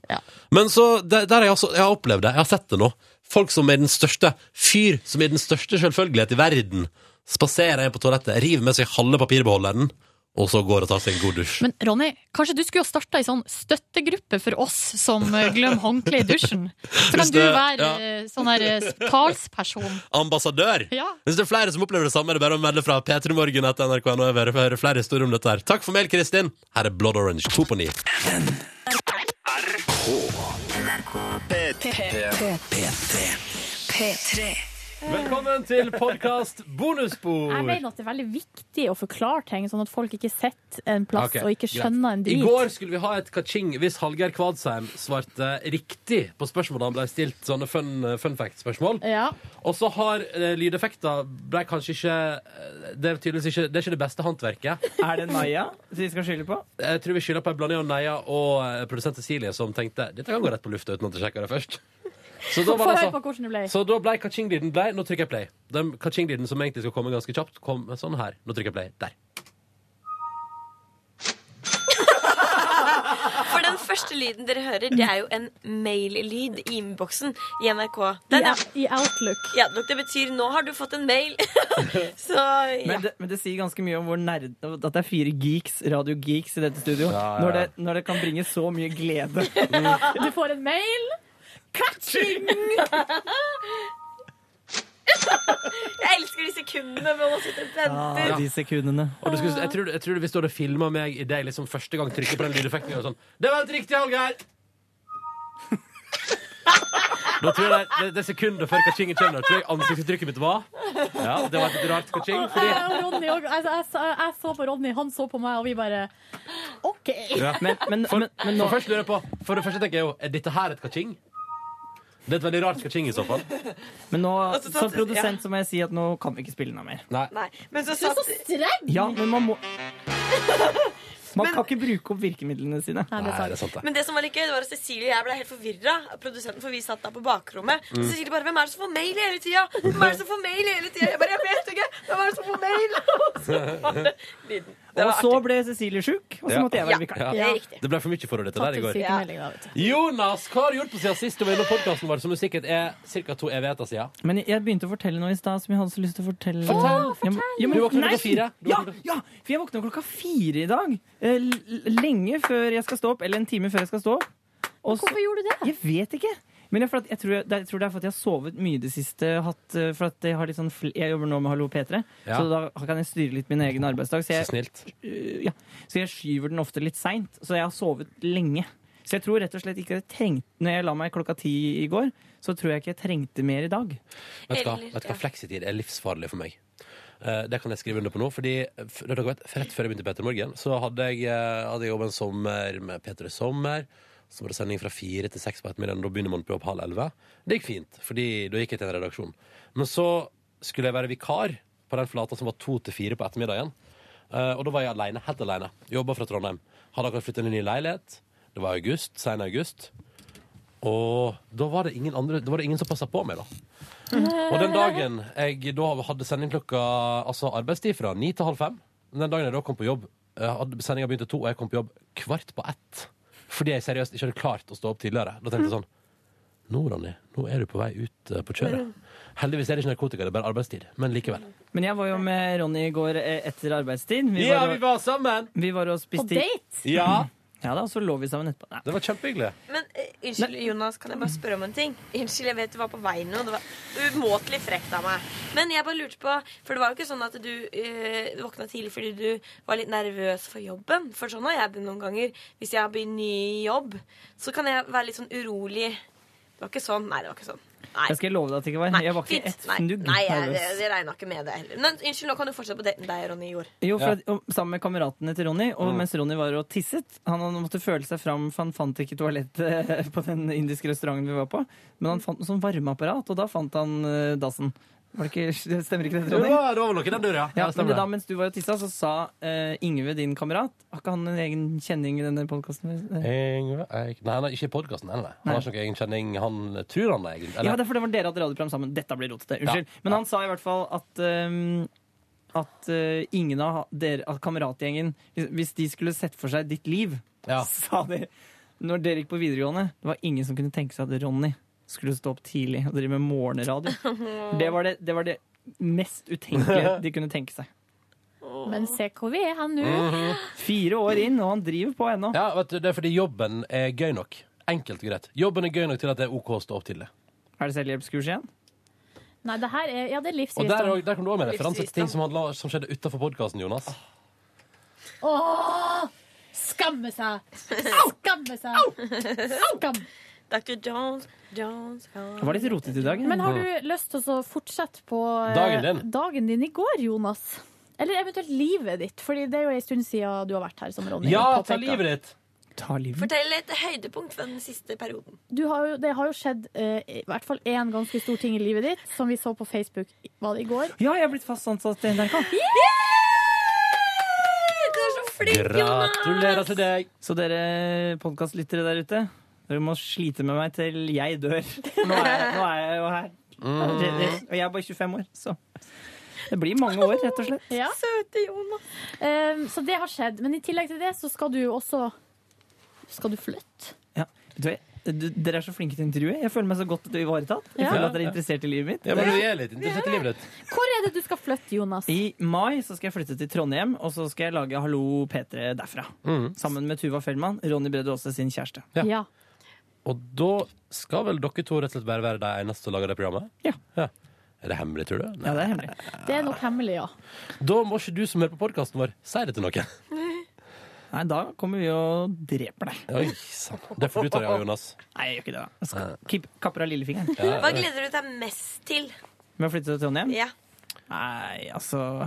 Speaker 2: Men så, der, der har jeg, altså, jeg har opplevd det, jeg har sett det nå. Folk som er den største fyr, som er den største selvfølgelighet i verden, spaserer inn på toalettet, river med seg halve papirbeholderen, og så går og tar seg en god dusj.
Speaker 5: Men Ronny, kanskje du skulle ha starta ei sånn støttegruppe for oss som eh, glemmer håndkle i dusjen? Så
Speaker 2: Hvis
Speaker 5: kan du
Speaker 2: det-
Speaker 5: være
Speaker 2: ja.
Speaker 5: eh, sånn her eh, talsperson.
Speaker 2: ambassadør.
Speaker 5: Ja.
Speaker 2: Hvis det er flere som opplever det samme, er det bare å melde fra P3 Morgen etter NRK nå. Jeg vil høre flere historier om dette her. Takk for mail, Kristin. Her er Blood Orange 2 på 9.
Speaker 6: P3.
Speaker 12: P3.
Speaker 2: Velkommen til podkast bonusbord.
Speaker 5: Jeg mener at det er veldig viktig å forklare ting, sånn at folk ikke setter en plass og ikke skjønner en
Speaker 2: I
Speaker 5: drit.
Speaker 2: går skulle vi ha et kaching hvis Hallgeir Kvadsheim svarte riktig på spørsmålet han ble stilt, sånne fun, fun fact-spørsmål.
Speaker 5: Ja.
Speaker 2: Og så har eh, lydeffekter ble kanskje ikke eh, Det er tydeligvis ikke Det er ikke det beste håndverket.
Speaker 4: Er det Naya vi skal skylde på?
Speaker 2: Jeg tror vi skylder på en blanding av Neia og eh, produsent Cecilie, som tenkte dette kan gå rett på lufta uten at jeg sjekker det først. Så da,
Speaker 5: Få
Speaker 2: var det
Speaker 5: høre på
Speaker 2: altså,
Speaker 5: hvordan det ble.
Speaker 2: så da ble kaching-lyden blei. Nå trykker jeg play. Den kaching-lyden som egentlig skal komme ganske kjapt, kom sånn her. Nå trykker jeg play. Der.
Speaker 12: For den første lyden dere hører, det er jo en mail-lyd i innboksen i NRK. Den, ja.
Speaker 5: I Outlook.
Speaker 12: I Outlook. Det betyr 'nå har du fått en mail'. Så ja.
Speaker 4: Men det, men det sier ganske mye om hvor nerd, at det er fire geeks, radiogeeks i dette studio.
Speaker 2: Ja, ja, ja.
Speaker 4: Når, det, når det kan bringe så mye glede.
Speaker 5: Du får en mail. Catching!
Speaker 12: Jeg elsker de sekundene hvor man sitter og venter.
Speaker 4: Ah, Ja, de sekundene.
Speaker 2: Og du skulle, jeg, tror, jeg tror hvis du hadde filma meg i deg liksom første gang trykker på den lydeffekten og sånn Det var helt riktig, Hallgeir! Da tror jeg det, det sekundet før kachinget kommer, da tror jeg ansiktsuttrykket mitt var Ja, det var et rart kaching. Fordi
Speaker 5: Jeg og Ronny også, altså, jeg, sa- jeg så på Ronny, han så på meg, og vi bare OK.
Speaker 2: for, for, først lurer jeg på, for det første tenker jeg jo Er dette her et kaching? Det er et veldig rart kaching i så fall.
Speaker 4: Men nå,
Speaker 2: Altså,
Speaker 4: som
Speaker 2: sant-
Speaker 4: produsent så må jeg si at nå kan vi ikke spille den av mer.
Speaker 12: Nei, men så
Speaker 5: Du er så streng!
Speaker 4: Ja, men man må Man kan ikke bruke opp virkemidlene sine.
Speaker 2: sånn
Speaker 5: Nei,
Speaker 12: det er sant. Men det som var litt gøy, det var at Cecilie og jeg ble helt forvirra. Produsenten, for vi satt der på bakrommet.
Speaker 4: Mm.
Speaker 12: Så Cecilie bare 'Hvem er det som får mail hele tida?' Hvem er det som får mail hele tida? Jeg bare 'Jeg vet ikke! Hvem er det som får mail?' Og så var det lyden. Det
Speaker 4: Og
Speaker 12: var
Speaker 4: så ble Cecilie sjuk, og så måtte jeg være vikar.
Speaker 2: Ja. Det ble for mye forhold dette der i går.
Speaker 5: da, vet
Speaker 2: Jonas, hva har du gjort på siden sist du var inne på podkasten vår, som jo sikkert er ca. to evigheter siden?
Speaker 4: Men jeg begynte å fortelle noe i stad som jeg hadde så lyst til å fortelle.
Speaker 2: Fortell,
Speaker 4: Jeg må- Ja, men-
Speaker 2: Du våkner klokka
Speaker 4: nei!
Speaker 2: fire. Du
Speaker 4: Ja, ja, for jeg våkner klokka fire i dag. Eh, l- Lenge før jeg skal stå opp, eller en time før jeg skal stå opp. Hvorfor
Speaker 5: gjorde du det?
Speaker 4: Jeg vet ikke. Men jeg, for at jeg, tror jeg, det- jeg tror det er for at jeg har sovet mye det siste. Hatt, eh, for at jeg, har litt sånn, fl- jeg jobber nå med Hallo P3,
Speaker 2: Ja.
Speaker 4: så da kan jeg styre litt min egen arbeidsdag. Så jeg,
Speaker 2: Så snilt.
Speaker 4: Eh, ja. så jeg skyver den ofte litt seint, så jeg har sovet lenge. Så jeg tror rett og slett ikke jeg trengte Når jeg la meg klokka ti i går, så tror jeg ikke jeg trengte mer i dag.
Speaker 2: Vet du hva, vet du hva? fleksitid er livsfarlig for meg. Eh, det kan jeg skrive under på nå. Fordi eh, f- dere vet, Rett før jeg begynte i Peter Morgen, så hadde jeg, eh, hadde jeg jobb en sommer med Peter i sommer. Så var det sending fra fire til seks på ettermiddagen. Da begynner man på jobb halv elleve. Det gikk fint, fordi da gikk jeg til en redaksjon. Men så skulle jeg være vikar på den flata som var to til fire på ettermiddagen. Eh, og da var jeg alene, helt alene. Jobba fra Trondheim. Hadde akkurat flytta inn i en ny leilighet. Det var august, sen august. Og da var det ingen, andre, da var det ingen som passa på meg, da. Og den dagen jeg da hadde sending klokka Altså arbeidstid fra ni til halv fem Den dagen jeg da kom på jobb eh, hadde Sendinga begynte to, og jeg kom på jobb kvart på ett Fordi jeg seriøst ikke hadde klart å stå opp tidligere Da tenkte jeg sånn Nå, Ronny, nå er du på vei ut eh, på kjøret Heldigvis er det ikke narkotika, det er bare arbeidstid Men likevel
Speaker 4: Men jeg var jo med Ronny i går eh, etter arbeidstid.
Speaker 2: Ja,
Speaker 4: og-
Speaker 2: vi var sammen!
Speaker 4: Vi var og spiste
Speaker 12: På date?
Speaker 2: Ja.
Speaker 4: ja da, og så lå vi sammen etterpå. Nei.
Speaker 2: Det var kjempehyggelig.
Speaker 12: Men eh, unnskyld, Jonas, kan jeg bare spørre om en ting? Unnskyld, jeg vet du var på vei nå. Det var umåtelig frekt av meg. Men jeg bare lurte på For det var jo ikke sånn at du eh, våkna tidlig fordi du var litt nervøs for jobben. For sånn har jeg det noen ganger. Hvis jeg begynner ny jobb, så kan jeg være litt sånn urolig. Det var ikke sånn. Nei, det var ikke sånn. Nei.
Speaker 4: Jeg skal love deg at det ikke var. jeg var ikke et
Speaker 12: Nei,
Speaker 4: fnugg
Speaker 12: nei jeg,
Speaker 4: nervøs.
Speaker 12: jeg, jeg regna ikke med det heller. Men unnskyld, nå kan du fortsette på daten deg og Ronny gjorde.
Speaker 4: Jo, for at, og, sammen med kameratene til Ronny, og
Speaker 2: Mm.
Speaker 4: mens Ronny var og tisset Han han måtte føle seg fram, for han fant ikke toalettet på den indiske restauranten vi var på. Men han fant noe sånn varmeapparat, og da fant han eh, dassen. Var det ikke, det stemmer ikke det,
Speaker 2: Det
Speaker 4: Ronny?
Speaker 2: var, det var vel noe i den døra,
Speaker 4: Ja,
Speaker 2: det
Speaker 4: men
Speaker 2: stemmer
Speaker 4: da,
Speaker 2: det.
Speaker 4: mens du var og tissa, så sa eh, Ingve, din kamerat Har ikke han en egen kjenning i denne podkasten?
Speaker 2: Yngve Eik- Nei, nei, ikke i podcasten, nei, nei. Han har ikke noen egen kjenning Han tror han er egen
Speaker 4: Ja,
Speaker 2: eller-
Speaker 4: det er fordi det var dere hadde radioprogram sammen. Dette blir rotete. Unnskyld.
Speaker 2: Ja.
Speaker 4: Men han sa i hvert fall at um, at uh, ingen av dere, at kameratgjengen, hvis- hvis de skulle sett for seg ditt liv, sa de Når dere gikk på videregående, det var ingen som kunne tenke seg at Ronny skulle stå opp tidlig og drive med morgenradio. Det var det, det, var det mest utenkelige de kunne tenke seg.
Speaker 5: Men se hvor vi er her nå.
Speaker 2: Mhm.
Speaker 4: Fire år inn, og han driver på ennå.
Speaker 2: Ja, vet du, Det er fordi jobben er gøy nok. Enkelt og greit. Jobben er gøy nok til at det er OK å stå opp tidlig.
Speaker 4: Er det selvhjelpskurs igjen?
Speaker 5: Nei, det her er Ja, det er
Speaker 2: Og
Speaker 5: livsvisdom.
Speaker 2: Der, er også- der kom du òg med referanse til ting som, handla, som skjedde utafor podkasten, Jonas.
Speaker 5: Åh! Skamme seg! Skamme seg! Skam!
Speaker 12: Dr. Jones, Jones, Jones.
Speaker 4: Det var litt rotete i dag.
Speaker 5: Men har du lyst til å fortsette på eh,
Speaker 4: Dagen din.
Speaker 5: dagen din i går, Jonas? Eller eventuelt livet ditt, Fordi det er jo en stund siden du har vært her. som Ronny
Speaker 2: Ja,
Speaker 5: påpekte.
Speaker 2: ta livet ditt!
Speaker 4: Ta livet
Speaker 12: Fortell et høydepunkt fra den siste perioden.
Speaker 5: Du har jo, det har jo skjedd eh, i hvert fall én ganske stor ting i livet ditt, som vi så på Facebook var det i går.
Speaker 4: Ja, jeg er blitt fast ansatt i NRK.
Speaker 12: Du er så
Speaker 2: Gratulerer til deg!
Speaker 4: Så dere podkastlyttere der ute, dere må slite med meg til jeg dør. Nå er jeg, nå er jeg jo her.
Speaker 2: Mm.
Speaker 4: Det- det- Og jeg er bare 25 år, så det blir mange år, rett og slett.
Speaker 12: Søte Jonas.
Speaker 5: så det har skjedd. Men i tillegg til det så skal du jo også Skal du flytte?
Speaker 4: Ja. Vet du hva, du- Dere er så flinke til å intervjue. Jeg føler meg så godt ivaretatt. Jeg
Speaker 5: Ja.
Speaker 4: føler at dere er interessert i livet mitt.
Speaker 2: Ja, men du er litt interessert i livet ditt.
Speaker 5: Hvor er det du skal flytte, Jonas?
Speaker 4: I mai så skal jeg flytte til Trondheim, og så skal jeg lage Hallo P3 derfra.
Speaker 2: Mm.
Speaker 4: Sammen med Tuva Fellmann, Ronny Brede Aase sin kjæreste.
Speaker 2: Ja. Og da skal vel dere to rett og slett bare være de eneste som lager det programmet?
Speaker 4: Ja.
Speaker 2: Er det hemmelig, tror du?
Speaker 4: Ja, det er hemmelig.
Speaker 5: Det er nok hemmelig, ja.
Speaker 2: Da må ikke du som hører på podkasten vår, si det til noen.
Speaker 4: Nei, da kommer vi og dreper deg.
Speaker 2: Oi, sant. Det får du ta deg av, Jonas.
Speaker 4: Nei, jeg gjør ikke det. da. Jeg skal kipp- kapper av lillefingeren.
Speaker 12: Hva gleder du deg mest til?
Speaker 4: Med å flytte til Trondheim?
Speaker 12: Ja.
Speaker 4: Nei, altså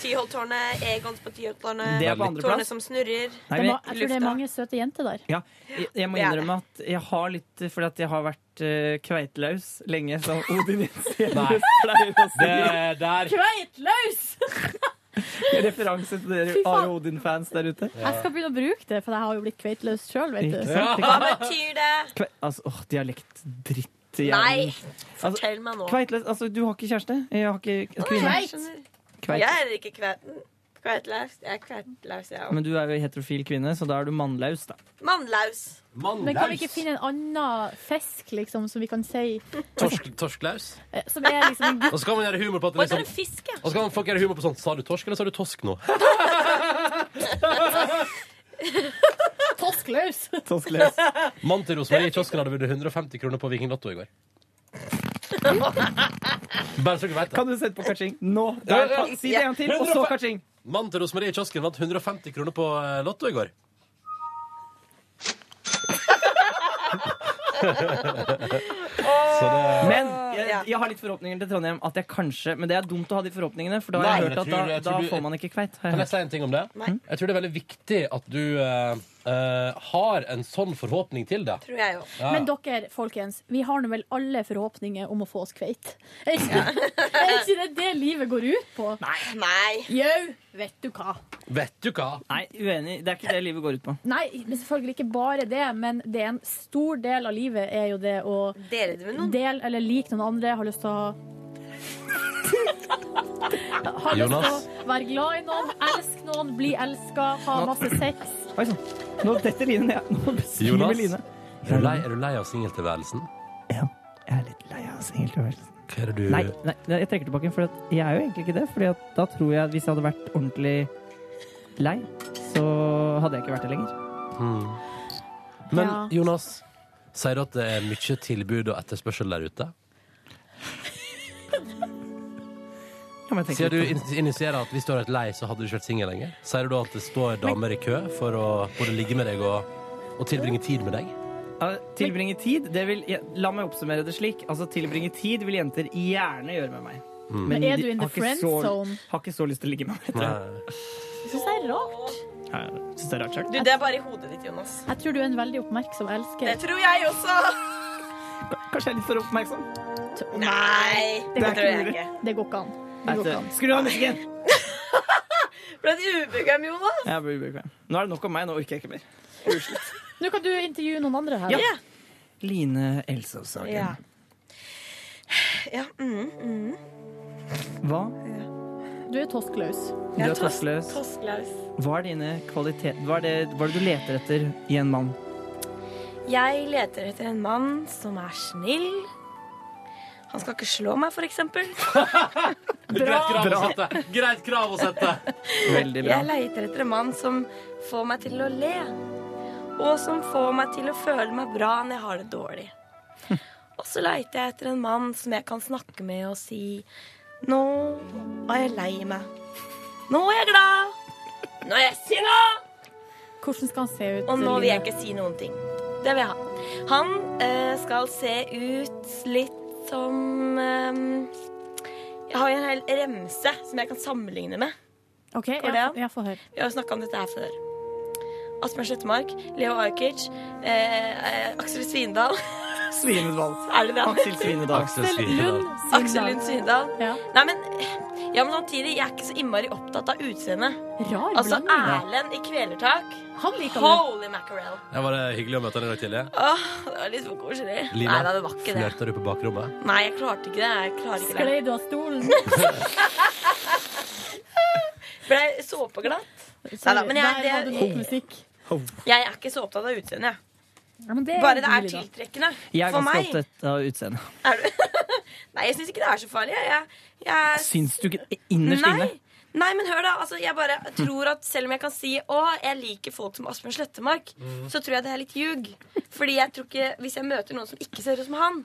Speaker 12: Tyholttårnet, Egons på
Speaker 5: Eh,
Speaker 12: Tyholttårnet,
Speaker 4: Det er på andre
Speaker 12: tårnet
Speaker 4: plass.
Speaker 12: som snurrer.
Speaker 4: Nei, men-
Speaker 5: Jeg tror liksom, det er mange søte jenter der.
Speaker 4: Ja, jeg, jeg må
Speaker 5: Det er det.
Speaker 4: innrømme at jeg har litt Fordi at jeg har vært eh, kveitelaus lenge, som Odin
Speaker 2: Nei.
Speaker 4: Jensenius pleier å si.
Speaker 2: Det der-
Speaker 5: Kveitløs!
Speaker 4: Referanse til dere
Speaker 5: Fy faen.
Speaker 4: Are Odin-fans der ute.
Speaker 5: Jeg skal begynne å bruke det, for jeg har jo blitt kveitløs sjøl, vet du.
Speaker 4: Ikke
Speaker 5: så-
Speaker 4: sant?
Speaker 12: Hva betyr det?
Speaker 4: Kve altså, åh, dialektdritt i
Speaker 12: Nei!
Speaker 4: hjernen.
Speaker 12: Fortell meg nå.
Speaker 4: Kveitelaus Altså, du har ikke kjæreste? Jeg har ikke kvinne.
Speaker 12: Jeg skjønner.
Speaker 4: Kveit.
Speaker 12: Jeg er ikke kveiten. Kveitlaus. Jeg er kveitlaus, jeg
Speaker 4: Men
Speaker 12: òg.
Speaker 4: du er jo heterofil kvinne, så da er du mannlaus, da.
Speaker 12: Mannlaus.
Speaker 5: Men kan vi ikke finne en annen fisk, liksom, som vi kan si
Speaker 2: Torsk, torsklaus.
Speaker 5: eh, Som er liksom en
Speaker 2: Og så kan man gjøre humor på at det
Speaker 4: sånn-
Speaker 2: liksom, Og så kan folk gjøre humor på sånn Sa du torsk, eller sa du tosk nå?
Speaker 5: Toskløs!
Speaker 4: Toskløs.
Speaker 2: Mann til Rosmarie i kiosken hadde vunnet 150 kroner på Vikinglotto i går. Bare så dere vet det.
Speaker 4: Kan du sette på kaching? Nå! Der, ta- Si det en gang til, og så kaching.
Speaker 2: Mann til Rosmarie i kiosken vant 150 kroner på eh, Lotto i går. Så det-
Speaker 4: Men jeg, jeg har litt forhåpninger til Trondheim at jeg kanskje Men det er dumt å ha de forhåpningene, for da har
Speaker 2: Nei,
Speaker 4: jeg hørt
Speaker 2: jeg
Speaker 4: at
Speaker 2: tror-
Speaker 4: da,
Speaker 2: jeg tror
Speaker 4: da
Speaker 2: du-
Speaker 4: får man ikke kveit. har jeg
Speaker 2: Kan
Speaker 4: hørt.
Speaker 2: jeg si en ting om det? Jeg tror det er veldig viktig at du eh, eh, har en sånn forhåpning til det.
Speaker 5: Tror jeg jo.
Speaker 2: Ja.
Speaker 5: Men dere, folkens, vi har nå vel alle forhåpninger om å få oss kveit? Er ikke, er ikke det det livet går ut på? Nei. Jau, vet du hva.
Speaker 2: Vet du hva?
Speaker 4: Nei, uenig. Det er ikke det livet går ut på.
Speaker 5: Nei, men selvfølgelig ikke bare det, men det er en stor del av livet er jo det å
Speaker 12: Dele det med noen.
Speaker 5: Del, eller like noen andre, har lyst til å Har lyst til
Speaker 4: Jonas?
Speaker 5: å være glad i noen, elske noen, bli elska, ha masse sex.
Speaker 4: Oi sann. Nå detter Line ned. Nå beskriver
Speaker 2: Jonas,
Speaker 4: Line.
Speaker 2: er du lei, er du lei av singeltilværelsen?
Speaker 4: Ja, singeltilværelsen.
Speaker 2: Hva er det du
Speaker 4: Nei, nei, nei, jeg trekker tilbake, for at jeg er jo egentlig ikke det. Fordi at da tror jeg at hvis jeg hadde vært ordentlig lei, så hadde jeg ikke vært det lenger.
Speaker 2: Hmm. Men
Speaker 4: Ja.
Speaker 2: Jonas, sier du at det er mye tilbud og etterspørsel der ute?
Speaker 4: Ja, men jeg tenker
Speaker 2: Sier du
Speaker 4: litt på-
Speaker 2: in- initierer at hvis du hadde vært lei, så hadde du ikke vært singel lenger? Sier du da at det står damer i kø for å både ligge med deg og, og tilbringe tid med deg?
Speaker 4: Ja, Eh, Tilbringe tid, det vil ja, La meg oppsummere det slik. Altså, tilbringe tid vil jenter gjerne gjøre med meg.
Speaker 2: Mm.
Speaker 5: Men er
Speaker 4: de
Speaker 5: du in the
Speaker 4: har ikke
Speaker 5: friend
Speaker 4: så-
Speaker 5: zone?
Speaker 4: Har ikke så lyst til å ligge med meg. tror jeg.
Speaker 5: Jeg syns det er rart.
Speaker 4: Ja, Jeg synes det er rart selv.
Speaker 12: Du, det er bare i hodet ditt, Jonas.
Speaker 5: Jeg tror du er en veldig oppmerksom elsker.
Speaker 12: Det tror jeg også.
Speaker 4: Kanskje jeg er litt for oppmerksom?
Speaker 12: Nei, det, tror jeg ikke.
Speaker 5: Det går ikke an. Det går ikke an.
Speaker 4: Skru av musikken!
Speaker 12: Ble du ubekvem, Jonas?
Speaker 4: Jeg blir ubekvem. Nå er det nok om meg. Nå orker jeg ikke mer.
Speaker 5: Nå kan du intervjue noen andre her.
Speaker 4: Ja. Line Elsov Sagen.
Speaker 12: Ja. Ja, mm, mm.
Speaker 4: Hva?
Speaker 5: Du er toskløs.
Speaker 4: Du er toskløs.
Speaker 12: Tosklaus.
Speaker 4: Hva er dine kvaliteter Hva er det, hva er det du leter etter i en mann?
Speaker 12: Jeg leter etter en mann som er snill. Han skal ikke slå meg, for eksempel.
Speaker 2: Greit krav å sette! Greit krav å sette.
Speaker 4: Veldig bra.
Speaker 12: Jeg leter etter en mann som får meg til å le. Og som får meg til å føle meg bra når jeg har det dårlig. Og så leter jeg etter en mann som jeg kan snakke med og si Nå er jeg lei meg. Nå er jeg glad. Nå er jeg sinna.
Speaker 5: Hvordan skal han se ut?
Speaker 12: Og nå vil jeg
Speaker 5: Line?
Speaker 12: ikke si noen ting. Det vil jeg ha. Han eh, skal se ut litt som eh, Jeg har jo en hel remse som jeg kan sammenligne med.
Speaker 5: OK,
Speaker 12: Går
Speaker 5: jeg,
Speaker 12: det an?
Speaker 5: jeg får høre.
Speaker 12: Vi har jo snakka om dette her før. Asbjørn Slettemark, Leo Ajkic, eh, eh, Aksel Svindal
Speaker 4: Svinedal.
Speaker 12: Er det det han
Speaker 4: Aksel
Speaker 12: heter?
Speaker 4: Svinedal.
Speaker 2: Aksel Svindal.
Speaker 12: Aksel Lund Svindal.
Speaker 5: Ja.
Speaker 12: Nei, men, ja, men samtidig, jeg er ikke så innmari opptatt av utseendet.
Speaker 5: Rar
Speaker 12: altså
Speaker 2: blanding, da.
Speaker 12: Erlend i Kvelertak.
Speaker 5: Han
Speaker 2: liker du.
Speaker 12: Holy mackerel.
Speaker 2: Ja, var det hyggelig å møte deg i dag tidlig?
Speaker 12: Åh, det var litt for koselig.
Speaker 2: Line,
Speaker 12: Nei, da, det var ikke det.
Speaker 2: flørta du på bakrommet?
Speaker 12: Nei, jeg klarte ikke det. Jeg klarer ikke
Speaker 5: Sklei
Speaker 12: det.
Speaker 5: du av stolen?
Speaker 12: Ble jeg såpeglatt? Nei da, men jeg,
Speaker 5: Der var det nok
Speaker 12: det,
Speaker 5: musikk.
Speaker 12: jeg er ikke så opptatt av utseendet. jeg.
Speaker 5: Ja, men det
Speaker 12: Bare det er
Speaker 5: hyggelig, da.
Speaker 12: tiltrekkende.
Speaker 4: Jeg er
Speaker 12: For
Speaker 4: ganske
Speaker 12: meg.
Speaker 4: opptatt av utseendet.
Speaker 12: Nei, jeg syns ikke det er så farlig. Jeg, jeg, jeg
Speaker 4: Syns du ikke innerst
Speaker 12: Nei.
Speaker 4: inne?
Speaker 12: Nei, men hør da, altså, jeg bare
Speaker 4: Hm.
Speaker 12: tror at selv om jeg kan si Å, jeg liker folk som Asbjørn Slettemark,
Speaker 4: Mhm.
Speaker 12: så tror jeg det er litt ljug. Fordi jeg tror ikke, hvis jeg møter noen som ikke ser ut som han,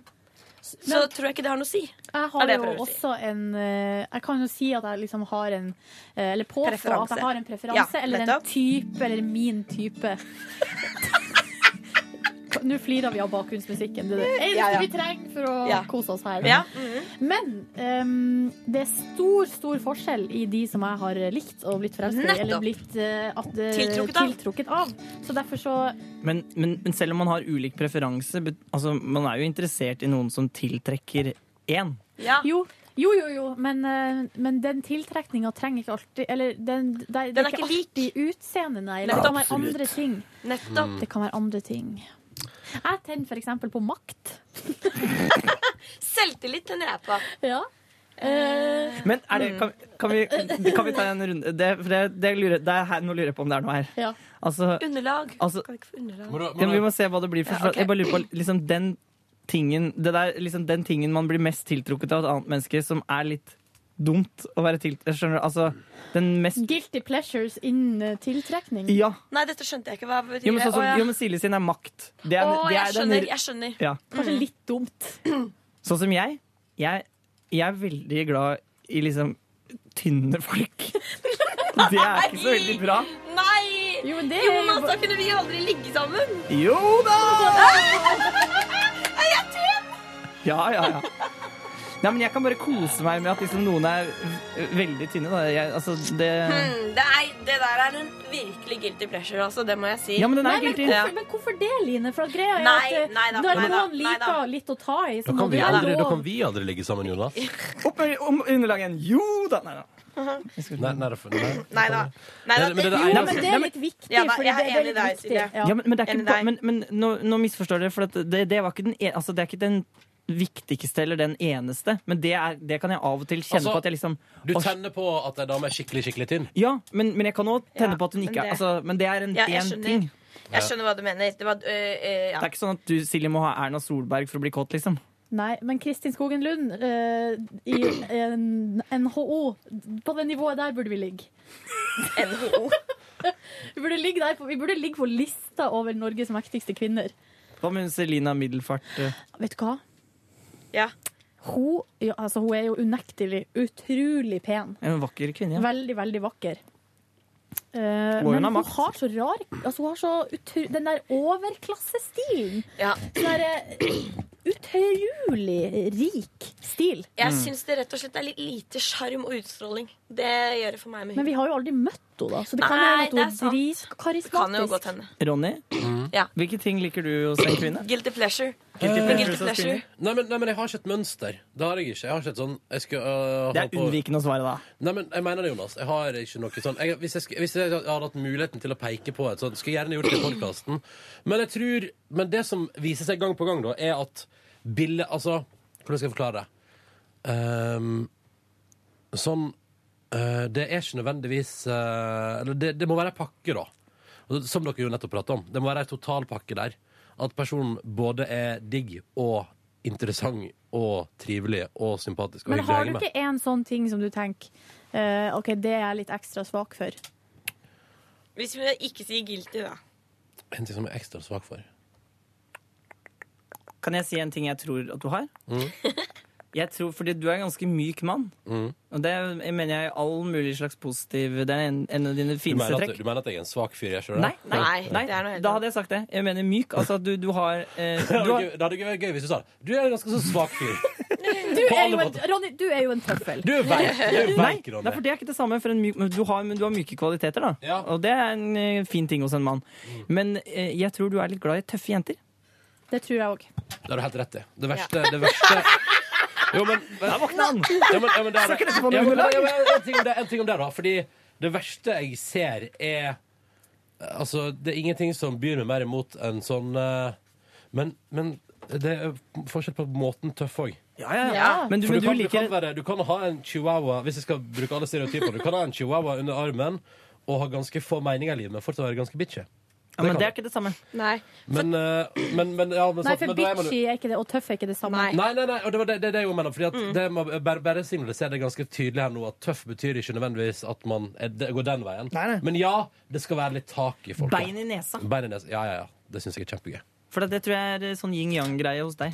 Speaker 12: så tror jeg ikke det har noe å si.
Speaker 5: Jeg
Speaker 12: Er
Speaker 5: har
Speaker 12: det jeg
Speaker 5: jo
Speaker 12: prøver å si.
Speaker 5: også en eh, Jeg kan jo si at jeg liksom har en eh, Eller påstå
Speaker 12: Preferanse.
Speaker 5: at jeg har en preferanse
Speaker 12: Ja,
Speaker 5: eller en
Speaker 12: nettopp.
Speaker 5: type, eller min type. Nå flirer vi av bakgrunnsmusikken. Det er det eneste
Speaker 12: Ja, ja.
Speaker 5: vi trenger for å
Speaker 12: Ja.
Speaker 5: kose oss her.
Speaker 12: Ja.
Speaker 5: Men ehm, det er stor, stor forskjell i de som jeg har likt og blitt forelsket i,
Speaker 4: Nettopp.
Speaker 5: eller blitt eh, at, eh,
Speaker 4: Tiltrukket av.
Speaker 5: tiltrukket av. Så derfor så
Speaker 4: Men, men, men selv om man har ulik preferanse, bet- altså, man er jo interessert i noen som tiltrekker én.
Speaker 5: Jo, jo, jo, jo. Men, eh, men den tiltrekninga trenger ikke alltid Eller den, det, det
Speaker 12: Den
Speaker 5: er
Speaker 12: er
Speaker 5: ikke
Speaker 12: ikke lik.
Speaker 5: alltid utseendet, nei. Det
Speaker 12: Nettopp.
Speaker 5: kan være
Speaker 12: Absolutt.
Speaker 5: andre ting.
Speaker 12: Nettopp. Mm.
Speaker 5: Det kan være andre ting. Jeg tenner for eksempel på makt.
Speaker 12: Selvtillit tenner jeg på.
Speaker 5: Ja. Eh,
Speaker 4: Men er
Speaker 12: Mm.
Speaker 4: det, kan, kan, vi, kan vi ta en runde det, for det, det lurer, det er her, Nå lurer jeg på om det er noe her.
Speaker 5: Ja.
Speaker 4: Altså,
Speaker 12: Underlag.
Speaker 4: altså-
Speaker 12: kan vi ikke få underlag?
Speaker 4: ja, men vi må se hva det blir. For,
Speaker 12: Ja, ok.
Speaker 4: Jeg bare lurer på liksom, den, tingen, det der, liksom, den tingen man blir mest tiltrukket av et annet menneske, som er litt dumt å være tiltrukket Skjønner du? Altså, den mest
Speaker 5: Guilty pleasures innen eh, tiltrekning.
Speaker 4: Ja.
Speaker 12: Nei, dette skjønte jeg ikke. Hva betyr
Speaker 4: Jo, men, sånn som,
Speaker 12: Å, ja.
Speaker 4: jo, men Silje sin er makt. Det er-
Speaker 12: Å,
Speaker 4: det
Speaker 12: jeg
Speaker 4: er den-
Speaker 12: skjønner, jeg skjønner.
Speaker 4: Ja.
Speaker 5: Kanskje litt dumt.
Speaker 4: Sånn som jeg. Jeg, jeg er veldig glad i liksom tynne folk. Det er ikke så veldig bra.
Speaker 12: Nei!
Speaker 5: Jo,
Speaker 12: men
Speaker 5: det er jo altså,
Speaker 12: Jonas,
Speaker 5: bare-
Speaker 12: da kunne vi aldri ligge sammen.
Speaker 4: Jo da!
Speaker 12: Er jeg tynn?
Speaker 4: Ja, ja, ja. Nei, men jeg kan bare kose meg med at liksom noen er v- veldig tynne. Da. Jeg, altså, det
Speaker 12: Hmm, det, er, det der er en virkelig guilty pleasure, altså. Det må jeg si.
Speaker 4: Ja, men den er
Speaker 5: Nei, men,
Speaker 4: guilty.
Speaker 5: hvorfor, men hvorfor det, Line? For at greia er
Speaker 12: Nei,
Speaker 5: at eh,
Speaker 12: nei da,
Speaker 5: når
Speaker 12: nei da,
Speaker 5: noen
Speaker 12: nei
Speaker 5: liker
Speaker 12: da.
Speaker 5: litt å ta i, så
Speaker 2: Da
Speaker 5: må
Speaker 2: kan,
Speaker 5: det
Speaker 2: vi
Speaker 5: være
Speaker 2: aldri, da
Speaker 5: lov.
Speaker 2: kan vi aldri ligge sammen, Jonas.
Speaker 4: Opp med om underlaget igjen. Jo da! Nei da.
Speaker 2: Nei, nei, det- nei.
Speaker 12: Nei da. Nei, da
Speaker 2: Men det- men det
Speaker 5: Jo,
Speaker 2: er-
Speaker 5: men det er litt viktig.
Speaker 12: Ja da,
Speaker 5: fordi
Speaker 12: jeg er
Speaker 5: det- det
Speaker 12: enig i
Speaker 5: litt
Speaker 12: deg,
Speaker 5: viktig.
Speaker 12: Silje.
Speaker 4: Ja, men, men, det er ikke,
Speaker 12: Enig i
Speaker 4: ba-
Speaker 12: deg.
Speaker 4: men, men nå, nå misforstår dere, for at det, det, var ikke den, en- altså, det er ikke den viktigste eller den eneste, men det, er, det kan jeg av og til kjenne
Speaker 2: Altså,
Speaker 4: på at jeg liksom
Speaker 2: Du
Speaker 4: Åh,
Speaker 2: tenner på at ei dame er skikkelig, skikkelig tynn.
Speaker 4: Ja, men, men jeg kan òg tenne
Speaker 12: Ja,
Speaker 4: på at hun
Speaker 12: men
Speaker 4: ikke er
Speaker 12: det-
Speaker 4: altså, Men det er en,
Speaker 12: Ja, jeg
Speaker 4: en
Speaker 12: skjønner.
Speaker 4: ting.
Speaker 12: Jeg skjønner hva du mener. Det var, øh, øh, ja.
Speaker 4: Det er ikke sånn at du, Silje, må ha Erna Solberg for å bli kåt, liksom.
Speaker 5: Nei, men Kristin Skogen Lund eh, i en, NHO På det nivået der burde vi ligge.
Speaker 12: NHO?
Speaker 5: vi, burde ligge der på, vi burde ligge på lista over Norges mektigste kvinner.
Speaker 4: Hva med hun Selina Middelfart? eh?
Speaker 5: Vet du hva?
Speaker 12: Ja.
Speaker 5: Hun, ja, altså, hun er jo unektelig utrolig pen.
Speaker 4: En vakker kvinne. Ja.
Speaker 5: Veldig, veldig vakker. Eh,
Speaker 4: Og hun
Speaker 5: men
Speaker 4: har
Speaker 5: hun
Speaker 4: makt.
Speaker 5: har så rar altså, Hun har så utru, Den der overklassestilen.
Speaker 12: Ja.
Speaker 5: Den derre utrolig rik stil.
Speaker 12: Jeg syns det rett og slett er litt lite sjarm og utstråling. Det gjør det for meg med
Speaker 5: Men vi har jo aldri møtt henne, da. Så det kan
Speaker 12: Nei,
Speaker 5: jo
Speaker 12: det er
Speaker 5: hende at hun
Speaker 12: sant.
Speaker 5: er dritkarismatisk.
Speaker 12: Kan jo godt hende.
Speaker 4: Ronny,
Speaker 2: Mm.
Speaker 12: Ja.
Speaker 4: hvilke ting liker du hos en kvinne?
Speaker 12: Guilty pleasure.
Speaker 4: Guilty
Speaker 12: Men
Speaker 4: pleasure
Speaker 12: guilty
Speaker 4: som
Speaker 12: pleasure.
Speaker 4: spinner.
Speaker 2: Nei men, nei, men jeg har ikke et mønster. Det har jeg ikke. Jeg har ikke et sånn jeg skulle, øh,
Speaker 4: Det
Speaker 2: holde
Speaker 4: er
Speaker 2: på-
Speaker 4: unnvikende å svare, da.
Speaker 2: Nei, men jeg mener det, Jonas. Jeg har ikke noe sånn jeg, hvis, jeg, skulle- hvis jeg hadde hatt muligheten til å peke på et sånt, skulle jeg gjerne gjort det i podkasten. Men jeg tror Men det som viser seg gang på gang, da, er at billig Altså, hvordan skal jeg forklare det? Ehm, sånn eh, Det er ikke nødvendigvis eh, Eller det, det må være en pakke, da. Og Som dere jo nettopp pratet om. Det må være en totalpakke der. At personen både er digg og interessant og trivelig og sympatisk og
Speaker 5: Men
Speaker 2: hyggelig å
Speaker 5: har
Speaker 2: henge
Speaker 5: du
Speaker 2: med.
Speaker 5: ikke en sånn ting som du tenker eh, OK, det er jeg litt ekstra svak for?
Speaker 12: Hvis vi ikke sier guilty, da.
Speaker 2: En ting som jeg er ekstra svak for.
Speaker 4: Kan jeg si en ting jeg tror at du har?
Speaker 2: Mm.
Speaker 4: Jeg tror, fordi du er en ganske myk mann. Og det mener jeg i all mulig slags positiv Det er en, en av dine
Speaker 2: Du, mener
Speaker 4: fineste
Speaker 2: at,
Speaker 4: trekk.
Speaker 2: du mener at jeg er en svak fyr? Jeg skjønner
Speaker 4: Nei,
Speaker 2: det?
Speaker 4: nei, nei, da hadde jeg sagt det. Jeg mener myk. Altså at du, du har eh,
Speaker 2: Det
Speaker 4: du
Speaker 2: hadde
Speaker 4: har
Speaker 2: gøy- det hadde ikke vært gøy hvis du sa det. Du er en ganske så svak fyr.
Speaker 5: Du er
Speaker 2: På alle
Speaker 5: jo en,
Speaker 2: måter.
Speaker 5: Ronny, du er jo en tøffel.
Speaker 2: Du er veik, du er
Speaker 4: Nei,
Speaker 2: veik,
Speaker 4: nei,
Speaker 2: Ronny.
Speaker 4: for det er ikke det samme, for en myk, men, du har, men du har myke kvaliteter, da. Og det er en eh, fin ting hos en mann. Men eh, jeg tror du er litt glad i tøffe jenter.
Speaker 5: Det tror jeg òg.
Speaker 2: Det har du helt rett i. Det verste, det verste Jo, men Der
Speaker 4: våkna han!
Speaker 2: Ja, men, ja, men det er
Speaker 4: Skal ikke dette få noe
Speaker 2: Ja, men-
Speaker 4: underlag?
Speaker 2: ja, men en, ting om det, en ting om det, da. Fordi det verste jeg ser, er eh, Altså, det er ingenting som byr meg mer imot enn sånn eh, Men, men det er forskjell på måten tøff òg.
Speaker 4: ja, ja. Ja. Men du-
Speaker 2: For
Speaker 4: men
Speaker 2: du,
Speaker 4: du
Speaker 2: kan,
Speaker 4: liker-
Speaker 2: du, kan være, du kan ha en chihuahua Hvis jeg skal bruke alle stereotyper Du kan ha en chihuahua under armen og ha ganske få meninger i livet, men fortsatt være ganske bitchy.
Speaker 4: Ja, men
Speaker 2: kan
Speaker 4: det er
Speaker 2: du.
Speaker 4: ikke det samme.
Speaker 12: Nei.
Speaker 2: Men, eh, men, men, ja, men,
Speaker 5: Nei,
Speaker 2: sant,
Speaker 5: for
Speaker 2: men da er man jo-
Speaker 5: bitchy er ikke det, og tøff er ikke det samme.
Speaker 2: Nei, nei, nei, og det var det, det, er det jeg mener. Fordi at det må bare, bare signalisere det ganske tydelig her nå at tøff betyr ikke nødvendigvis at man er, det går den veien. Men ja, det skal være litt tak i folk. da.
Speaker 4: Bein i nesa.
Speaker 2: Bein i nesa. Ja, ja, ja. Det syns jeg er kjempegøy.
Speaker 4: For det, det tror jeg er eh, sånn yin-yang-greie hos deg.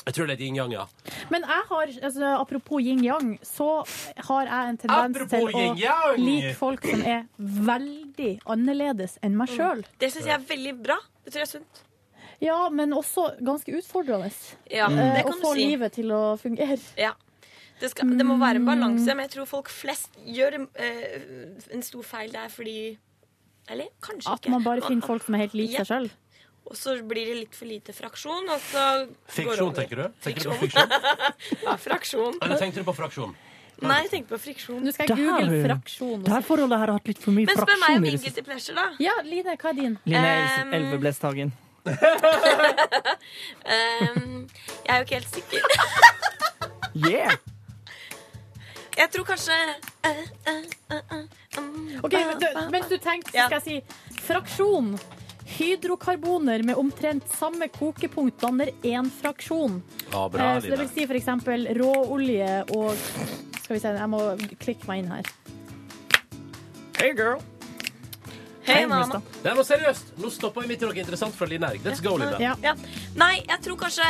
Speaker 2: Jeg tror det er et yin-yang, ja.
Speaker 5: Men jeg har, altså, apropos yin-yang, så har jeg en tendens
Speaker 2: Apropos
Speaker 5: til å
Speaker 2: yin-yang!
Speaker 5: like folk som er veldig annerledes enn meg sjøl.
Speaker 12: Det syns jeg er veldig bra. Det tror jeg er sunt.
Speaker 5: Ja, men også ganske utfordrende.
Speaker 12: Ja,
Speaker 5: Eh,
Speaker 12: det
Speaker 5: å
Speaker 12: kan du
Speaker 5: få
Speaker 12: si.
Speaker 5: livet til å fungere.
Speaker 12: Ja. Det, skal, det må være en
Speaker 5: Mm.
Speaker 12: balanse, men jeg tror folk flest gjør eh, en stor feil der fordi Eller kanskje
Speaker 5: At
Speaker 12: ikke.
Speaker 5: man bare finner folk som er helt like seg
Speaker 12: Ja.
Speaker 5: sjøl.
Speaker 12: Og så blir det litt for lite fraksjon, og så går det
Speaker 2: Fiksjon,
Speaker 12: over.
Speaker 2: tenker du? Tenker du på
Speaker 12: Friksjon.
Speaker 2: fiksjon?
Speaker 12: Ja, fraksjon.
Speaker 2: Eller tenkte du på fraksjon?
Speaker 12: Nei, jeg tenkte på friksjon.
Speaker 5: Nå skal
Speaker 4: Det her er jo- Det her forholdet her har hatt litt for mye
Speaker 12: Men spør meg
Speaker 4: fraksjon
Speaker 12: om
Speaker 4: i det siste.
Speaker 12: guilty pleasure, da.
Speaker 5: Ja, Line, hva er din?
Speaker 4: Line Elveblesthagen.
Speaker 12: Ehm, jeg er jo ikke helt sikker.
Speaker 4: Yeah!
Speaker 12: Jeg tror kanskje eh, eh, eh, eh, mm,
Speaker 5: Ok, men du- Mens du tenker, så skal jeg si fraksjon. Hydrokarboner med omtrent samme kokepunkt danner én fraksjon.
Speaker 2: Ja, bra,
Speaker 5: Eh, så det
Speaker 2: Line.
Speaker 5: vil si for eksempel råolje og Skal vi se, jeg må klikke meg inn her.
Speaker 4: Hey, girl.
Speaker 12: Hei, mamma.
Speaker 2: Nei, nå seriøst! Nå stopper vi midt i noe interessant fra Line Erik. Let's go, Line.
Speaker 12: Ja. Ja. Nei, jeg tror kanskje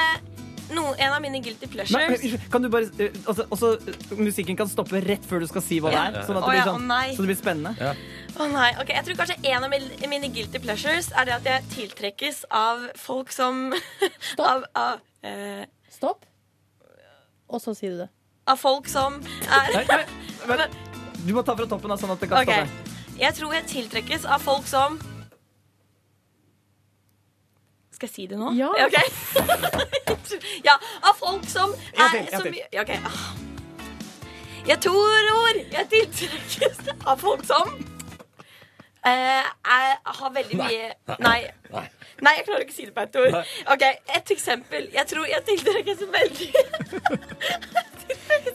Speaker 12: no, en av mine guilty
Speaker 4: Nei,
Speaker 12: pleasures
Speaker 4: unnskyld, kan du bare eh, altså, også, eh, Musikken kan stoppe rett før du skal si hva det
Speaker 12: Ja.
Speaker 4: er, sånn at
Speaker 12: Å
Speaker 4: det
Speaker 12: ja,
Speaker 4: blir,
Speaker 12: å
Speaker 4: sånn,
Speaker 12: nei.
Speaker 4: så det blir spennende.
Speaker 12: Å nei, ok, Jeg tror kanskje en av mil- mine guilty pleasures er det at jeg tiltrekkes av folk som Stopp. Av, av, eh,
Speaker 5: Stopp. Og så sier du det.
Speaker 12: av folk som er
Speaker 4: Nei, nei, vent. Du må ta fra toppen, da, sånn at det kan
Speaker 12: Ok.
Speaker 4: stoppe.
Speaker 12: Jeg tror jeg tiltrekkes av folk som Skal jeg si det nå?
Speaker 5: Ja.
Speaker 12: Ok. ja, av folk som
Speaker 6: En
Speaker 12: er
Speaker 6: til, en
Speaker 12: så
Speaker 6: til.
Speaker 12: mye ja, ok. Ah. Jeg tror jeg tiltrekkes av folk som eh, er, har veldig mye Nei.
Speaker 2: Nei.
Speaker 12: Nei, jeg klarer ikke å si det på ett ord.
Speaker 2: Nei.
Speaker 12: Ok, Et eksempel. Jeg tror jeg tiltrekkes veldig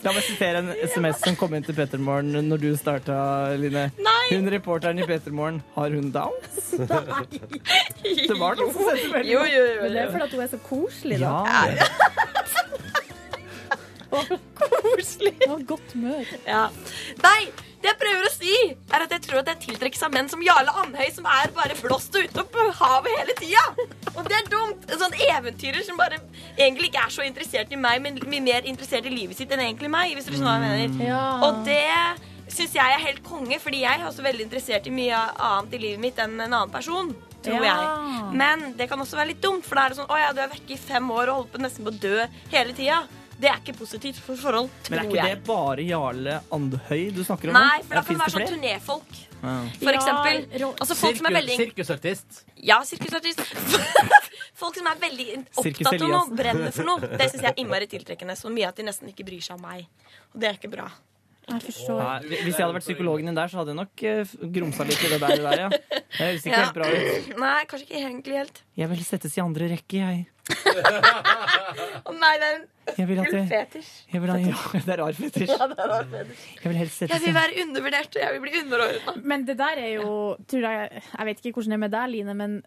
Speaker 4: La meg sitere en SMS som kom inn til Petermorgen når du starta, Line.
Speaker 12: Nei.
Speaker 4: Hun reporteren i Petermorgen, har hun downs? Det var noen som sendte melding.
Speaker 12: Jo, jo, jo.
Speaker 5: Men det er
Speaker 12: jo.
Speaker 5: fordi at hun er så koselig, da.
Speaker 4: Ja.
Speaker 12: Koselig.
Speaker 5: Og godt humør.
Speaker 12: Ja. Nei, det jeg prøver å si, er at jeg tror at jeg tiltrekkes av menn som Jarle Andhøy, som er bare blåst ute på havet hele tida. Og det er dumt. En sånn eventyrer som bare egentlig ikke er så interessert i meg, men mye mer interessert i livet sitt enn egentlig meg, hvis du skjønner hva jeg mener.
Speaker 5: Ja.
Speaker 12: Og det syns jeg er helt konge, fordi jeg er også veldig interessert i mye annet i livet mitt enn en annen person. Tror
Speaker 5: Ja.
Speaker 12: jeg. Men det kan også være litt dumt, for da er det sånn Å ja, du er vekke i fem år og holder på nesten på å dø hele tida. Det er ikke positivt for forhold, tror
Speaker 4: Men er
Speaker 12: jeg.
Speaker 4: ikke det bare Jarle Andhøy du snakker om? nå?
Speaker 12: Nei, for
Speaker 4: Eller
Speaker 12: da kan det
Speaker 4: Mm-hmm. finnes
Speaker 12: være
Speaker 4: flere?
Speaker 12: sånn turnéfolk.
Speaker 4: Ja.
Speaker 12: For eksempel. Altså folk som er veldig
Speaker 2: Sirkusartist.
Speaker 12: Ja, sirkusartist. Folk som er veldig
Speaker 2: Sirkus
Speaker 12: opptatt av noe,
Speaker 2: Eliassen.
Speaker 12: brenner for noe. Det syns jeg er innmari tiltrekkende. Så mye at de nesten ikke bryr seg om meg. Og det er ikke bra.
Speaker 5: Jeg
Speaker 4: Ja, hvis jeg hadde vært psykologen din der, så hadde jeg nok eh, grumsa litt i det der. der ja. Det høres ikke
Speaker 12: Ja.
Speaker 4: helt bra ut.
Speaker 12: Nei, kanskje ikke egentlig helt.
Speaker 4: Jeg vil settes i andre rekke, jeg.
Speaker 12: Å nei, det er en
Speaker 4: Jeg vil at
Speaker 12: full
Speaker 4: jeg-
Speaker 12: fetisj.
Speaker 4: jeg vil ha, ja, det er rar fetisj.
Speaker 12: Ja, det er en fetisj.
Speaker 4: Jeg vil helst
Speaker 12: Jeg
Speaker 4: settes i
Speaker 12: vil være undervurdert, og jeg vil bli underordna.
Speaker 5: Men det der er jo tror jeg, jeg vet ikke hvordan det er med deg, Line, men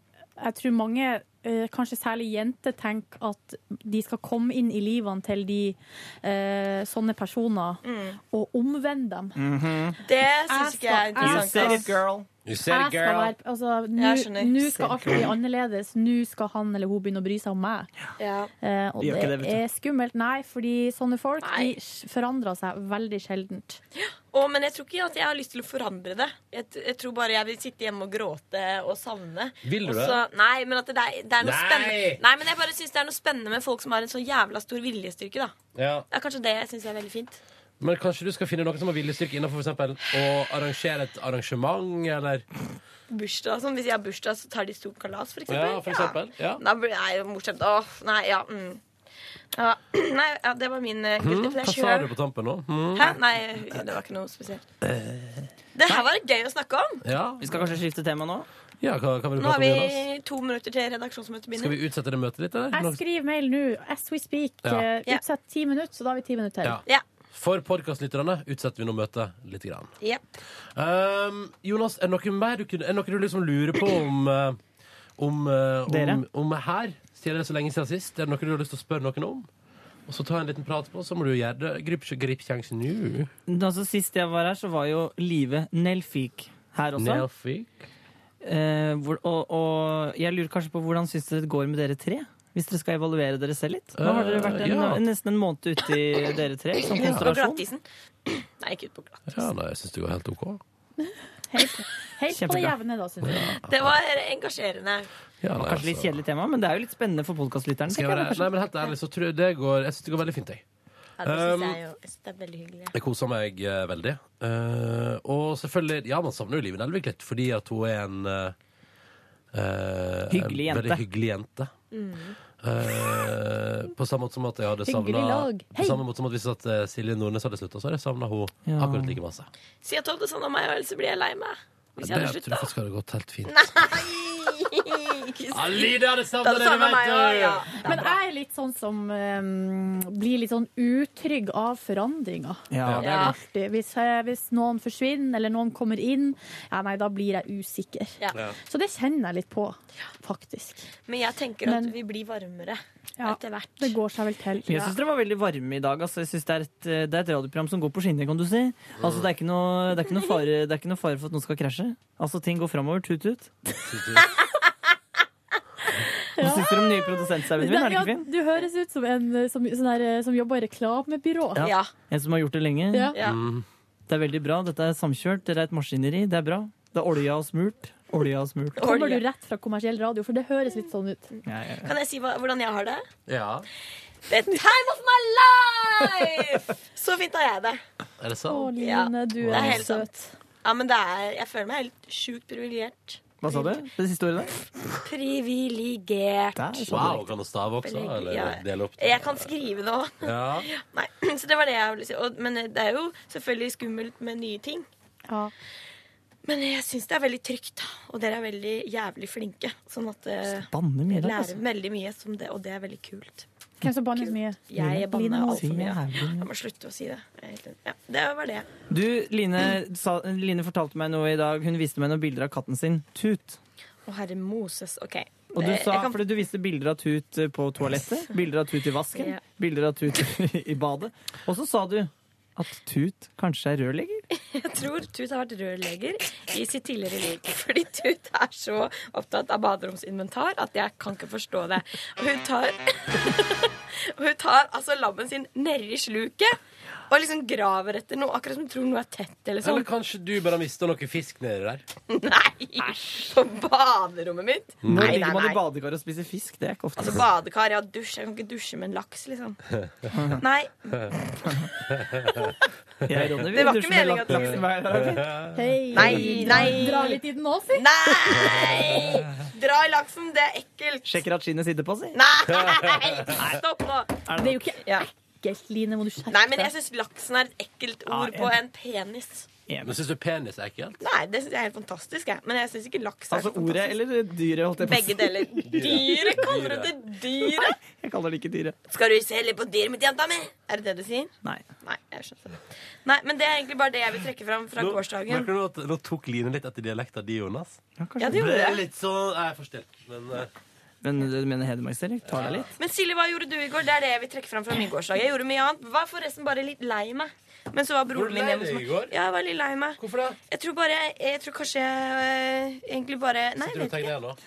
Speaker 5: jeg tror mange, eh, kanskje særlig jenter, tenker at de skal komme inn i livene til de eh, sånne personer
Speaker 12: Mm.
Speaker 5: og omvende dem.
Speaker 12: Det syns ikke jeg er
Speaker 5: Jeg skal-
Speaker 12: interessant.
Speaker 2: You
Speaker 5: Jeg skal være, altså,
Speaker 12: Jeg skjønner.
Speaker 5: nå- Nå skal
Speaker 12: Said
Speaker 5: alt bli
Speaker 12: girl.
Speaker 5: annerledes. Nå skal han eller hun begynne å bry seg om meg.
Speaker 12: Ja.
Speaker 5: Eh, og
Speaker 12: Vi gjør
Speaker 5: det,
Speaker 12: ikke det, vet du.
Speaker 5: er skummelt. Nei, fordi sånne folk
Speaker 12: Nei.
Speaker 5: de s- forandrer seg veldig sjeldent.
Speaker 12: Å, men jeg tror ikke at jeg har lyst til å forandre det. Jeg, t- jeg tror bare jeg vil sitte hjemme og gråte og savne.
Speaker 2: Vil du
Speaker 12: Og
Speaker 2: det?
Speaker 12: så- Nei, men at det, er- det er noe
Speaker 2: Nei!
Speaker 12: spennende Nei, men jeg bare syns det er noe spennende med folk som har en så jævla stor viljestyrke, da.
Speaker 2: Ja.
Speaker 12: Det er kanskje det jeg syns er veldig fint.
Speaker 2: Men kanskje du skal finne noen som har viljestyrke innenfor for eksempel å arrangere et arrangement, eller
Speaker 12: Bursdag og sånn. Hvis jeg har bursdag, så tar de stort kalas, for eksempel.
Speaker 2: Ja, for eksempel. Ja.
Speaker 12: Da blir det er jo morsomt. Åh, nei, ja. Mm. ja. Nei, ja, det var min uh, guilty
Speaker 2: Hm, Hva
Speaker 12: pleasure.
Speaker 2: sa du på tampen nå? Hm?
Speaker 12: Hæ? Nei, det var ikke noe spesielt.
Speaker 2: Eh,
Speaker 12: Det her var gøy å snakke om.
Speaker 2: Ja.
Speaker 4: Vi skal kanskje skifte tema nå?
Speaker 2: Ja, hva, hva vil du
Speaker 12: Nå har
Speaker 2: prate om, Jonas?
Speaker 12: vi to minutter til redaksjonsmøtet
Speaker 2: Skal
Speaker 12: begynner.
Speaker 2: vi utsette det møtet litt, eller?
Speaker 5: Jeg skriver mail nå, as we speak.
Speaker 2: Ja.
Speaker 5: eh, Utsett ti minutter, så da har vi ti minutter til.
Speaker 2: Ja. For podkastlytterne utsetter vi nå møtet litt. Grann.
Speaker 12: Yep.
Speaker 2: Um, Jonas, er det noe mer du, kunne, er det noe du liksom lurer på om eh, om, eh, om,
Speaker 4: Dere?
Speaker 2: om her? Siden det er så lenge siden sist. Er det noe du har lyst til å spørre noen om? Og så ta en liten prat på, så må du gjøre det. Grip, grip sjansen nå.
Speaker 4: Altså, sist jeg var her, så var jo Live Nelfik her også.
Speaker 2: Nelfik.
Speaker 4: Eh, hvor, og, og jeg lurer kanskje på hvordan syns dere det går med dere tre? hvis dere skal evaluere dere selv litt. Nå har dere vært en,
Speaker 2: Eh, Ja.
Speaker 4: nesten en måned ute i dere tre som
Speaker 12: Ut på
Speaker 4: konsentrasjon.
Speaker 12: glattisen. Nei, ikke ut på glattisen.
Speaker 2: Ja, nei, jeg syns det går helt OK.
Speaker 5: Helt, helt på det
Speaker 4: Kjempebra.
Speaker 5: jevne, da, syns jeg.
Speaker 12: Det var engasjerende.
Speaker 2: Ja,
Speaker 4: Det var
Speaker 2: nei,
Speaker 4: kanskje litt kjedelig tema, men det er jo litt spennende for podkastlytteren.
Speaker 2: Skal jeg være Nei, men helt ærlig, så tror jeg det går Jeg syns det går veldig fint, jeg.
Speaker 12: Ja, det synes
Speaker 2: Um,
Speaker 12: jeg jo. Jeg synes det er veldig hyggelig.
Speaker 2: Jeg koser meg eh, veldig. Eh, og selvfølgelig Ja, man savner jo Live Nelvik litt, fordi at hun er en eh, eh,
Speaker 4: Hyggelig jente.
Speaker 2: en Veldig hyggelig jente. Eh, på samme måte som at jeg hadde
Speaker 12: Mm. Hyggelig
Speaker 2: savna
Speaker 12: lag.
Speaker 2: På samme måte som at hvis at eh, Silje Nordnes hadde slutta, så hadde jeg savna hun akkurat like masse.
Speaker 12: Si at du hadde sånn av meg, og ellers så blir jeg lei meg. Hvis jeg
Speaker 2: det
Speaker 12: hadde
Speaker 2: tror jeg
Speaker 12: slutta.
Speaker 2: faktisk hadde gått helt fint.
Speaker 12: Nei! ikke si-
Speaker 2: Ja, Lydia hadde savnet
Speaker 12: Du savnet
Speaker 2: dere, vet
Speaker 12: meg
Speaker 2: du.
Speaker 12: også, ja.
Speaker 5: Men jeg er litt sånn som eh, blir litt sånn utrygg av forandringer.
Speaker 4: Ja, det er
Speaker 5: Ja.
Speaker 4: det.
Speaker 5: Alltid. Hvis, eh, hvis noen forsvinner, eller noen kommer inn, ja, nei, da blir jeg usikker.
Speaker 12: Ja.
Speaker 5: Så det kjenner jeg litt på, faktisk.
Speaker 12: Men jeg tenker at
Speaker 5: Men-
Speaker 12: vi blir varmere
Speaker 5: Ja,
Speaker 12: etter hvert.
Speaker 5: Det går seg vel til.
Speaker 4: Jeg syns dere var veldig varme i dag. Altså, jeg synes det, er et, eh, det er et radioprogram som går på skinner, kan du si. Altså, det, er ikke noe, det, er ikke noe fare, det er ikke noe fare for at noen skal krasje. Altså, ting går framover. Tut-tut. Hva syns dere om nye produsentsauen min? Er det
Speaker 5: Ja,
Speaker 4: ikke fin?
Speaker 5: du høres ut som en eh, som, sånn her, eh, som jobber i reklamebyrå.
Speaker 4: En som har gjort det lenge.
Speaker 5: Ja. Ja. Mm.
Speaker 4: Det er veldig bra. Dette er samkjørt. Dere er et maskineri. Det er bra. Det er olja og smurt. Olja og smurt.
Speaker 5: Kommer du rett fra kommersiell radio? For det høres litt sånn ut.
Speaker 4: Ja, ja, ja.
Speaker 12: Kan jeg si hva, hvordan jeg har det?
Speaker 2: Ja,
Speaker 12: The time of my life! Så fint har jeg det.
Speaker 2: er det sant?
Speaker 5: Line, du
Speaker 12: Det
Speaker 5: er
Speaker 12: helt sant. Ja, men det er, jeg føler meg helt sjukt privilegert.
Speaker 4: Hva sa du? Det siste ordet der?
Speaker 12: Privilegert.
Speaker 2: Wow, kan du stave også? Eller
Speaker 12: Ja.
Speaker 2: dele opp?
Speaker 12: Jeg kan skrive nå.
Speaker 2: Ja.
Speaker 12: Nei, så det var det jeg ville si. Og, men det er jo selvfølgelig skummelt med nye ting. Men jeg syns det er veldig trygt, da. og dere er veldig jævlig flinke. Sånn at eh,
Speaker 4: Banner mye i
Speaker 12: jeg
Speaker 4: dag,
Speaker 12: lærer
Speaker 4: altså.
Speaker 12: veldig mye, som det, og det er veldig kult.
Speaker 5: Hvem som banner mye?
Speaker 12: Jeg
Speaker 4: Line
Speaker 12: banner
Speaker 4: må si
Speaker 12: altfor mye.
Speaker 4: jævlig mye.
Speaker 12: Jeg må slutte å si det. Jeg er helt enig. Ja, det var det.
Speaker 4: Du, Line, sa, Line fortalte meg noe i dag. Hun viste meg noen bilder av katten sin. Tut.
Speaker 12: Å, herre Moses. OK.
Speaker 4: Og du
Speaker 12: Det-
Speaker 4: sa,
Speaker 12: Eh, jeg kan-
Speaker 4: fordi du viste bilder av Tut eh, på toalettet, bilder av Tut i vasken,
Speaker 12: Ja.
Speaker 4: bilder av Tut i badet. Og så sa du at Tut kanskje er rørlegger.
Speaker 12: Jeg tror Tut har vært rørlegger i sitt tidligere liv. Fordi Tut er så opptatt av baderomsinventar at jeg kan ikke forstå det. Og hun tar, og hun tar altså labben sin nedi sluket og liksom graver etter noe, akkurat som hun tror noe er tett. Eller sånn.
Speaker 2: Eller kanskje du bare mista noe fisk nedi der?
Speaker 12: Nei! På baderommet mitt?
Speaker 4: Nå
Speaker 12: Mm. Nei,
Speaker 4: ligger
Speaker 12: nei,
Speaker 4: man i
Speaker 12: nei.
Speaker 4: badekar og spiser fisk. Det er ikke ofte.
Speaker 12: Altså badekar, ja, dusj. Jeg kan ikke dusje med en laks, liksom. Nei.
Speaker 4: Jeg rådde,
Speaker 12: Det var ikke meningen at laksen-
Speaker 5: Hei.
Speaker 12: Nei, nei.
Speaker 5: Dra litt i den nå, si.
Speaker 12: Nei! Dra i laksen, det er ekkelt.
Speaker 4: Sjekker at skinnet sitter på, si.
Speaker 12: Nei! Stopp nå.
Speaker 4: Er
Speaker 5: Det er jo ikke ekkelt, Line. Må du skjerpe
Speaker 12: Nei, men jeg syns laksen er et ekkelt ord på en penis.
Speaker 2: Men Syns du penis er ekkelt?
Speaker 12: Nei, det syns jeg er helt fantastisk, jeg. Men jeg syns ikke laks er
Speaker 4: Altså
Speaker 12: så
Speaker 4: ordet
Speaker 12: fantastisk.
Speaker 4: eller dyret, holdt jeg på å si.
Speaker 12: Begge deler. Dyret kaller du det dyret?
Speaker 4: Jeg kaller det ikke dyret.
Speaker 12: Skal du se litt på dyret mitt, jenta mi? Er det det du sier?
Speaker 4: Nei.
Speaker 12: Nei, jeg skjønner det. Nei, men det er egentlig bare det jeg vil trekke fram fra
Speaker 2: Nå-
Speaker 12: gårsdagen.
Speaker 2: Merker du at nå tok Line litt etter dialekta di, Jonas?
Speaker 12: Ja, det gjorde
Speaker 2: Ble
Speaker 12: jeg.
Speaker 2: Litt sånn, jeg er forstilt, men eh,
Speaker 4: Men du mener Hedmarksdialekt? Tar deg litt?
Speaker 12: Men Silje, hva gjorde du i går? Det er det jeg vil trekke fram fra min gårsdag. Jeg gjorde mye annet. Var forresten bare litt lei meg. Men så var
Speaker 2: Var du
Speaker 12: broren min
Speaker 2: lei
Speaker 12: hjemme.
Speaker 2: deg
Speaker 12: hos
Speaker 2: i
Speaker 12: meg.
Speaker 2: går?
Speaker 12: Ja, jeg var litt lei meg.
Speaker 2: Hvorfor det?
Speaker 12: Jeg tror bare Jeg tror kanskje jeg eh, egentlig bare Nei,
Speaker 2: sitter du og
Speaker 12: vet ikke.
Speaker 2: tegner igjen nå?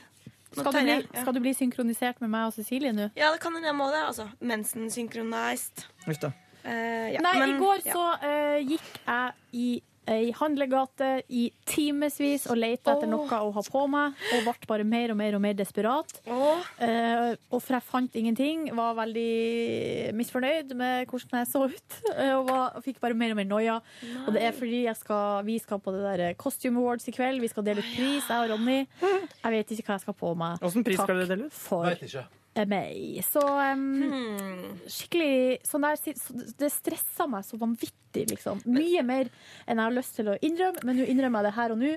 Speaker 12: Nå
Speaker 5: Skal du, bli,
Speaker 12: tegner jeg, ja.
Speaker 5: skal du bli synkronisert med meg og Cecilie nå?
Speaker 12: Ja, det kan hende jeg må det. altså. Mensen synchronized.
Speaker 4: Uff da.
Speaker 12: Eh, ja.
Speaker 5: Nei,
Speaker 12: Men-
Speaker 5: i går
Speaker 12: ja.
Speaker 5: så eh, gikk jeg i ei handlegate i timevis og lette etter noe å ha på meg, og ble bare mer og mer og mer desperat. Eh, og for jeg fant ingenting, var veldig misfornøyd med hvordan jeg så ut. eh, og, var, og fikk bare mer og mer noia. Og det er fordi jeg skal, vi skal på det der eh, Costume Awards i kveld. Vi skal dele ut pris, jeg og Ronny. Jeg vet ikke hva jeg skal på meg.
Speaker 4: Åssen pris
Speaker 5: Takk
Speaker 4: skal dere dele ut?
Speaker 5: for
Speaker 2: Vet ikke.
Speaker 5: meg. Så um,
Speaker 4: Hmm.
Speaker 5: skikkelig sånn der, så Det stressa meg så vanvittig, liksom. Mye mer enn jeg har lyst til å innrømme, men nå innrømmer jeg det her og nå,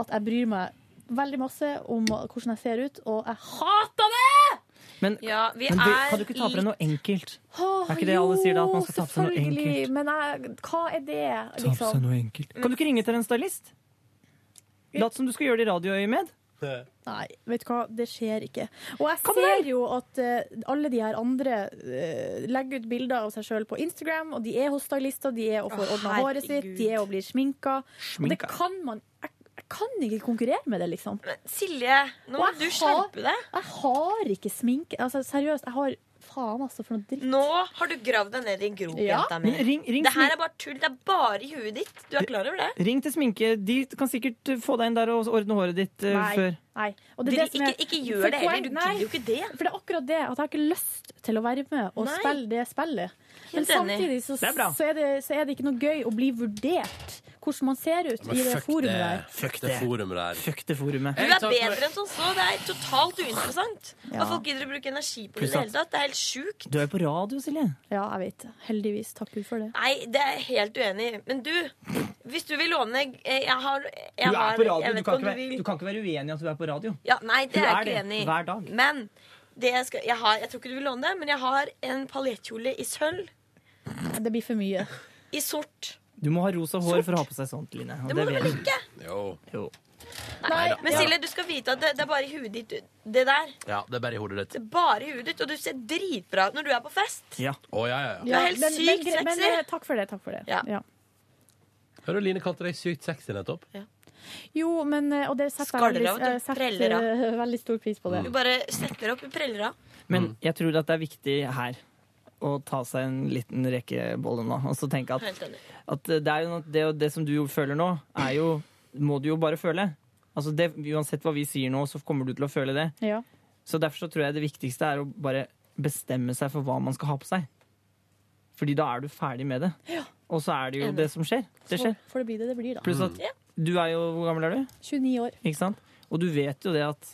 Speaker 5: at jeg bryr meg veldig masse om hvordan jeg ser ut, og jeg hater det!
Speaker 4: Men,
Speaker 12: Ja, vi
Speaker 4: men du,
Speaker 12: er
Speaker 4: kan du ikke ta på deg noe enkelt?
Speaker 5: Åh,
Speaker 4: Er ikke det alle sier da, at man skal ta på seg noe
Speaker 5: selvfølgelig,
Speaker 4: enkelt?
Speaker 5: Men jeg, hva er det,
Speaker 4: Ta på seg
Speaker 5: liksom?
Speaker 4: noe enkelt. Kan du ikke ringe til en stylist? Lat som du skal gjøre det i radioøyemed.
Speaker 5: Nei, vet du hva, det skjer ikke. Og jeg ser jo at eh, alle de her andre eh, legger ut bilder av seg sjøl på Instagram, og de er hos stylister, de er og får
Speaker 12: Å,
Speaker 5: ordna håret sitt,
Speaker 12: herregud.
Speaker 5: de er og blir sminka. Og det
Speaker 4: Sminka.
Speaker 5: kan man jeg, jeg kan ikke konkurrere med det, liksom.
Speaker 12: Silje, nå må
Speaker 5: Og
Speaker 12: du
Speaker 5: jeg
Speaker 12: skjerpe deg.
Speaker 5: Jeg har ikke sminke. Altså, seriøst, jeg har faen altså for noe dritt.
Speaker 12: Nå har du gravd deg ned i en grop,
Speaker 5: Ja.
Speaker 12: jenta mi.
Speaker 5: Men ring- ring
Speaker 12: det
Speaker 5: smink-
Speaker 12: her er bare tull. Det er bare i huet ditt. Du er klar over det?
Speaker 4: Ring til sminke. De kan sikkert få deg inn der og ordne håret ditt eh, før.
Speaker 5: Nei.
Speaker 12: Dere, ikke- ikke gjør det heller. Du gidder jo
Speaker 5: ikke det. For det er akkurat det, at jeg har ikke lyst til å være med og
Speaker 12: Nei.
Speaker 5: spille det spillet. Men
Speaker 12: Helt enig.
Speaker 5: samtidig så,
Speaker 12: Det er bra.
Speaker 5: så, er det, så er det ikke noe gøy å bli vurdert hvordan man ser ut
Speaker 2: Men
Speaker 5: i det
Speaker 2: fuck
Speaker 5: forumet
Speaker 2: det.
Speaker 5: der.
Speaker 2: Fuck det forumet der.
Speaker 4: Fuck det forumet.
Speaker 12: Du er bedre enn som så. Det er totalt uinteressant.
Speaker 4: Ja.
Speaker 12: Og folk gidder å bruke energi på det i
Speaker 4: Pluss
Speaker 12: det
Speaker 4: at-
Speaker 12: hele tatt. Det er helt sjukt.
Speaker 4: Du er jo på radio, Silje.
Speaker 5: Ja, jeg vet det. Heldigvis. Takk Gud for det.
Speaker 12: Nei, det er jeg helt uenig i. Men du, hvis du vil låne eh, Jeg har
Speaker 4: Du
Speaker 12: jeg
Speaker 4: er
Speaker 12: har,
Speaker 4: på radio. Du
Speaker 12: jeg vet
Speaker 4: kan,
Speaker 12: ikke
Speaker 4: ikke
Speaker 12: om du
Speaker 4: være,
Speaker 12: vil
Speaker 4: du kan ikke være uenig i at du er på radio.
Speaker 12: ja, Nei, det
Speaker 4: Du
Speaker 12: er
Speaker 4: er
Speaker 12: jeg ikke
Speaker 4: det,
Speaker 12: enig i.
Speaker 4: hver dag.
Speaker 12: Men det jeg, skal, jeg, har, jeg tror ikke du vil låne det, men jeg har en paljettkjole i sølv.
Speaker 5: Det blir for mye.
Speaker 12: I sort.
Speaker 4: Du må ha rosa hår for å ha på seg sånt, Line. og
Speaker 12: Det må du
Speaker 4: vet
Speaker 12: vel
Speaker 4: jeg.
Speaker 12: ikke?
Speaker 4: Jo.
Speaker 12: Nei,
Speaker 4: da.
Speaker 12: men Silje, du skal vite at det, det er bare i huet ditt, det der.
Speaker 2: Ja, det er bare i hodet ditt.
Speaker 12: Det er bare i huet ditt, og du ser dritbra ut når du er på fest.
Speaker 4: Ja.
Speaker 2: Å, ja, ja,
Speaker 12: Du
Speaker 2: ja.
Speaker 12: er helt
Speaker 5: men- men
Speaker 12: sykt
Speaker 5: gre- men,
Speaker 12: sexy.
Speaker 5: eh, takk for det. Takk for det. Ja.
Speaker 2: Hører du Line kalte deg sykt sexy nettopp?
Speaker 5: Jo, men eh, Og det setter
Speaker 12: Skaller
Speaker 5: jeg
Speaker 12: av, vet
Speaker 5: veldig,
Speaker 12: du.
Speaker 5: jeg setter,
Speaker 12: Preller av. Mm.
Speaker 5: eh, veldig stor pris på det.
Speaker 12: Du bare setter opp i prellera.
Speaker 4: Men jeg tror at det er viktig her å ta seg en liten rekebolle nå, og så tenke
Speaker 12: Helt
Speaker 4: at,
Speaker 12: enig.
Speaker 4: at det, er jo, noe- det, er jo- det som du jo føler nå, er jo Må du jo bare føle. Altså det, uansett hva vi sier nå, så kommer du til å føle det.
Speaker 5: Ja.
Speaker 4: Så derfor så tror jeg det viktigste er å bare bestemme seg for hva man skal ha på seg. Fordi da er du ferdig med det. Og så er det jo
Speaker 5: Enig.
Speaker 4: det som skjer. Det
Speaker 5: Så
Speaker 4: skjer.
Speaker 5: får det bli det det blir, da.
Speaker 4: Pluss at du er jo Hvor gammel er du?
Speaker 2: Mm.
Speaker 5: 29 år.
Speaker 4: Ikke sant? Og du vet jo det at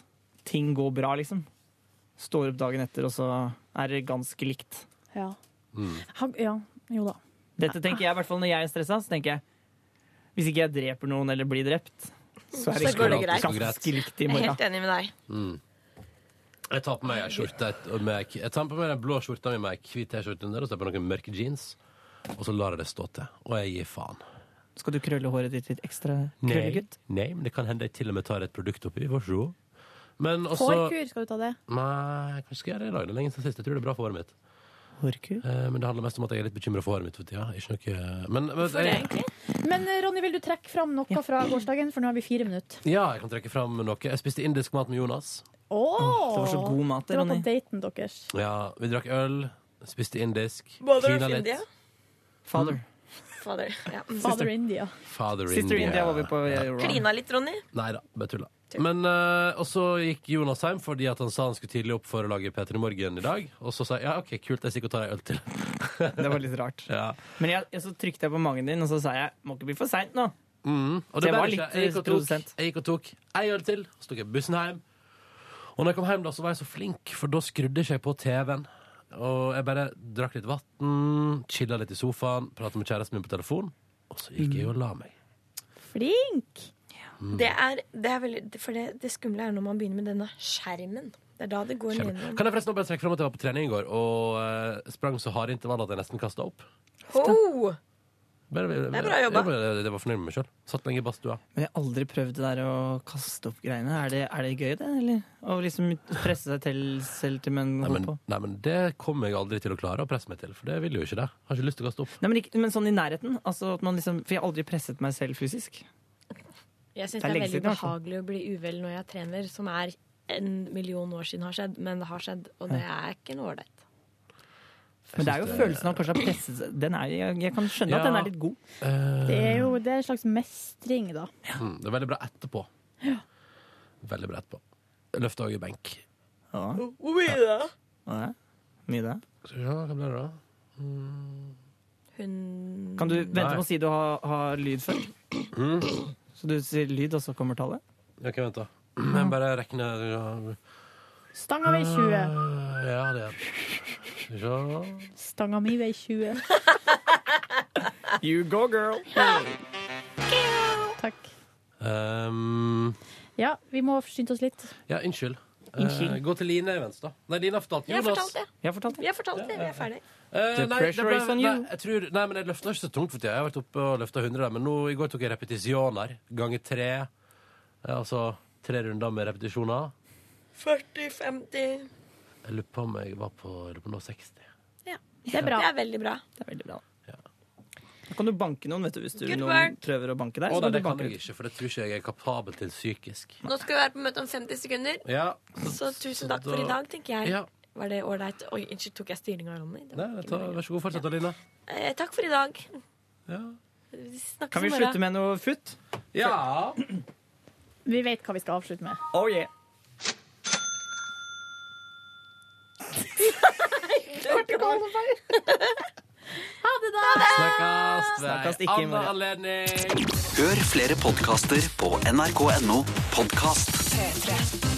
Speaker 4: ting går bra, liksom. Står opp dagen etter, og så er det ganske likt.
Speaker 5: Ja.
Speaker 2: Mm.
Speaker 5: Ha, ja. Jo da.
Speaker 4: Dette tenker jeg i hvert fall når jeg er stressa. Så tenker jeg hvis ikke jeg dreper noen eller blir drept, så er det,
Speaker 12: Så går det greit.
Speaker 4: ganske likt i
Speaker 12: Jeg er
Speaker 4: morgen.
Speaker 12: helt enig med deg.
Speaker 2: Mm. Jeg tar på meg ei skjorte et- med, Jeg tar på meg den blå skjorta mi med ei hvit T-skjorte under, og så tar jeg på noen mørke jeans, og så lar jeg det stå til. Og jeg gir faen.
Speaker 4: Skal du krølle håret ditt litt ekstra?
Speaker 2: Nei,
Speaker 4: Krøllegutt?
Speaker 2: nei men det kan hende jeg til og med tar et produkt oppi. Vi får se. Men også
Speaker 5: Hårkur, skal du ta det?
Speaker 2: Nei, kanskje skal jeg gjøre det i dag. Det er lenge siden sist. Jeg tror det er bra for håret mitt. Eh, men det handler mest om at jeg er litt bekymra for håret mitt for tida. Ikke noe Men, men jeg,
Speaker 5: Men eh, Ronny, vil du trekke fram noe fra gårsdagen? For nå har vi fire minutter.
Speaker 2: ja, jeg kan trekke fram noe. Jeg spiste indisk mat med Jonas.
Speaker 5: Åh!
Speaker 2: Mm, Det var så god mat,
Speaker 5: Det var på
Speaker 2: Ronny.
Speaker 5: daten deres.
Speaker 2: Ja, Vi drakk øl, spiste indisk,
Speaker 12: Mother
Speaker 2: klina
Speaker 12: of
Speaker 2: litt.
Speaker 12: India.
Speaker 4: Father.
Speaker 2: Mm.
Speaker 12: Fader, ja.
Speaker 5: Father India.
Speaker 2: Father
Speaker 4: Sister India var vi på.
Speaker 12: Mm.
Speaker 4: eh,
Speaker 12: Klina litt, Ronny.
Speaker 2: Nei da, bare tulla. Men, eh, og så gikk Jonas hjem fordi at han sa han skulle tidlig opp for å lage P3 Morgen i dag. Og så sa jeg ja, OK, kult, jeg stikker og tar ei øl til.
Speaker 4: Det var litt rart. Men jeg, jeg, så trykte jeg på magen din, og så sa jeg må ikke bli for seint nå.
Speaker 2: Mm. Og
Speaker 4: Så
Speaker 2: det
Speaker 4: jeg
Speaker 2: ble
Speaker 4: var
Speaker 2: det ikke.
Speaker 4: litt
Speaker 2: Jeg gikk og tok,
Speaker 4: produsent.
Speaker 2: jeg gikk og tok ei øl til, så tok jeg bussen hjem. Og når jeg kom hjem, da, så var jeg så flink, for da skrudde ikke jeg på TV-en. Og jeg bare drakk litt vann, chilla litt i sofaen, prata med kjæresten min på telefon, og så gikk jeg og la meg.
Speaker 5: Flink!
Speaker 2: Mm.
Speaker 12: Det er, det er veldig det- For det, det skumle er når man begynner med denne skjermen. Det er da det går
Speaker 2: Kjempe.
Speaker 12: nedover.
Speaker 2: Kan jeg forresten bare trekke fram at jeg var på trening i går og eh, sprang så harde intervall at jeg nesten kasta opp?
Speaker 12: Ho!
Speaker 2: Bare-
Speaker 12: Det er bra jobba.
Speaker 2: Jeg, bare- jeg var fornøyd med meg sjøl. Satt lenge i badstua.
Speaker 4: Men jeg har aldri prøvd det der å kaste opp greiene. Er det, er det gøy, det? Eller? Å liksom presse seg til selv til man
Speaker 2: Nei
Speaker 4: holder
Speaker 2: men,
Speaker 4: på?
Speaker 2: nei, men det kommer jeg aldri til å klare å presse meg til, for det vil jo ikke det. Har ikke lyst til å kaste opp.
Speaker 4: Nei, men, ikke, men sånn i nærheten. Altså at man liksom, for jeg har aldri presset meg selv fysisk.
Speaker 12: Jeg
Speaker 4: syns Det er det er lenge veldig siden, altså. i hvert fall.
Speaker 12: å bli uvel når jeg trener, som er en million år siden har skjedd, men det har skjedd, og
Speaker 4: det
Speaker 12: er ikke noe ålreit.
Speaker 4: Men det er jo
Speaker 2: synes det-
Speaker 4: følelsen av kanskje å presse seg den er, jeg, jeg kan skjønne
Speaker 2: Ja.
Speaker 4: at den er litt god.
Speaker 5: Det er jo det er en slags mestring, da.
Speaker 2: Mm, det er veldig bra etterpå.
Speaker 5: Ja.
Speaker 2: Veldig bra etterpå. Løfta òg i benk.
Speaker 12: Hvor mye da?
Speaker 4: Ja. Mye det.
Speaker 2: Skal vi se, hva blir det da?
Speaker 4: Kan du vente
Speaker 2: Nei.
Speaker 4: med å si du har, har lyd før? Så du sier lyd, og så kommer tallet?
Speaker 2: Jeg kan vente. Jeg bare regner ja.
Speaker 5: Stanga vei 20.
Speaker 2: Ah. Ja, det er Skal vi se.
Speaker 5: Stanga mi vei 20.
Speaker 4: You go, girl.
Speaker 5: Takk.
Speaker 2: Um,
Speaker 5: Ja, vi må skynde oss litt.
Speaker 2: ja, unnskyld. Eh,
Speaker 5: Unnskyld.
Speaker 2: gå til Line events, da. Nei, Line har fortalt
Speaker 12: Jeg har
Speaker 2: Jonas.
Speaker 12: fortalt det.
Speaker 4: Jeg har fortalt
Speaker 12: Vi har fortalt det, vi er ferdig.
Speaker 2: Eh,
Speaker 4: The
Speaker 2: nei,
Speaker 4: pressure
Speaker 2: det ble-
Speaker 4: is on
Speaker 2: nei,
Speaker 4: you.
Speaker 2: jeg tror, nei, men jeg løfter ikke så tungt for tida. Jeg har vært oppe og løfta 100, der, men nå, i går tok jeg repetisjoner ganger tre. Eh, Altså tre runder med repetisjoner.
Speaker 12: 40-50
Speaker 2: Jeg lurer på om jeg var på, jeg lurer på nå 60.
Speaker 12: ja.
Speaker 5: Det er bra.
Speaker 12: Det er veldig bra.
Speaker 4: Det er veldig bra. Så kan du banke noen, vet du, hvis du
Speaker 12: Good
Speaker 4: noen
Speaker 12: work.
Speaker 4: prøver å banke deg.
Speaker 2: Å,
Speaker 4: så
Speaker 2: nei,
Speaker 4: er
Speaker 2: det
Speaker 4: du
Speaker 2: kan
Speaker 4: banker
Speaker 2: jeg
Speaker 4: ut.
Speaker 2: ikke, for det tror ikke jeg er kapabel til psykisk.
Speaker 12: Nå skal vi være på møte om 50 sekunder.
Speaker 2: Ja.
Speaker 12: Så tusen takk for
Speaker 2: da-
Speaker 12: i dag, tenker jeg.
Speaker 2: Ja.
Speaker 12: Var det ålreit? Oi, unnskyld, tok jeg styringa av Ronny? Det var
Speaker 2: Nei,
Speaker 12: ikke
Speaker 2: ta,
Speaker 12: meningen.
Speaker 2: vær så god, fortsett, Adelina.
Speaker 12: Eh, takk for i dag.
Speaker 2: Ja.
Speaker 12: Vi snakkes
Speaker 4: Kan vi
Speaker 12: i morgen.
Speaker 4: slutte med noe futt?
Speaker 2: Ja.
Speaker 5: Vi vet hva vi skal avslutte med.
Speaker 4: Oh yeah.
Speaker 5: Ha det, da!
Speaker 2: Snakkes
Speaker 1: Snakkes
Speaker 2: ved
Speaker 1: ikke i
Speaker 2: annen
Speaker 1: morgen.
Speaker 2: anledning.
Speaker 1: Hør flere podkaster på nrk.no podkast.
Speaker 6: P3.